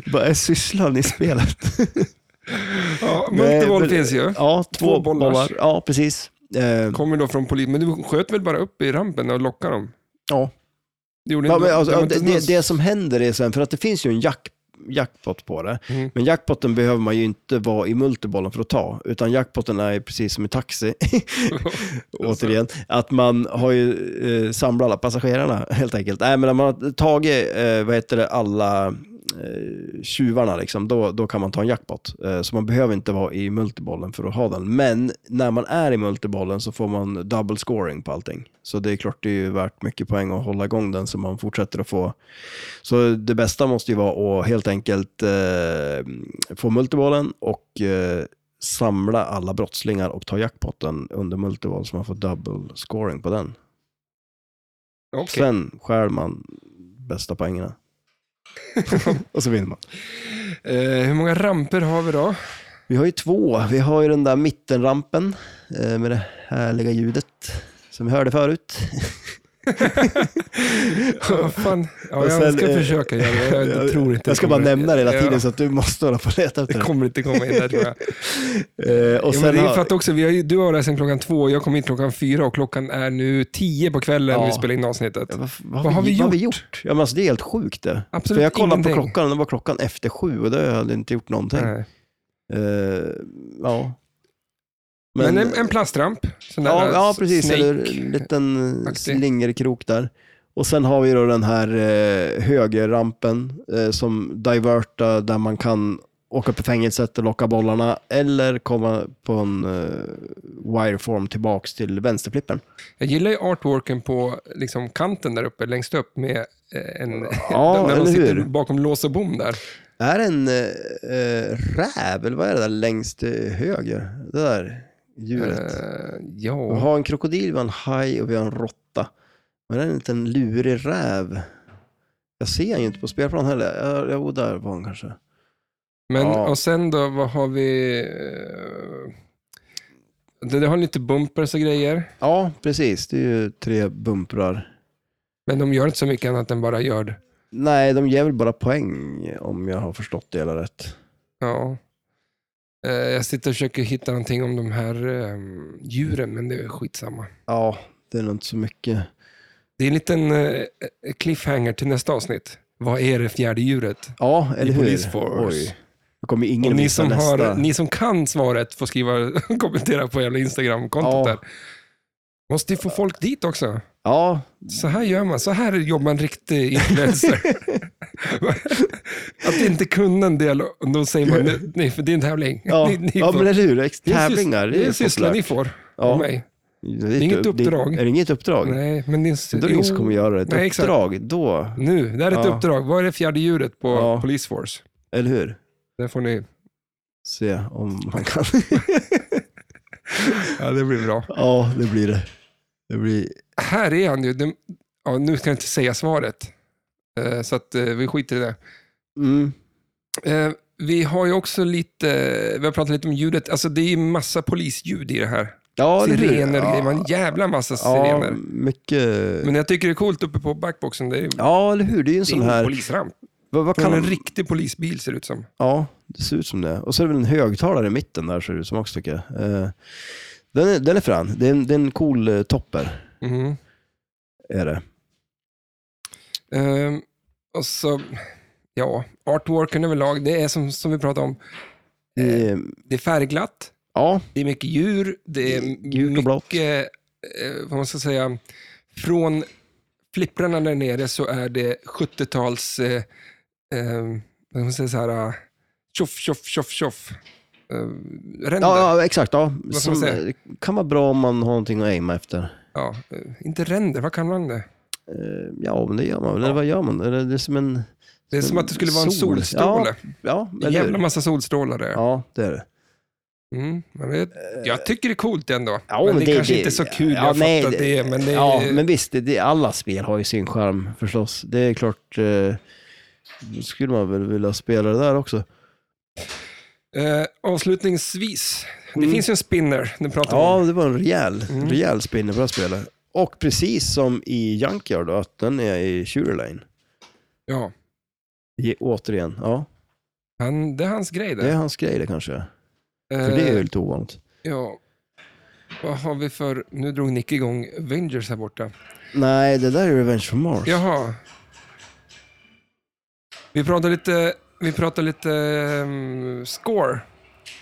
Speaker 2: Vad är sysslan i spelet?
Speaker 1: Ja,
Speaker 2: Nej,
Speaker 1: multiboll
Speaker 2: men-
Speaker 1: finns ju.
Speaker 2: Ja, två,
Speaker 1: Två bollars.
Speaker 2: bollar. Ja, precis. Eh,
Speaker 1: Kommer då från polisen, men du sköt väl bara upp i rampen och lockade dem?
Speaker 2: ja.
Speaker 1: Det gjorde
Speaker 2: Ja,
Speaker 1: inte-
Speaker 2: men alltså,
Speaker 1: var
Speaker 2: det,
Speaker 1: inte
Speaker 2: det,
Speaker 1: någon-
Speaker 2: det som händer är sen, för att det finns ju en jack, jackpot på det,
Speaker 1: Mm.
Speaker 2: men jackpotten behöver man ju inte vara i multibollen för att ta, utan jackpotten är precis som i taxi, återigen, att man har ju eh, samlat alla passagerarna helt enkelt. Nej, men när man har tagit, eh, vad heter det, alla eh, tjuvarna, liksom, då, då kan man ta en jackpot. Eh, så man behöver inte vara i multibollen för att ha den. Men när man är i multibollen så får man double scoring på allting. Så det är klart det är ju värt mycket poäng att hålla igång den så man fortsätter att få. Så det bästa måste ju vara att helt enkelt eh, få multibollen och eh, samla alla brottslingar och ta jackpotten under multiboll så man får double scoring på den.
Speaker 1: Okej.
Speaker 2: Sen skär man bästa poängerna. och så vinner man.
Speaker 1: Eh, hur många ramper har vi då?
Speaker 2: Vi har ju två. Vi har ju den där mittenrampen eh, med det härliga ljudet som vi hörde förut.
Speaker 1: Ja, fan. Ja,
Speaker 2: Och
Speaker 1: jag
Speaker 2: sen,
Speaker 1: ska
Speaker 2: eh,
Speaker 1: försöka göra det. Jag, jag tror inte det
Speaker 2: Jag ska bara
Speaker 1: kommer-
Speaker 2: nämna det hela tiden
Speaker 1: Ja,
Speaker 2: så att du måste hålla på och leta
Speaker 1: det
Speaker 2: efter
Speaker 1: kommer inte komma in där tror jag.
Speaker 2: det. Eh,
Speaker 1: ja,
Speaker 2: och
Speaker 1: men
Speaker 2: sen
Speaker 1: det är
Speaker 2: har-
Speaker 1: för att också, vi har, ju- du har läst sen klockan två och jag kom hit klockan fyra och klockan är nu tio på kvällen
Speaker 2: Ja.
Speaker 1: vi spelar in avsnittet.
Speaker 2: Ja, vad, vad,
Speaker 1: Vad har
Speaker 2: har vi,
Speaker 1: vi
Speaker 2: vad har vi gjort? Ja, men alltså, det är helt sjukt det.
Speaker 1: Absolut
Speaker 2: För jag kollade på
Speaker 1: ingenting.
Speaker 2: klockan och det var klockan efter sju och då hade jag inte gjort någonting.
Speaker 1: Nej.
Speaker 2: Eh, ja.
Speaker 1: Men, en, en plastramp. Sån där
Speaker 2: ja, ja, precis.
Speaker 1: snake.
Speaker 2: Eller en liten eh,
Speaker 1: Aktig.
Speaker 2: slingerkrok där. Och sen har vi då den här eh, högerrampen eh, som diverta där man kan åka upp i fängelset och locka bollarna eller komma på en eh, wireform tillbaks till vänsterflippen.
Speaker 1: Jag gillar ju artworken på liksom, kanten där uppe, längst upp med eh, en...
Speaker 2: Ja,
Speaker 1: när de
Speaker 2: eller
Speaker 1: sitter
Speaker 2: hur?
Speaker 1: bakom lås och bom där.
Speaker 2: Är det en eh, eh, räv eller vad är det där längst till höger? Det där djuret.
Speaker 1: Eh,
Speaker 2: Vi
Speaker 1: ja,
Speaker 2: har en krokodil, vi har en haj och vi har en råtta. Men det är en liten lurig räv. Jag ser han ju inte på spelplan heller. Ja, Jo, där var han kanske.
Speaker 1: men
Speaker 2: ja.
Speaker 1: och sen då, vad har vi... eh, Det, det har lite bumpers och grejer,
Speaker 2: Ja, precis. Det är ju tre bumprar.
Speaker 1: men de gör inte så mycket annat än bara gör det.
Speaker 2: Nej, de ger väl bara poäng om jag har förstått det hela rätt.
Speaker 1: Ja. Eh, Jag sitter och försöker hitta någonting om ehm, de här eh, djuren, men det är skitsamma.
Speaker 2: Ja, det är nog inte så mycket.
Speaker 1: Det är en liten eh, cliffhanger till nästa avsnitt. Vad är det fjärde djuret?
Speaker 2: Ja, eller
Speaker 1: I
Speaker 2: hur?
Speaker 1: Police Force.
Speaker 2: Då kommer ingen
Speaker 1: Och ni
Speaker 2: missa
Speaker 1: som,
Speaker 2: nästa.
Speaker 1: har, ni som kan svaret får skriva kommentera på jävla Instagram-kontot
Speaker 2: Ja.
Speaker 1: där. Måste ju få folk dit också.
Speaker 2: Ja,
Speaker 1: Så här gör man, så här jobbar en riktig influencer. att inte kunna en del, och då säger man "Nej, nej, för det är en tävling.
Speaker 2: ja.
Speaker 1: Ni- ni
Speaker 2: ja
Speaker 1: får-
Speaker 2: men eller hur?
Speaker 1: det är sys-
Speaker 2: Tävlingar,
Speaker 1: det är sysslan ni
Speaker 2: populärt.
Speaker 1: får
Speaker 2: Ja.
Speaker 1: av mig.
Speaker 2: Det är
Speaker 1: inget
Speaker 2: upp- det-
Speaker 1: uppdrag.
Speaker 2: Är det inget uppdrag?
Speaker 1: Nej, men det är
Speaker 2: Då är det ingen som kommer göra det. Ett
Speaker 1: Nej, exakt.
Speaker 2: uppdrag, då.
Speaker 1: Nu, det här är ett
Speaker 2: Ja.
Speaker 1: uppdrag. Vad är det fjärde djuret på
Speaker 2: Ja.
Speaker 1: Police Force?
Speaker 2: Eller hur?
Speaker 1: Där får ni...
Speaker 2: Se om man kan.
Speaker 1: Ja, det blir bra.
Speaker 2: ja, det blir det. Det blir...
Speaker 1: Här är han ju. Den- Ja, nu ska jag inte säga svaret, Eh, så att eh, vi skiter i det.
Speaker 2: Mm.
Speaker 1: Eh, Vi har ju också lite, vi har pratat lite om ljudet. Alltså det är ju massa polisljud i det här.
Speaker 2: Ja, det blir det.
Speaker 1: sirener och grejer.
Speaker 2: Ja.
Speaker 1: Man jävla massa
Speaker 2: Ja,
Speaker 1: sirener.
Speaker 2: mycket.
Speaker 1: Men jag tycker det är coolt uppe på backboxen. Det är,
Speaker 2: Ja, eller hur? Det är ju en
Speaker 1: det är
Speaker 2: sån
Speaker 1: en
Speaker 2: här...
Speaker 1: polisramp.
Speaker 2: Vad, vad
Speaker 1: Kan
Speaker 2: kan
Speaker 1: en riktig polisbil ser det ut som.
Speaker 2: Ja, det ser ut som det. Och så är det väl en högtalare i mitten där ser det ut som också tycker jag. Eh, Den är, den är frän. Det är en, det är en cool eh, topper.
Speaker 1: Mhm.
Speaker 2: Är det.
Speaker 1: Ehm, och så, ja, artworken överlag, det är som, som vi pratade om.
Speaker 2: Eh,
Speaker 1: Det är färgglatt,
Speaker 2: ja,
Speaker 1: det är mycket djur, det är
Speaker 2: Gult och blått.
Speaker 1: mycket, eh, vad man ska säga, från flipprarna där nere så är det 70-tals, eh, eh, vad ska man säga så här, eh, tjoff, tjoff, tjoff, tjoff. Eh, ränder.
Speaker 2: ja, ja, exakt. Ja.
Speaker 1: ska
Speaker 2: Som,
Speaker 1: man säga?
Speaker 2: eh, kan vara bra om man har någonting att aima efter.
Speaker 1: Ja, eh, inte ränder, vad kan man det?
Speaker 2: Eh, Ja, men det gör man väl. Eller vad gör man? Eller det är som en...
Speaker 1: Det är som att det skulle vara en solstråle.
Speaker 2: Ja, ja
Speaker 1: En
Speaker 2: eller
Speaker 1: jävla
Speaker 2: hur?
Speaker 1: massa solstrålar där.
Speaker 2: Ja, det är det.
Speaker 1: Mm, men det, jag tycker det är coolt ändå.
Speaker 2: Eh, Ja,
Speaker 1: men det, är kanske inte så kul,
Speaker 2: ja,
Speaker 1: jag
Speaker 2: nej,
Speaker 1: fattar det. Men det är,
Speaker 2: Ja, men visst, det, det, alla spel har ju sin charm förstås. Det är klart, eh, då skulle man väl vilja spela det där också.
Speaker 1: eh, avslutningsvis, det
Speaker 2: Mm.
Speaker 1: finns ju en spinner, den pratar vi
Speaker 2: Ja,
Speaker 1: om.
Speaker 2: det var en rejäl,
Speaker 1: Mm.
Speaker 2: rejäl spinner på det här spelet. Och precis som i Junkyard då, att den är i shooter lane.
Speaker 1: Ja,
Speaker 2: Ge, återigen, ja.
Speaker 1: han, det är hans grej
Speaker 2: Det är
Speaker 1: där.
Speaker 2: hans grej det kanske.
Speaker 1: Eh,
Speaker 2: För det är ju lite ovanligt.
Speaker 1: ja. Vad har vi för, nu drog Nick igång Avengers här borta.
Speaker 2: Nej, det där är Revenge from Mars.
Speaker 1: Jaha. Vi pratar lite, vi pratar lite ehm, score.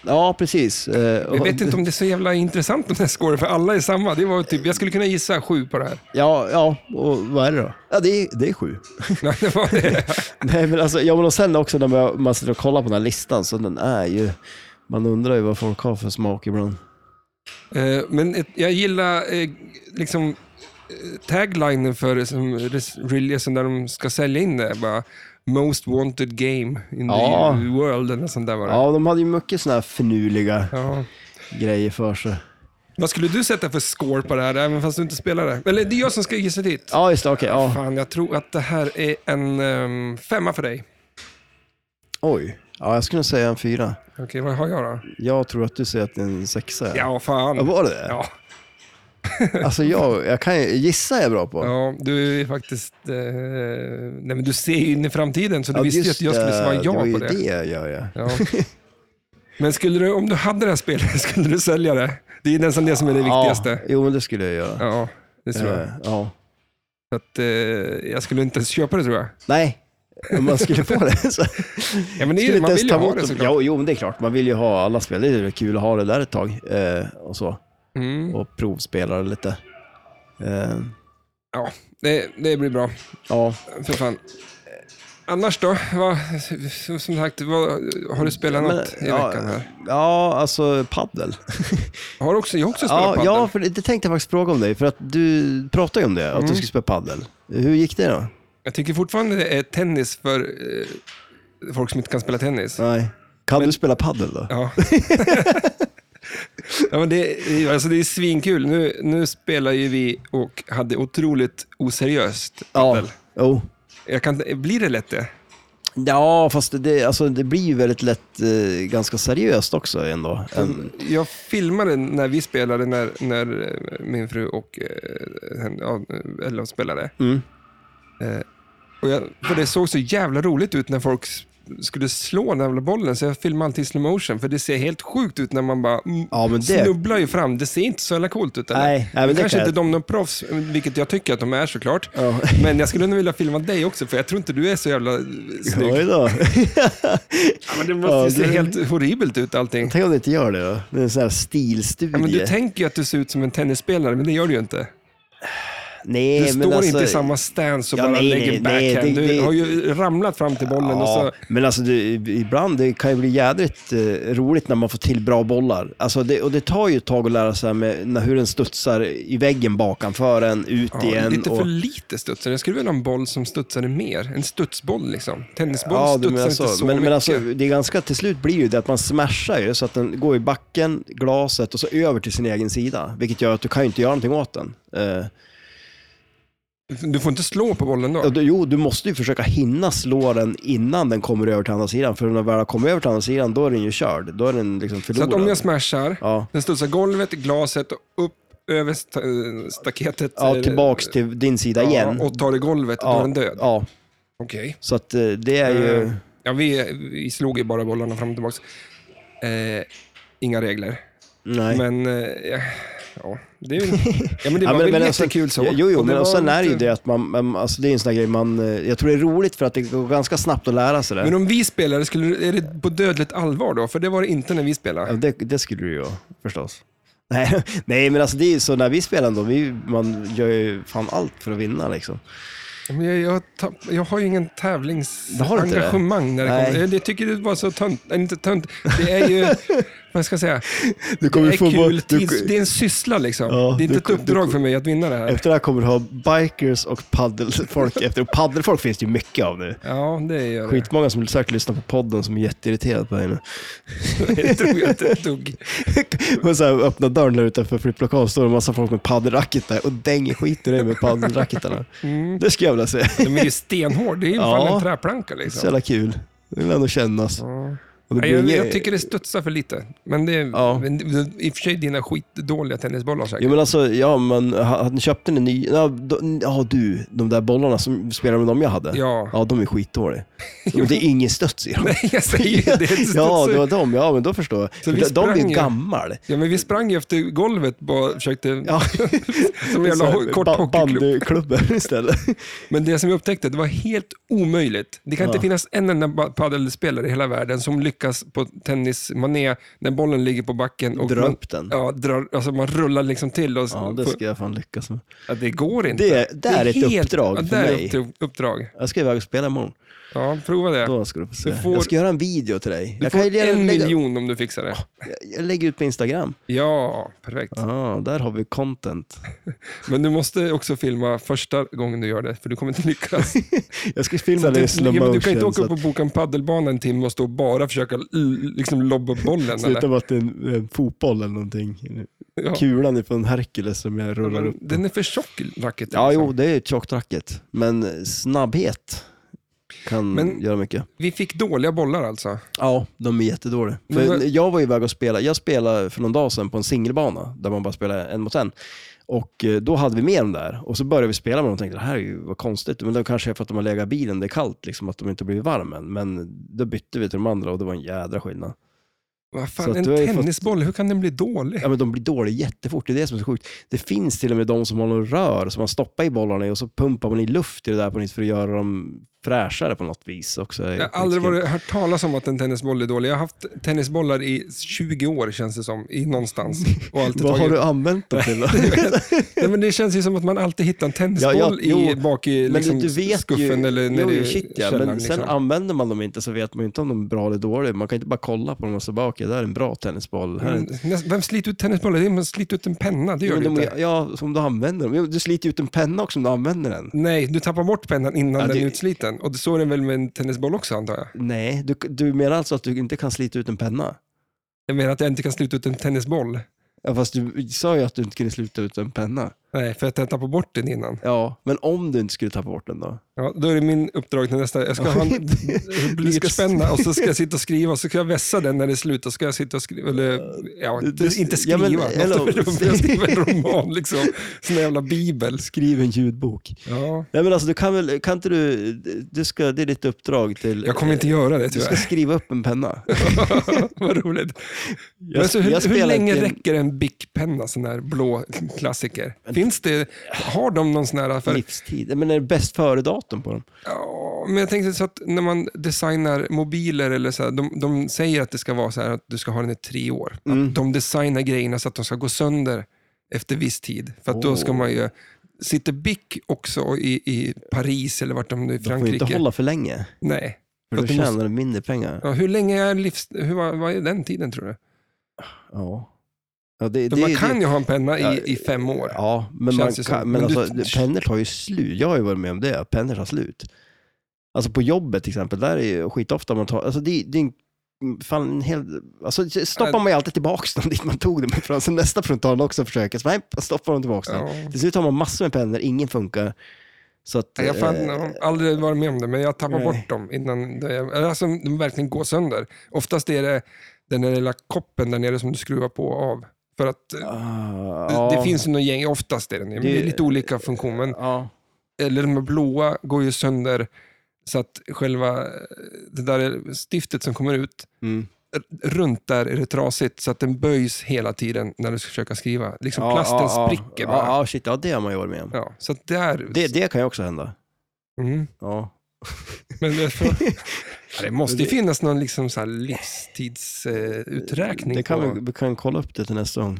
Speaker 2: Ja, precis. Eh,
Speaker 1: Jag
Speaker 2: och-
Speaker 1: vet inte om det är så jävla intressant om den här scoren, för alla är samma. Det var typ, jag skulle kunna gissa sju på det här.
Speaker 2: Ja, ja, och vad är det då? Ja, det är, det är sju.
Speaker 1: Nej, det var det.
Speaker 2: Nej, men alltså, ja, men och sen också när man, man sitter och kollar på den här listan, så den är ju... Man undrar ju vad folk har för smak ibland.
Speaker 1: Eh, men ett, jag gillar eh, liksom eh, taglinen för som res- releasen där de ska sälja in det. Bara, Most wanted game in
Speaker 2: Ja.
Speaker 1: the world eller något sånt där var det.
Speaker 2: Ja, de hade ju mycket sådana här finurliga
Speaker 1: Ja.
Speaker 2: grejer för sig.
Speaker 1: Vad skulle du sätta för score på det här, även fast du inte spelar det? Eller det är jag som ska gissa dit.
Speaker 2: Ja, just det. Okej, ja.
Speaker 1: Fan, jag tror att det här är en ehm, femma för dig.
Speaker 2: Oj. Ja, jag skulle säga en fyra.
Speaker 1: Okej, vad har jag då?
Speaker 2: Jag tror att du säger att det är en sexa.
Speaker 1: Ja, fan.
Speaker 2: Ja, var det det?
Speaker 1: Ja,
Speaker 2: Alltså, jag, jag kan ju gissa jag är bra på.
Speaker 1: ja du är faktiskt... Eh, nej, men du ser ju in i framtiden, så du
Speaker 2: Ja,
Speaker 1: visste ju
Speaker 2: just
Speaker 1: att jag skulle
Speaker 2: det.
Speaker 1: svara ja
Speaker 2: det var ju
Speaker 1: på det.
Speaker 2: det jag gör, ja.
Speaker 1: Ja. Men skulle du, om du hade det här spelet, skulle du sälja det? Det är nästan det som är det
Speaker 2: Ja,
Speaker 1: viktigaste.
Speaker 2: jo, men det skulle jag göra.
Speaker 1: Ja, det tror jag.
Speaker 2: Eh, ja.
Speaker 1: Så att, eh, jag skulle inte ens köpa det tror jag.
Speaker 2: Nej, om man skulle få det så...
Speaker 1: Ja, men det är,
Speaker 2: Skulle
Speaker 1: ju-
Speaker 2: inte
Speaker 1: man
Speaker 2: ens
Speaker 1: vill ju
Speaker 2: ta
Speaker 1: ha
Speaker 2: bort
Speaker 1: det
Speaker 2: dem.
Speaker 1: såklart.
Speaker 2: Jo, jo, men det är klart. Man vill ju ha alla spel. Det är väl kul att ha det där ett tag. Eh, och så.
Speaker 1: Mm.
Speaker 2: Och provspela det lite. Eh,
Speaker 1: Ja, det, det blir bra.
Speaker 2: ja.
Speaker 1: För fan. Annars då? Vad, som sagt, vad, har du spelat något i
Speaker 2: ja,
Speaker 1: veckan? Här?
Speaker 2: ja, alltså paddel.
Speaker 1: Har du också, jag har också spelat
Speaker 2: Ja,
Speaker 1: padel.
Speaker 2: ja, för det det tänkte jag faktiskt fråga om dig. För att du pratade ju om det, att
Speaker 1: Mm.
Speaker 2: du skulle spela paddel. Hur gick det då?
Speaker 1: Jag tycker fortfarande det är tennis för eh, folk som inte kan spela tennis.
Speaker 2: Nej. Kan du spela paddel då?
Speaker 1: Ja. ja, men det, är- alltså det är svinkul. Nu, nu spelar ju vi och hade otroligt oseriöst.
Speaker 2: Ja. Jo.
Speaker 1: Jag kan, blir det lätt det?
Speaker 2: Ja, fast det- det, alltså, det blir ju väldigt lätt eh, ganska seriöst också ändå. En,
Speaker 1: Jag filmade när vi spelade, när, när eh, min fru och eh, hen- ja, Ella spelade.
Speaker 2: Mm.
Speaker 1: Eh, och jag, för det såg så jävla roligt ut när folk s- skulle slå den jävla bollen, så jag filmade alltid i slow motion för det ser helt sjukt ut när man bara mm,
Speaker 2: Ja, men det-
Speaker 1: snubblar ju fram. Det ser inte så jävla coolt ut. Eller?
Speaker 2: Nej, nej,
Speaker 1: Nu
Speaker 2: men det
Speaker 1: kanske
Speaker 2: kan jag-
Speaker 1: inte de är proffs, vilket jag tycker att de är såklart.
Speaker 2: Ja.
Speaker 1: Men jag skulle nog vilja filma dig också, för jag tror inte du är så jävla snygg.
Speaker 2: Oj då.
Speaker 1: Ja, men det måste ju
Speaker 2: Ja,
Speaker 1: se
Speaker 2: det-
Speaker 1: helt horribelt ut allting.
Speaker 2: Tänk om det inte gör det då? Det är en sån här stilstudie.
Speaker 1: Ja, men du tänker ju att du ser ut som en tennisspelare, men det gör du ju inte.
Speaker 2: nej,
Speaker 1: Du
Speaker 2: men
Speaker 1: står
Speaker 2: alltså-
Speaker 1: inte i samma stance och
Speaker 2: Ja,
Speaker 1: bara
Speaker 2: nej,
Speaker 1: lägger
Speaker 2: nej,
Speaker 1: backhand.
Speaker 2: nej, det-
Speaker 1: du
Speaker 2: det-
Speaker 1: har ju ramlat fram till bollen och så...
Speaker 2: Ja, men alltså det, ibland det kan ju bli jädrigt eh, roligt när man får till bra bollar. Alltså det, och det tar ju ett tag att lära sig med, när, hur den studsar i väggen bakanför en, ut
Speaker 1: Ja,
Speaker 2: igen.
Speaker 1: lite
Speaker 2: och,
Speaker 1: för lite studsar. Jag skulle vilja ha en boll som studsade mer. En studsboll liksom. Tennisboll
Speaker 2: ja, du
Speaker 1: studsar
Speaker 2: menar
Speaker 1: inte
Speaker 2: så.
Speaker 1: så
Speaker 2: men,
Speaker 1: mycket.
Speaker 2: men alltså, det är ganska, till slut blir ju det att man smashar ju så att den går i backen, glaset och så över till sin egen sida. Vilket gör att du kan ju inte göra någonting åt den. Eh,
Speaker 1: Du får inte slå på bollen då.
Speaker 2: och då- jo, du måste ju försöka hinna slå den innan den kommer över till andra sidan. För när den väl har kommit över till andra sidan, då är den ju körd. Då är den liksom
Speaker 1: Så
Speaker 2: förlorad.
Speaker 1: att om jag smashar,
Speaker 2: ja.
Speaker 1: den studsar golvet, glaset och upp över sta- staketet.
Speaker 2: Ja,
Speaker 1: eh,
Speaker 2: tillbaks till din sida
Speaker 1: ja,
Speaker 2: igen.
Speaker 1: Och tar i golvet, då är den död.
Speaker 2: Ja,
Speaker 1: Okej.
Speaker 2: så att eh, det är ju...
Speaker 1: Eh, Ja, vi, vi slog ju bara bollarna fram och tillbaka. Eh, inga regler.
Speaker 2: nej.
Speaker 1: Men, eh, ja, ja, det, är ju- ja, men det var
Speaker 2: Ja, men-
Speaker 1: väl
Speaker 2: men alltså-
Speaker 1: jättekul så.
Speaker 2: Jo, jo
Speaker 1: Och
Speaker 2: men
Speaker 1: var
Speaker 2: och sen är det ju
Speaker 1: lite-
Speaker 2: det att man, man, alltså det är en sån där grej man, eh, jag tror det är roligt för att det går ganska snabbt att lära sig
Speaker 1: Men
Speaker 2: det.
Speaker 1: om vi spelade, skulle, är det på dödligt allvar då? För det var det inte när vi
Speaker 2: Ja,
Speaker 1: spelade.
Speaker 2: Det, det skulle du ju förstås. Nej, nej, men alltså det är ju så när vi spelar ändå, vi, man gör ju fan allt för att vinna liksom.
Speaker 1: Men jag, jag, tapp, jag har ju ingen
Speaker 2: Det har du inte det?
Speaker 1: tävlingsengagemang. När det
Speaker 2: Nej.
Speaker 1: kommer. Jag, jag tycker det var så tönt, nej, inte tönt, det är ju, vad ska jag säga,
Speaker 2: Du
Speaker 1: det
Speaker 2: kommer
Speaker 1: är kul, tids, det är en syssla liksom.
Speaker 2: Ja,
Speaker 1: det är inte
Speaker 2: du-
Speaker 1: ett uppdrag
Speaker 2: du-
Speaker 1: för mig att vinna det här.
Speaker 2: efter det här kommer du ha bikers och paddelfolk efter. Och paddelfolk finns det ju mycket av nu.
Speaker 1: Ja, det gör det.
Speaker 2: Skitmånga som säkert lyssnar på podden som är jätteirriterade på dig nu.
Speaker 1: Det tror jag inte ett dugg.
Speaker 2: Och så här, öppna dörren där utanför flipplokalen står det en massa folk med paddelracketar och dänger skiten i dig med paddelracketarna.
Speaker 1: Mm.
Speaker 2: Det skulle jag vilja se.
Speaker 1: De är ju stenhård, det är ju fan
Speaker 2: Ja.
Speaker 1: en träplanka
Speaker 2: Så
Speaker 1: liksom.
Speaker 2: jävla kul. Det vill ändå kännas.
Speaker 1: Ja.
Speaker 2: Och det
Speaker 1: Nej,
Speaker 2: blir
Speaker 1: Jag,
Speaker 2: ingen-
Speaker 1: jag tycker det studsar för lite. Men det är,
Speaker 2: Ja.
Speaker 1: men, det- i och för sig dina skitdåliga tennisbollar säkert.
Speaker 2: Jo men alltså, ja men ha- hade ni köpt en ny? Ja, då- ja du, de där bollarna som spelar med dem jag hade.
Speaker 1: Ja.
Speaker 2: Ja, de är skitdåliga. Men det är ingen studs i dem.
Speaker 1: Nej, jag säger ju det. det
Speaker 2: Ja,
Speaker 1: studsar
Speaker 2: det
Speaker 1: ju.
Speaker 2: var de. Ja, men då förstår jag.
Speaker 1: Så vi
Speaker 2: För de de är
Speaker 1: sprang ju.
Speaker 2: ju gammal.
Speaker 1: Ja, men vi sprang ju efter golvet bara försökte...
Speaker 2: Ja.
Speaker 1: Som en jävla ho- kort
Speaker 2: Ba-
Speaker 1: hockeyklubb.
Speaker 2: Bandyklubbor istället.
Speaker 1: Men det som jag upptäckte, det var helt omöjligt. Det kan
Speaker 2: Ja.
Speaker 1: inte finnas en enda ba- padelspelare i hela världen som lyckas på tennismané när bollen ligger på backen. Och
Speaker 2: Dra
Speaker 1: man,
Speaker 2: upp den.
Speaker 1: Ja, drar, alltså man rullar liksom till. Och,
Speaker 2: Ja, det ska jag fan lyckas med.
Speaker 1: ja, det går inte.
Speaker 2: Det, det är ett
Speaker 1: helt-
Speaker 2: uppdrag
Speaker 1: ja,
Speaker 2: för
Speaker 1: det är
Speaker 2: mig.
Speaker 1: ett upp- uppdrag.
Speaker 2: Jag ska iväg och spela imorgon.
Speaker 1: Ja, prova det.
Speaker 2: Då ska du få se.
Speaker 1: Du får-
Speaker 2: Jag ska göra en video till dig.
Speaker 1: Du
Speaker 2: jag
Speaker 1: får
Speaker 2: ju redan
Speaker 1: en
Speaker 2: lägga-
Speaker 1: miljon om du fixar det.
Speaker 2: Jag- Jag lägger ut på Instagram.
Speaker 1: Ja, perfekt.
Speaker 2: Ah, där har vi content.
Speaker 1: Men du måste också filma första gången du gör det, för du kommer inte lyckas.
Speaker 2: Jag ska filma
Speaker 1: Så
Speaker 2: det
Speaker 1: du,
Speaker 2: i slow
Speaker 1: ja, men
Speaker 2: motion.
Speaker 1: du kan inte åka
Speaker 2: så
Speaker 1: upp och boka en paddelbana en timme och stå och bara försöka l- liksom lobba bollen.
Speaker 2: att-
Speaker 1: eller?
Speaker 2: Sluta med att det är en, en fotboll eller någonting.
Speaker 1: Ja.
Speaker 2: Kulan är från Hercules som jag
Speaker 1: Ja,
Speaker 2: rullar
Speaker 1: men
Speaker 2: upp.
Speaker 1: Den är för tjock, racketen.
Speaker 2: Ja,
Speaker 1: liksom.
Speaker 2: jo, det är ett tjockt racket. Men snabbhet kan
Speaker 1: Men-
Speaker 2: göra mycket.
Speaker 1: Vi fick dåliga bollar alltså.
Speaker 2: Ja, de är jättedåliga. För
Speaker 1: Men-
Speaker 2: Jag var ju iväg och spelade, jag spelade för någon dag sedan på en singelbana där man bara spelar en mot en. Och eh, då hade vi med dem där och så började vi spela med dem och tänkte det här är ju vad konstigt. Men det var kanske är för att de har legat i bilen, det är kallt, liksom, att de inte blivit varma än. Men då bytte vi till de andra och det var en jädra skillnad.
Speaker 1: Vad
Speaker 2: Så
Speaker 1: fan,
Speaker 2: att
Speaker 1: en
Speaker 2: du har ju fått-
Speaker 1: tennisboll, hur kan den bli dålig?
Speaker 2: Ja, men de blir dåliga jättefort, det är det som är så sjukt. Det finns till och med de som har något rör som man stoppar i bollarna i och så pumpar man i luft i det där på nytt för att göra dem fräschare på något vis också.
Speaker 1: Jag har aldrig varit, hört talas om att en tennisboll är dålig. Jag har haft tennisbollar i 20 år känns det som, i någonstans. Och alltid
Speaker 2: Vad har
Speaker 1: tagit-
Speaker 2: du använt dem till då?
Speaker 1: Nej, men det känns ju som att man alltid hittar en tennisboll
Speaker 2: Ja, ja,
Speaker 1: i,
Speaker 2: jo,
Speaker 1: bak i
Speaker 2: Men
Speaker 1: liksom,
Speaker 2: du vet
Speaker 1: skuffen
Speaker 2: ju,
Speaker 1: eller
Speaker 2: jo,
Speaker 1: nere
Speaker 2: jo,
Speaker 1: i
Speaker 2: shit, ja,
Speaker 1: källaren.
Speaker 2: men sen
Speaker 1: liksom.
Speaker 2: använder man dem inte så vet man ju inte om de är bra eller dåliga. Man kan inte bara kolla på dem och så bara, okej, det här är en bra tennisboll. Här är en...
Speaker 1: Men Mm. näst- Vem sliter ut tennisbollar? Det är- Man sliter ut en penna, det gör
Speaker 2: Men
Speaker 1: du
Speaker 2: de,
Speaker 1: inte.
Speaker 2: ja, som du använder dem. Jo, Du sliter ju ut en penna också om du använder den.
Speaker 1: Nej, du tappar bort pennan innan
Speaker 2: Ja,
Speaker 1: den är
Speaker 2: det-
Speaker 1: utsliten. Och så är det väl med en tennisboll också antar jag.
Speaker 2: Nej, du, du menar alltså att du inte kan slita ut en penna?
Speaker 1: Jag menar att jag inte kan slita ut en tennisboll.
Speaker 2: Ja, fast du sa ju att du inte kunde slita ut en penna.
Speaker 1: Nej, för att jag tappade bort den innan.
Speaker 2: Ja, men om du inte skulle tappa bort den då?
Speaker 1: Ja, då är det min uppdrag till nästa. Jag ska ha en blyertspenna och så ska jag sitta och skriva och så ska jag vässa den när det är slut. Och så ska jag sitta och skriva, eller ja,
Speaker 2: Du- du-
Speaker 1: inte
Speaker 2: ja,
Speaker 1: skriva.
Speaker 2: men, hello.
Speaker 1: Låter, jag skriver en roman liksom. Sån jävla bibel.
Speaker 2: Skriv en ljudbok.
Speaker 1: Ja.
Speaker 2: Nej men alltså du kan väl, kan inte du, du ska, det är ditt uppdrag till...
Speaker 1: Jag kommer inte göra det
Speaker 2: Du ska
Speaker 1: tyvärr.
Speaker 2: skriva upp en penna.
Speaker 1: Vad roligt. Men så,
Speaker 2: jag
Speaker 1: hur, hur
Speaker 2: spelar
Speaker 1: länge
Speaker 2: inte-
Speaker 1: räcker en Bic-penna, sån här blå klassiker? Finns det, har de någon sån här? För,
Speaker 2: Livstid. Nej, Men är det bäst före-datum på dem?
Speaker 1: ja, men jag tänkte så att när man designar mobiler, eller så här, de, de säger att det ska vara så här att du ska ha den i tre år.
Speaker 2: Mm.
Speaker 1: Att de designar grejerna så att de ska gå sönder efter viss tid. För att då ska
Speaker 2: Oh.
Speaker 1: man ju... Sitter Bic också i, i Paris eller vart de nu i
Speaker 2: De får ju
Speaker 1: Frankrike?
Speaker 2: inte hålla för länge.
Speaker 1: Nej. För
Speaker 2: För då
Speaker 1: att du måste-
Speaker 2: tjänar du mindre pengar.
Speaker 1: Ja, hur länge är livs... Hur, vad vad är den tiden tror du?
Speaker 2: Ja. ja
Speaker 1: För
Speaker 2: det, det,
Speaker 1: man
Speaker 2: det-
Speaker 1: kan ju ha en penna
Speaker 2: Ja,
Speaker 1: i, i fem år.
Speaker 2: Ja, men,
Speaker 1: Känns
Speaker 2: man
Speaker 1: det som.
Speaker 2: kan, men,
Speaker 1: Men du-
Speaker 2: alltså, pennor tar ju slut. Jag har ju varit med om det, pennor tar slut. Alltså på jobbet till exempel, där är ju skitofta man tar, alltså det, det är en, fan en hel, alltså stoppar
Speaker 1: Ja.
Speaker 2: man ju alltid tillbaks den dit man tog den ifrån. Sen nästa frontal också försöker, så nej, stoppar de tillbaks den.
Speaker 1: Ja.
Speaker 2: Till slut har man massor med pennor, ingen funkar. Så att,
Speaker 1: Jag fan,
Speaker 2: eh,
Speaker 1: jag har aldrig varit med om det, men jag tappar
Speaker 2: nej.
Speaker 1: bort dem innan det, alltså, de verkligen går sönder. Oftast är det den där lilla koppen där nere som du skruvar på och av. För att eh,
Speaker 2: ah,
Speaker 1: det,
Speaker 2: ja,
Speaker 1: det finns ju någon gäng, oftast är det, men det är
Speaker 2: Det-
Speaker 1: lite olika funktion. Men,
Speaker 2: Ja.
Speaker 1: eller de här blåa går ju sönder så att själva eh, det där stiftet som kommer ut,
Speaker 2: Mm.
Speaker 1: r- runt där är det trasigt så att den böjs hela tiden när du ska försöka skriva. Liksom
Speaker 2: Ja,
Speaker 1: plasten
Speaker 2: ja, ja.
Speaker 1: spricker bara.
Speaker 2: Ja, ja, shit, ja, det har man ju varit med om.
Speaker 1: Ja, så att där...
Speaker 2: Det, det kan ju också hända.
Speaker 1: Mm.
Speaker 2: Ja.
Speaker 1: Men det, får- Ja, det måste ju finnas någon liksom så här livstidsuträkning.
Speaker 2: Det kan vi, vi kan kolla upp det till nästa gång.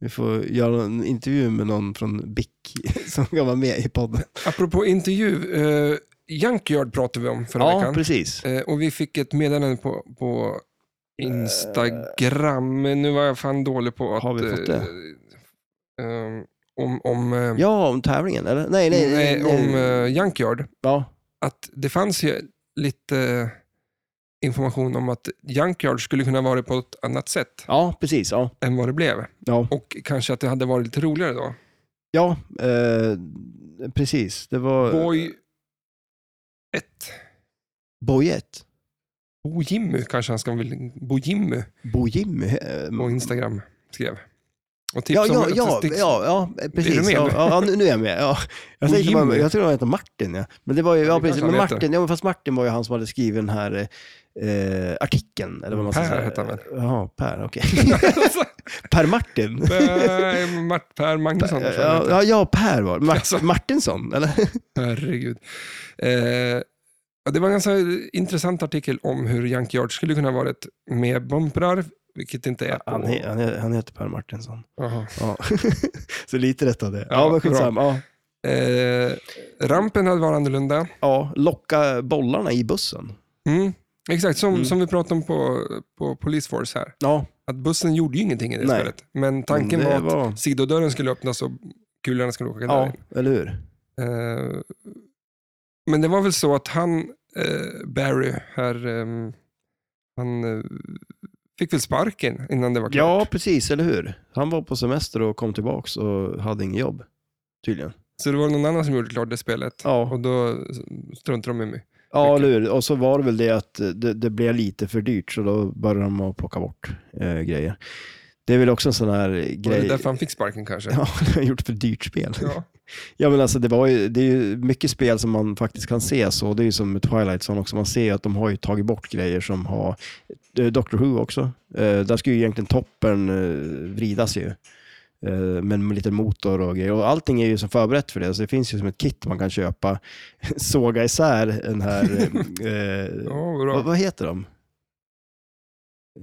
Speaker 2: Vi får göra en intervju med någon från BIC som kan vara med i podden.
Speaker 1: Apropå intervju, eh, Junkyard pratade vi om förra
Speaker 2: Ja,
Speaker 1: veckan.
Speaker 2: precis.
Speaker 1: Eh, och vi fick ett meddelande på, på Instagram. Men Nu var jag fan dålig på att...
Speaker 2: Har vi fått det?
Speaker 1: eh, eh, om om, eh,
Speaker 2: Ja, om tävlingen, eller? Nej, nej.
Speaker 1: nej,
Speaker 2: nej,
Speaker 1: om eh, Junkyard.
Speaker 2: ja.
Speaker 1: Att det fanns ju lite information om att Junkyard skulle kunna vara på ett annat sätt
Speaker 2: ja, precis. Ja,
Speaker 1: än vad det blev.
Speaker 2: ja.
Speaker 1: Och kanske att det hade varit lite roligare då.
Speaker 2: ja eh, precis. Det var
Speaker 1: Boy 1.
Speaker 2: Bojet.
Speaker 1: Bo Jimmy kanske han ska vilja... Bo Jimmy
Speaker 2: Bojimmy. eh,
Speaker 1: på Instagram skrev. Och tips
Speaker 2: Ja, ja,
Speaker 1: om
Speaker 2: ja,
Speaker 1: tips-
Speaker 2: ja, ja,
Speaker 1: Är du
Speaker 2: precis.
Speaker 1: med
Speaker 2: Ja,
Speaker 1: nu?
Speaker 2: ja, nu, nu är jag med. Ja. Jag, tänkte
Speaker 1: Jimmy.
Speaker 2: bara, jag tror han heter Martin. Ja. Men det var ju,
Speaker 1: Ja,
Speaker 2: ja,
Speaker 1: det
Speaker 2: precis.
Speaker 1: kanske
Speaker 2: Men
Speaker 1: han heter.
Speaker 2: Martin, ja, men fast Martin var ju han som hade skrivit den här eh, eh, artikeln. Eller vad man ska
Speaker 1: Per
Speaker 2: säga.
Speaker 1: hette han väl?
Speaker 2: Ja, Per, okej. per Martin?
Speaker 1: Per- Eh, Mart- Per Magnusson. tror jag han heter.
Speaker 2: ja, ja, Per var Mart-
Speaker 1: Alltså.
Speaker 2: Martinsson, eller?
Speaker 1: Herregud. Eh, ja, det var en ganska intressant artikel om hur Junkyard skulle kunna ha varit med bumprar, vilket det inte är. På.
Speaker 2: Han, he- han, he- han heter Per Martinsson.
Speaker 1: Jaha.
Speaker 2: Ja. Så lite rätt av det. Ja,
Speaker 1: Ja,
Speaker 2: men skitsamma. Ja.
Speaker 1: Eh, rampen hade varit annorlunda.
Speaker 2: ja, locka bollarna i bussen.
Speaker 1: Mm. Exakt, som,
Speaker 2: Mm.
Speaker 1: som vi pratade om på, på Police Force här.
Speaker 2: Ja,
Speaker 1: Att bussen gjorde ju ingenting i det
Speaker 2: Nej.
Speaker 1: spelet. Men tanken
Speaker 2: Men Mm, det
Speaker 1: var att
Speaker 2: var-
Speaker 1: sidodörren skulle öppnas och kulorna skulle åka
Speaker 2: ja
Speaker 1: därin.
Speaker 2: eller hur?
Speaker 1: Eh, men det var väl så att han, eh, Barry, här, ehm, han eh, fick väl sparken innan det var klart.
Speaker 2: Ja, precis, eller hur? Han var på semester och kom tillbaks och hade inget jobb, tydligen.
Speaker 1: Så det var någon annan som gjorde klart det spelet.
Speaker 2: Ja,
Speaker 1: Och då struntade de i mig.
Speaker 2: ja eller hur? Och så var det väl det att det, det blev lite för dyrt, så då började de att plocka bort eh, grejer. Det är väl också en sån här
Speaker 1: Var det
Speaker 2: grej.
Speaker 1: därför han fick sparken kanske?
Speaker 2: Ja, de har gjort för dyrt spel.
Speaker 1: Ja.
Speaker 2: Ja, men alltså det, var ju, det är ju mycket spel som man faktiskt kan se så. Det är ju som med Twilight Zone också. Man ser ju att de har ju tagit bort grejer som har... eh, Doctor Who också. Eh, där ska ju egentligen toppen eh, vridas ju. Eh, men med lite motor och grejer. Och allting är ju som förberett för det. Så det finns ju som ett kit man kan köpa. Såga isär den här... Eh, eh,
Speaker 1: Ja,
Speaker 2: vad,
Speaker 1: bra.
Speaker 2: vad heter de?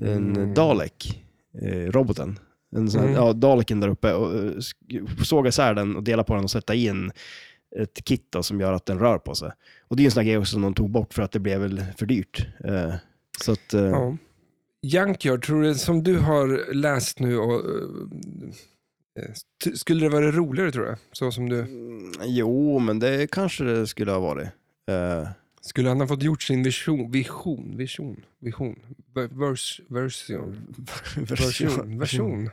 Speaker 2: En
Speaker 1: Mm.
Speaker 2: Dalek. Eh, roboten. En sån här,
Speaker 1: Mm.
Speaker 2: ja, Daleken där uppe. Och, eh, sk- såga isär den och dela på den och sätta in ett kit då, som gör att den rör på sig. Och det är ju en sån här grej också som de tog bort för att det blev väl för dyrt. Eh, så att, eh,
Speaker 1: Ja. Junkyard, tror du, som du har läst nu, och, eh, st- skulle det vara roligare tror jag? Så som du.
Speaker 2: mm, jo, men det kanske det skulle ha varit. Eh,
Speaker 1: Skulle han ha fått gjort sin vision, vision, vision, vision, Ver- vers, version, version, version.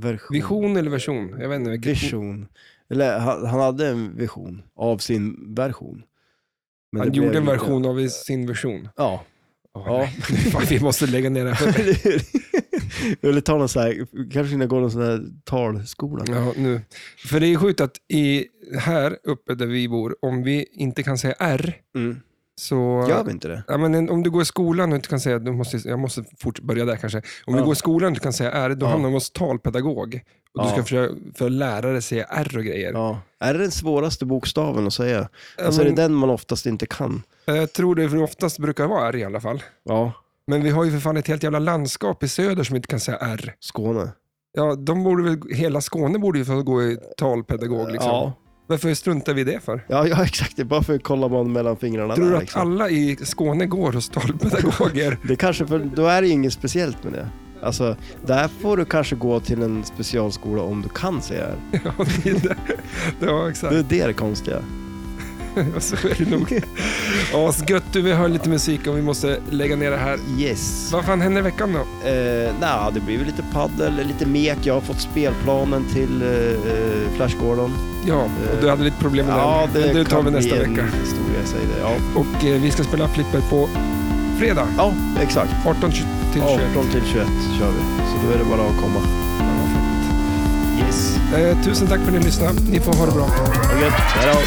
Speaker 2: Version.
Speaker 1: Vision eller version? Jag vet inte. vilket-
Speaker 2: Vision. Eller han, han hade en vision av sin version. Men
Speaker 1: Han
Speaker 2: det blev
Speaker 1: gjorde en
Speaker 2: lite-
Speaker 1: version av sin version.
Speaker 2: Ja. Ja.
Speaker 1: Fan, vi måste lägga ner det här.
Speaker 2: Eller ta någon så här, kanske kunna gå någon sån här talskola.
Speaker 1: Ja, nu. För det är sjukt att i, här uppe där vi bor, om vi inte kan säga R,
Speaker 2: Mm.
Speaker 1: så...
Speaker 2: Gör vi inte det?
Speaker 1: Ja, men en- om du går i skolan och inte kan säga, du måste, jag måste fort börja där kanske. Om du
Speaker 2: Ja.
Speaker 1: går i skolan och inte kan säga R, då
Speaker 2: Ja.
Speaker 1: hamnar du hos talpedagog. Och du
Speaker 2: Ja.
Speaker 1: ska försöka för lärare säga R och grejer.
Speaker 2: Ja. Är det den svåraste bokstaven att säga?
Speaker 1: Ja,
Speaker 2: Alltså
Speaker 1: men,
Speaker 2: är det den man oftast inte kan?
Speaker 1: Eh, Jag tror det för oftast brukar vara R i alla fall.
Speaker 2: Ja.
Speaker 1: Men vi har ju för fan ett helt jävla landskap i söder som inte kan säga R.
Speaker 2: Skåne.
Speaker 1: Ja, de borde väl, hela Skåne borde ju få gå i talpedagog. Liksom.
Speaker 2: Ja.
Speaker 1: Varför struntar vi i det för?
Speaker 2: Ja, ja, exakt. Det är bara för att kolla man mellan fingrarna
Speaker 1: Tror
Speaker 2: där,
Speaker 1: du att
Speaker 2: liksom.
Speaker 1: alla i Skåne går hos talpedagoger?
Speaker 2: Det kanske, för då är det ju inget speciellt med det. Alltså, där får du kanske gå till en specialskola om du kan säga det.
Speaker 1: ja, det är det. ja,
Speaker 2: Det
Speaker 1: exakt.
Speaker 2: är det det konstiga.
Speaker 1: Ja, Så är det nog. Asgött du, vi hör lite musik och vi måste lägga ner det här.
Speaker 2: Yes.
Speaker 1: Vad fan händer i veckan då?
Speaker 2: Eh, Nja, det blir väl lite paddel, lite mek. Jag har fått spelplanen till eh, Flash Gordon.
Speaker 1: Ja, och du hade lite problem med
Speaker 2: Eh, Ja,
Speaker 1: den. Men det
Speaker 2: det
Speaker 1: tar
Speaker 2: kan
Speaker 1: vi
Speaker 2: bli
Speaker 1: nästa
Speaker 2: en
Speaker 1: vecka.
Speaker 2: historia, säger det. Ja,
Speaker 1: Och eh, vi ska spela flipper på fredag
Speaker 2: ja exakt.
Speaker 1: 18 till 21.
Speaker 2: 18 till 21 kör vi. Så då är det bara att komma. Yes.
Speaker 1: Eh, tusen tack för att ni lyssnade. Ni får ha det bra.
Speaker 2: Ha det gött. Hej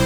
Speaker 2: då.